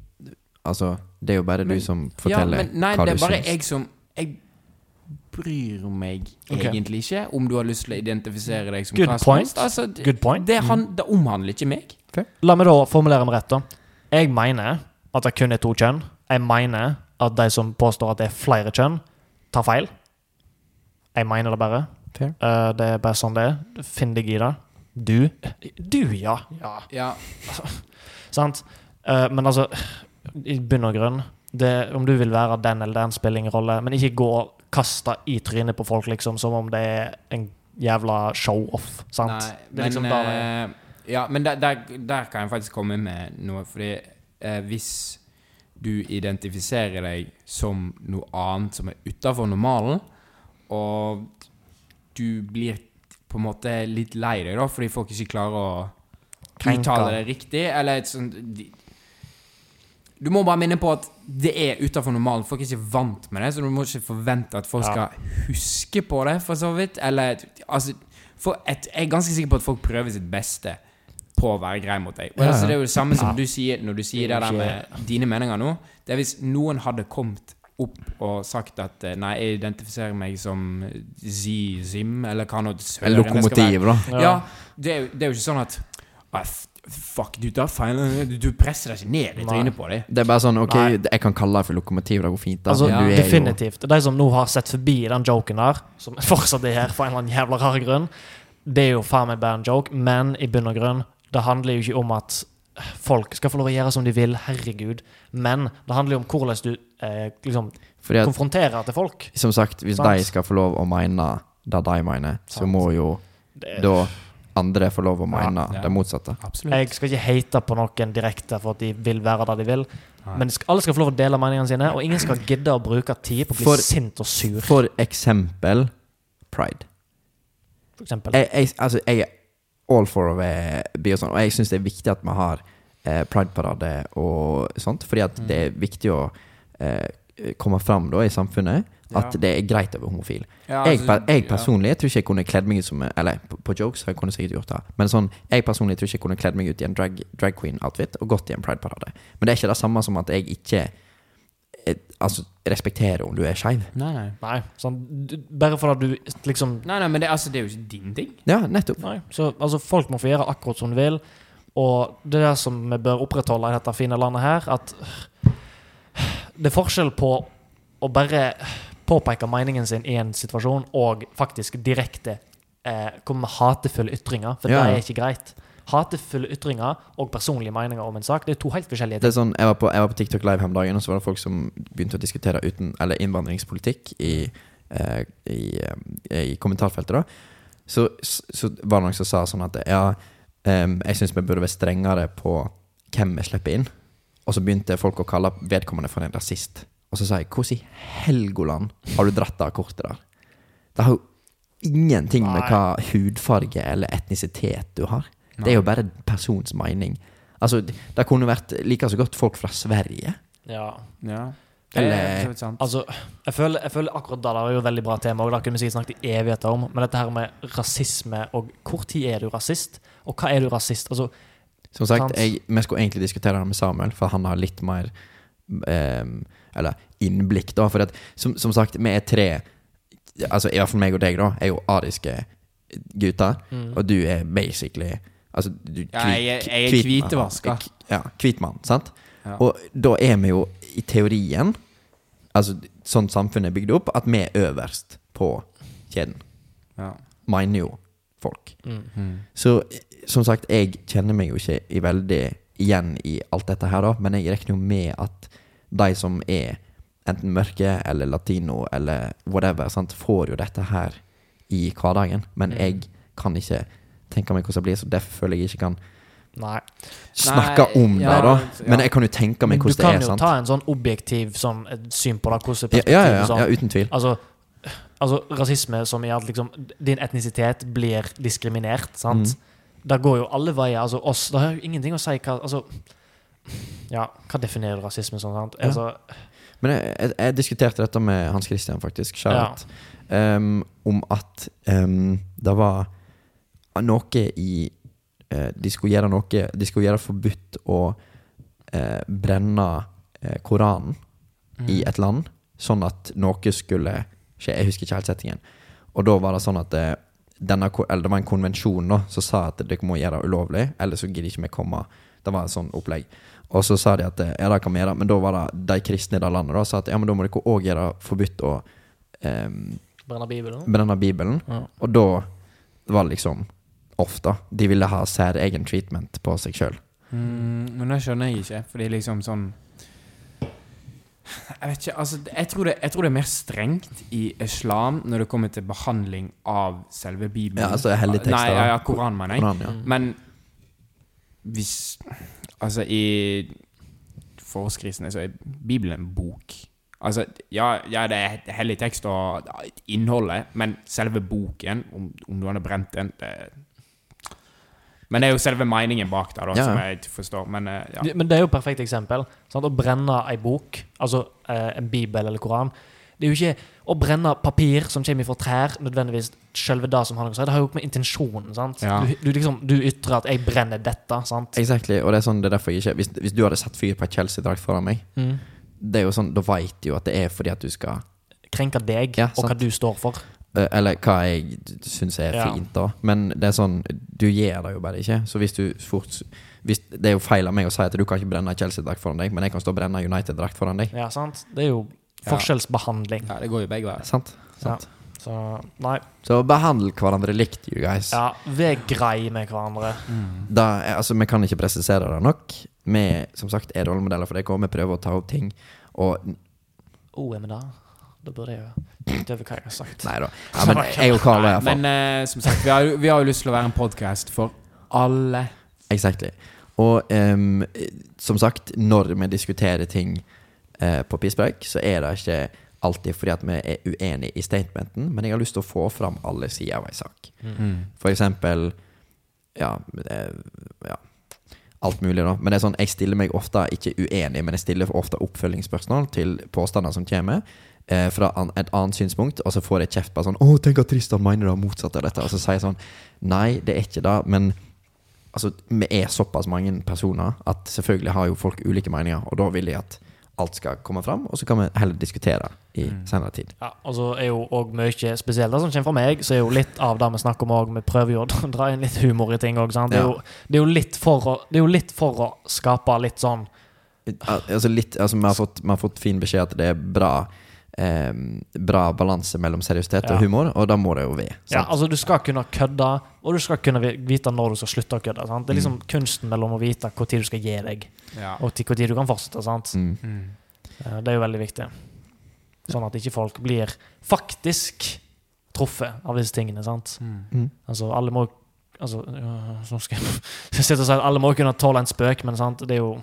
Altså, det er jo bare
Men-
du som forteller
ja, men, nei,
hva
det er
du
bare
syns.
jeg som Jeg bryr meg
Ok.
egentlig ikke om du har lyst til å identifisere deg som
Good
hva som
point.
helst. Altså, det,
Good point. Mm.
det, han, det omhandler ikke meg.
La meg da formulere meg rett, da. Jeg mener at det kun er to kjønn. Jeg mener at de som påstår at det er flere kjønn, tar feil. Jeg mener det bare.
Fair.
Eh, det er bare sånn det er. Finn deg i det. Du. Du, ja. ja.
Ja,
Sant? Eh, men altså, i bunn og grunn det, Om du vil være den eller den, spiller ingen rolle. Men ikke gå og kaste i trynet på folk liksom som om det er en jævla show-off. Sant?
Nei,
det er
men,
liksom da det
eh, ja, men der, der, der kan jeg faktisk komme med noe, fordi eh, hvis du identifiserer deg som noe annet som er utafor normalen, og du blir på en måte litt lei deg da, fordi folk ikke klarer å
Krenka.
uttale det riktig, eller et sånt de- Du må bare minne på at det er utafor normalen. Folk er ikke vant med det, så du må ikke forvente at folk
Ja.
skal huske på det, for så vidt. Eller altså for et, Jeg er ganske sikker på at folk prøver sitt beste på å være grei mot deg. Og
Ja, ja.
altså, det er jo det samme som
Ja.
du sier når du sier
Det
det
er
der
jo
med dine meninger nå. Det er hvis noen hadde kommet opp og sagt at eh, Nei, jeg identifiserer meg som Zi Zim, eller hva nå
En
det søren det skal være.
lokomotiv, da.
Ja.
Ja, det er, jo, det er jo ikke sånn at «Ah, f- Fuck, du tar feil. Du- Du presser deg ikke ned i
Nei.
trynet på dem.
Det er bare sånn Ok,
Nei.
jeg kan kalle deg for lokomotiv, det går fint. Da.
Altså,
men du er
definitivt. De som nå har sett forbi den joken der, som fortsatt er her for en eller annen jævla rar grunn, det er jo faen meg bare en joke, men i bunn og grunn, det handler jo ikke om at folk skal få lov å gjøre som de vil, herregud, men det handler jo om hvordan du eh, liksom
jo Fordi at,
konfronterer til folk.
som sagt, hvis
Sant.
de skal få lov å mene det de mener, så
Sant.
må jo
Det-
da andre få lov å mene
Ja.
det motsatte.
Absolutt.
Jeg skal ikke hate på noen direkte for at de vil være der de vil,
Nei.
men sk- alle skal få lov å dele meningene sine, og ingen skal gidde å bruke tid på å bli
For-
sint og sur,
For eksempel pride.
for eksempel.
Jeg, jeg, altså, jeg er all for å være bi og sånn, og jeg syns det er viktig at vi har eh, prideparade og sånt, fordi at
Mm.
det er viktig å eh, komme fram da i samfunnet at
Ja.
det er greit å være homofil.
Ja,
jeg,
altså,
per- jeg
ja.
personlig jeg tror ikke jeg kunne kledd meg ut som Eller på, på jokes har jeg kunne sikkert gjort det, men sånn, jeg personlig tror ikke jeg kunne kledd meg ut i en drag, drag queen-outfit og gått i en prideparade. Men det er ikke det samme som at jeg ikke eh, altså, respekterer om du er skeiv.
Nei, nei.
Nei, sånn, du, bare for at du liksom
Nei, nei, men det, altså, det er jo ikke din ting.
Ja, nettopp.
Nei, så altså, folk må få gjøre akkurat som de vil. Og det er det som vi bør opprettholde i dette fine landet her, at det er forskjell på å bare påpeke meningen sin i en situasjon, og faktisk direkte eh, komme med hatefulle ytringer, for
Ja, ja.
det er ikke greit. Hatefulle ytringer og personlige meninger om en sak, det er to helt forskjellige
Det
ting.
er sånn, jeg var, på, jeg var på TikTok Live her om dagen, og så var det folk som begynte å diskutere uten, eller innvandringspolitikk i, eh, i, eh, i kommentarfeltet. da så, så, så var det noen som sa sånn at ja, em, jeg syns vi burde være strengere på hvem vi slipper inn. Og så begynte folk å kalle vedkommende for en rasist. Og så sa jeg hvordan i Helgoland har du dratt av kortet der? Det har jo ingenting med
Nei.
hva hudfarge eller etnisitet du har. Det er jo bare en persons mening. Altså, det- det kunne vært like så godt folk fra Sverige.
Ja.
Ja.
Eller-
Det er for så vidt sant.
Altså, jeg føler, jeg føler akkurat det der er jo et veldig bra tema, og det kunne vi sikkert snakket i evigheter om, men dette her med rasisme, og hvor tid er du rasist, og hva er du rasist? Altså,
Som sagt,
Sant.
jeg, vi skulle egentlig diskutere det med Samuel, for han har litt mer ehm, Eller innblikk, da. For at, som, som sagt, vi er tre Altså, i hvert fall meg og deg, da, er jo ariske gutter. Og du er basically Altså, du
Mm. Ja, jeg er- jeg er
hvit-
hvitevaska.
K- Ja, hvit mann, sant?
Ja.
Og da er vi jo i teorien, altså sånn samfunnet er bygd opp, at vi er øverst på kjeden.
ja.
mener jo folk.
Mm.
Mm.
Så som sagt, jeg kjenner meg jo ikke i veldig igjen i alt dette her, da, men jeg regner jo med at de som er enten mørke eller latino eller whatever, sant, får jo dette her i hverdagen. Men
Mm.
jeg kan ikke tenke meg hvordan det blir, så derfor føler jeg ikke kan
Nei.
snakke
Nei,
om
ja,
det, da.
ja.
Men jeg kan jo tenke
Men
meg
du
hvordan det
kan
er,
jo
sant.
ta en sånn objektiv sånn, et syn på det. Hvordan
Ja,
perspektivet
ja, ja,
sånn.
ja, uten tvil.
Altså, altså rasisme som i at liksom, din etnisitet blir diskriminert,
Mm.
sant? Det går jo alle veier. Altså oss, det har jo ingenting å si hva altså, Ja, hva definerer du rasisme som? Sant?
Ja.
Altså,
Men jeg, jeg, jeg diskuterte dette med Hans Christian, faktisk,
Ja.
Charlotte, ehm, om at ehm, det var noe i eh, De skulle gjøre noe De skulle gjøre forbudt å eh, brenne eh, Koranen i et land, sånn at noe skulle skje. Jeg husker ikke helt settingen. Og da var det sånn at eh, denne, ko- eller det var en konvensjon da, som sa at dere må gjøre det ulovlig, eller så gidder ikke vi komme. Det var en sånn opplegg. Og så sa de at eh, ja, det kan vi gjøre, men da var det de kristne i det landet da, sa at ja, men da må dere òg gjøre det forbudt å eh,
Brenner Bibelen?
brenne Bibelen.
Ja.
Og da var det liksom ofte. De ville ha særegen treatment på seg sjøl.
Mm, men det skjønner jeg ikke, fordi liksom sånn Jeg vet ikke, altså jeg tror, det, jeg tror det er mer strengt i islam når det kommer til behandling av selve Bibelen.
Ja, altså hellige tekster,
Nei, ja, ja,
da.
Koran, mener jeg.
Ja.
Men hvis Altså, i for oss kristne så er Bibelen en bok. Altså, ja, ja det er hellig tekst og innholdet, eh, men selve boken, om, om noen har brent den det, Men det er jo selve meningen bak der, da,
Ja.
som jeg ikke forstår. Men eh, ja.
Det- Men det er jo et perfekt eksempel. Sant? Å brenne ei bok, altså eh, en bibel eller koran Det er jo ikke å brenne papir som kommer fra trær, nødvendigvis selve det som har noe å si. Det har jo ikke med intensjonen sant?
Ja.
Du, du, liksom, du ytrer at 'jeg brenner dette'. sant?
Exactly. Og det er sånn, det er derfor jeg ikke Hvis, hvis du hadde satt fyr på ei Chelsea-drakt foran meg,
Mm.
det er jo sånn, da veit du jo at det er fordi at du skal
Krenker deg
Ja,
og hva
sant.
du står for.
eh, Eller hva jeg syns er
Ja.
fint, da. Men det er sånn, du gjør det jo bare ikke. Så hvis du fort hvis, Det er jo feil av meg å si at du kan ikke brenne ei Chelsea-drakt foran deg, men jeg kan stå og brenne ei United-drakt foran deg.
Ja, sant? Det er jo forskjellsbehandling.
ja, det går jo begge veier.
Sant? Sant.
Så nei.
Så behandle hverandre likt, you guys.
Ja, vær grei med hverandre.
Da, er- altså, vi kan ikke presisere det nok. Vi som sagt, er rollemodeller for dere, og vi prøver å ta opp ting. Og
Oh, er vi der? Da burde jeg jo tenkt over hva jeg har sagt.
Nei da. Ja, men jeg og Karl er iallfall
Men eh, som sagt, vi har, jo- vi har jo lyst til å være en podkast for alle.
Exactly. Og ehm, som sagt, når vi diskuterer ting eh, på pisspreik, så er det ikke alltid fordi at vi er uenige i statementen, men jeg har lyst til å få fram alle sider av ei sak. For eksempel ja, eh, ja Alt mulig, da. Men det er sånn, jeg stiller meg ofte ikke uenig, men jeg stiller ofte oppfølgingsspørsmål til påstander som kommer. eh, Fra an, et annet synspunkt, og så får jeg kjeft på sånn 'Å, tenk at Tristan mener det motsatte av dette.' Og så sier jeg sånn Nei, det er ikke det, men altså, vi er såpass mange personer at selvfølgelig har jo folk ulike meninger, og da vil jeg at alt skal komme fram, og så kan vi heller diskutere i senere tid.
Ja, og så er jo òg mye spesielt det som kommer fra meg, så er jo litt av det vi snakker om òg. Vi prøver jo å dra inn litt humor i ting òg, sant. Det er,
Ja.
jo, det, er jo litt for å, det er jo litt for å skape litt sånn
Al- Altså litt, altså vi har fått, vi har fått fin beskjed at det er bra eh, Bra balanse mellom seriøsitet
Ja.
og humor, og da må det jo være.
Ja,
sant?
altså Du skal kunne kødde, og du skal kunne vi- vite når du skal slutte å kødde. sant? Det er
Mm.
liksom kunsten mellom å vite når du skal gi deg,
Ja.
og til når du kan fortsette. sant?
Mm.
Mm.
Eh, Det er jo veldig viktig. Sånn at ikke folk blir faktisk truffet av disse tingene. sant?
Mm.
Altså, alle må altså, øh, så skal jeg skal sitte og si at alle må kunne tåle en spøk, men sant? det er jo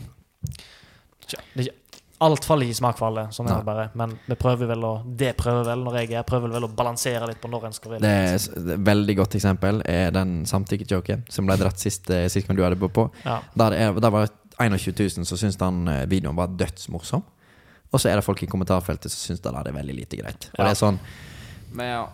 Tja, det er ikke, Alt faller ikke i smak for alle, sånn er det bare. Men vi prøver vel å det prøver vel når jeg er, prøver vel å balansere litt på når en skal
Det
ville.
er s- det er et veldig godt eksempel er den samtykkejoken som ble dratt sist, eh, sist gang du hadde på. på.
Ja.
Der, er, der var det 21 000 som syntes den eh, videoen var dødsmorsom. Og så er det folk i kommentarfeltet som syns det der er veldig lite greit. Og
Ja.
det er sånn,
Men ja.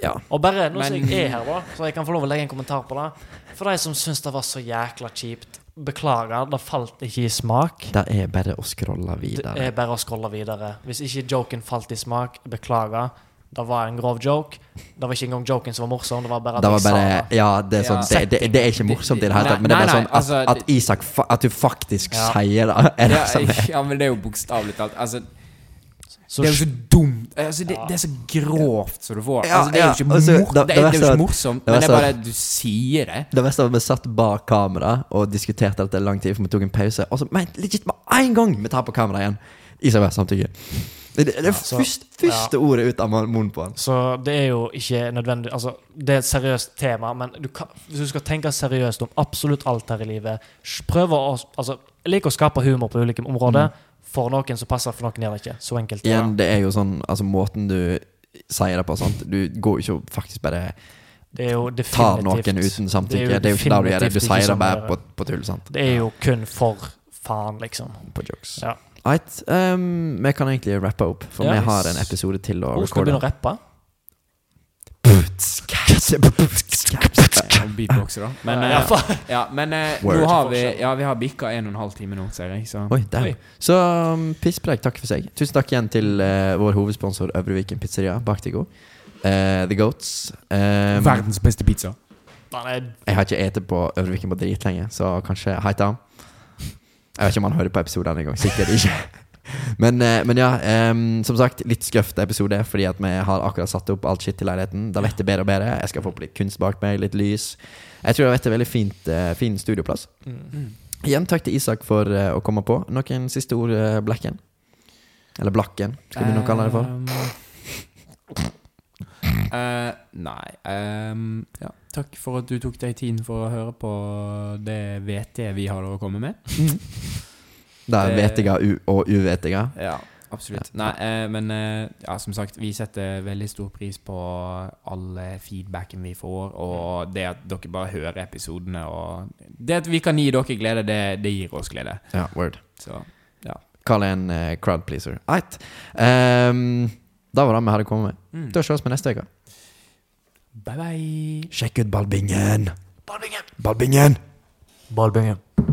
ja
Og bare nå som
Men-
jeg er her, da, så jeg kan få lov å legge en kommentar på det. For de som syns det var så jækla kjipt, beklager, det falt ikke i smak.
Det er bare å scrolle videre.
Det er bare å scrolle videre. Hvis ikke joken falt i smak, beklager. Det var en grov joke. Det var ikke engang joken som var morsom, det var bare at
det var bare
jeg sa det.
Ja, det er, sånn,
Ja.
det, det, det er ikke morsomt i det hele tatt, men det
Nei,
er bare
nei,
sånn at,
altså,
at Isak fa- At du faktisk
Ja.
sier det, er det
Ja,
som er
ja, men det er jo bokstavelig talt. Altså,
Så
Det er jo så dumt. Altså, det,
Ja.
det er så grovt som du får.
Ja,
Altså, det er jo
ja.
ikke,
Altså, da-
mor det,
da
er, det er jo
vet jeg-
ikke morsomt,
da vet
men det er
jeg-
bare at du sier det.
Det verste var at vi satt bak kamera og diskuterte dette lang tid, for vi tok en pause. Og så men, legit med en gang vi tar på kamera igjen, Isabel samtykke. Det, det, det er
så-
først, første ordet ut av munnen på han.
Så det er jo ikke nødvendig Altså, det er et seriøst tema, men du kan, hvis du skal tenke seriøst om absolutt alt her i livet sj- Prøv å Altså, jeg liker å skape humor på ulike
Mm.
områder. For noen så passer det, for noen gjør det ikke. Så enkelt. er det.
Igjen, det er jo sånn Altså, måten du sier det på, sant. Du går jo ikke og faktisk bare
Det er jo definitivt
tar noen uten samtykke. Det er jo ikke det du gjør. det. Du
definitivt ikke
sier det
sånn
bare
det er.
på, på tull, sant.
Det er jo kun for faen, liksom.
På jokes.
Ja.
Right, um, vi kan egentlig rappe opp, for
Ja.
vi har en episode til å
Hvor skal du
recorde.
begynne å rappe?
Om beatboxer, da. Men,
Ja,
eh,
ja, faen.
ja, men eh,
Word.
nå har vi Ja, vi har bikka en og en halv time nå, ser jeg. Så.
Oi, damn.
Oi.
Så um, pisspreik, takk for seg. Tusen takk igjen til eh, vår hovedsponsor Øvreviken Pizzeria, Baktigo. Eh, The Goats. Um,
Verdens beste pizza.
Den er
jeg har ikke ete på Øvreviken på dritlenge, så kanskje Hei til ham. Jeg vet ikke om han hører på episodene engang. Sikkert ikke. Men, eh, men ja, em, som sagt, litt skøft episode, fordi at vi har akkurat satt opp alt shit i leiligheten. Det vet det bedre og bedre. Jeg skal få opp litt kunst bak meg, litt lys. Jeg tror det vet det er veldig fint, eh, fin studioplass.
Mm.
Mm.
Igjen takk til Isak for eh, å komme på. Noen siste ord, eh, Blacken? Eller Blakken, skal vi nå kalle det for.
Um, eh, nei ehm, ja. Takk for at du tok deg tiden for å høre på det VT vi har å komme med.
Det er
det-
vetiga u- og uvetiga.
Ja, absolutt. Nei, eh, men eh, ja, som sagt, vi setter veldig stor pris på all eh, feedbacken vi får, og det at dere bare hører episodene, og det at vi kan gi dere glede, det, det gir oss glede.
Ja, word.
Så
Kall det en eh, crowd pleaser. Eit. Ehm, da var det vi hadde kommet med.
mm.
Da ses vi neste uke.
bye bye.
Sjekk ut ballbingen! Ballbingen! Ballbingen!
Ballbingen.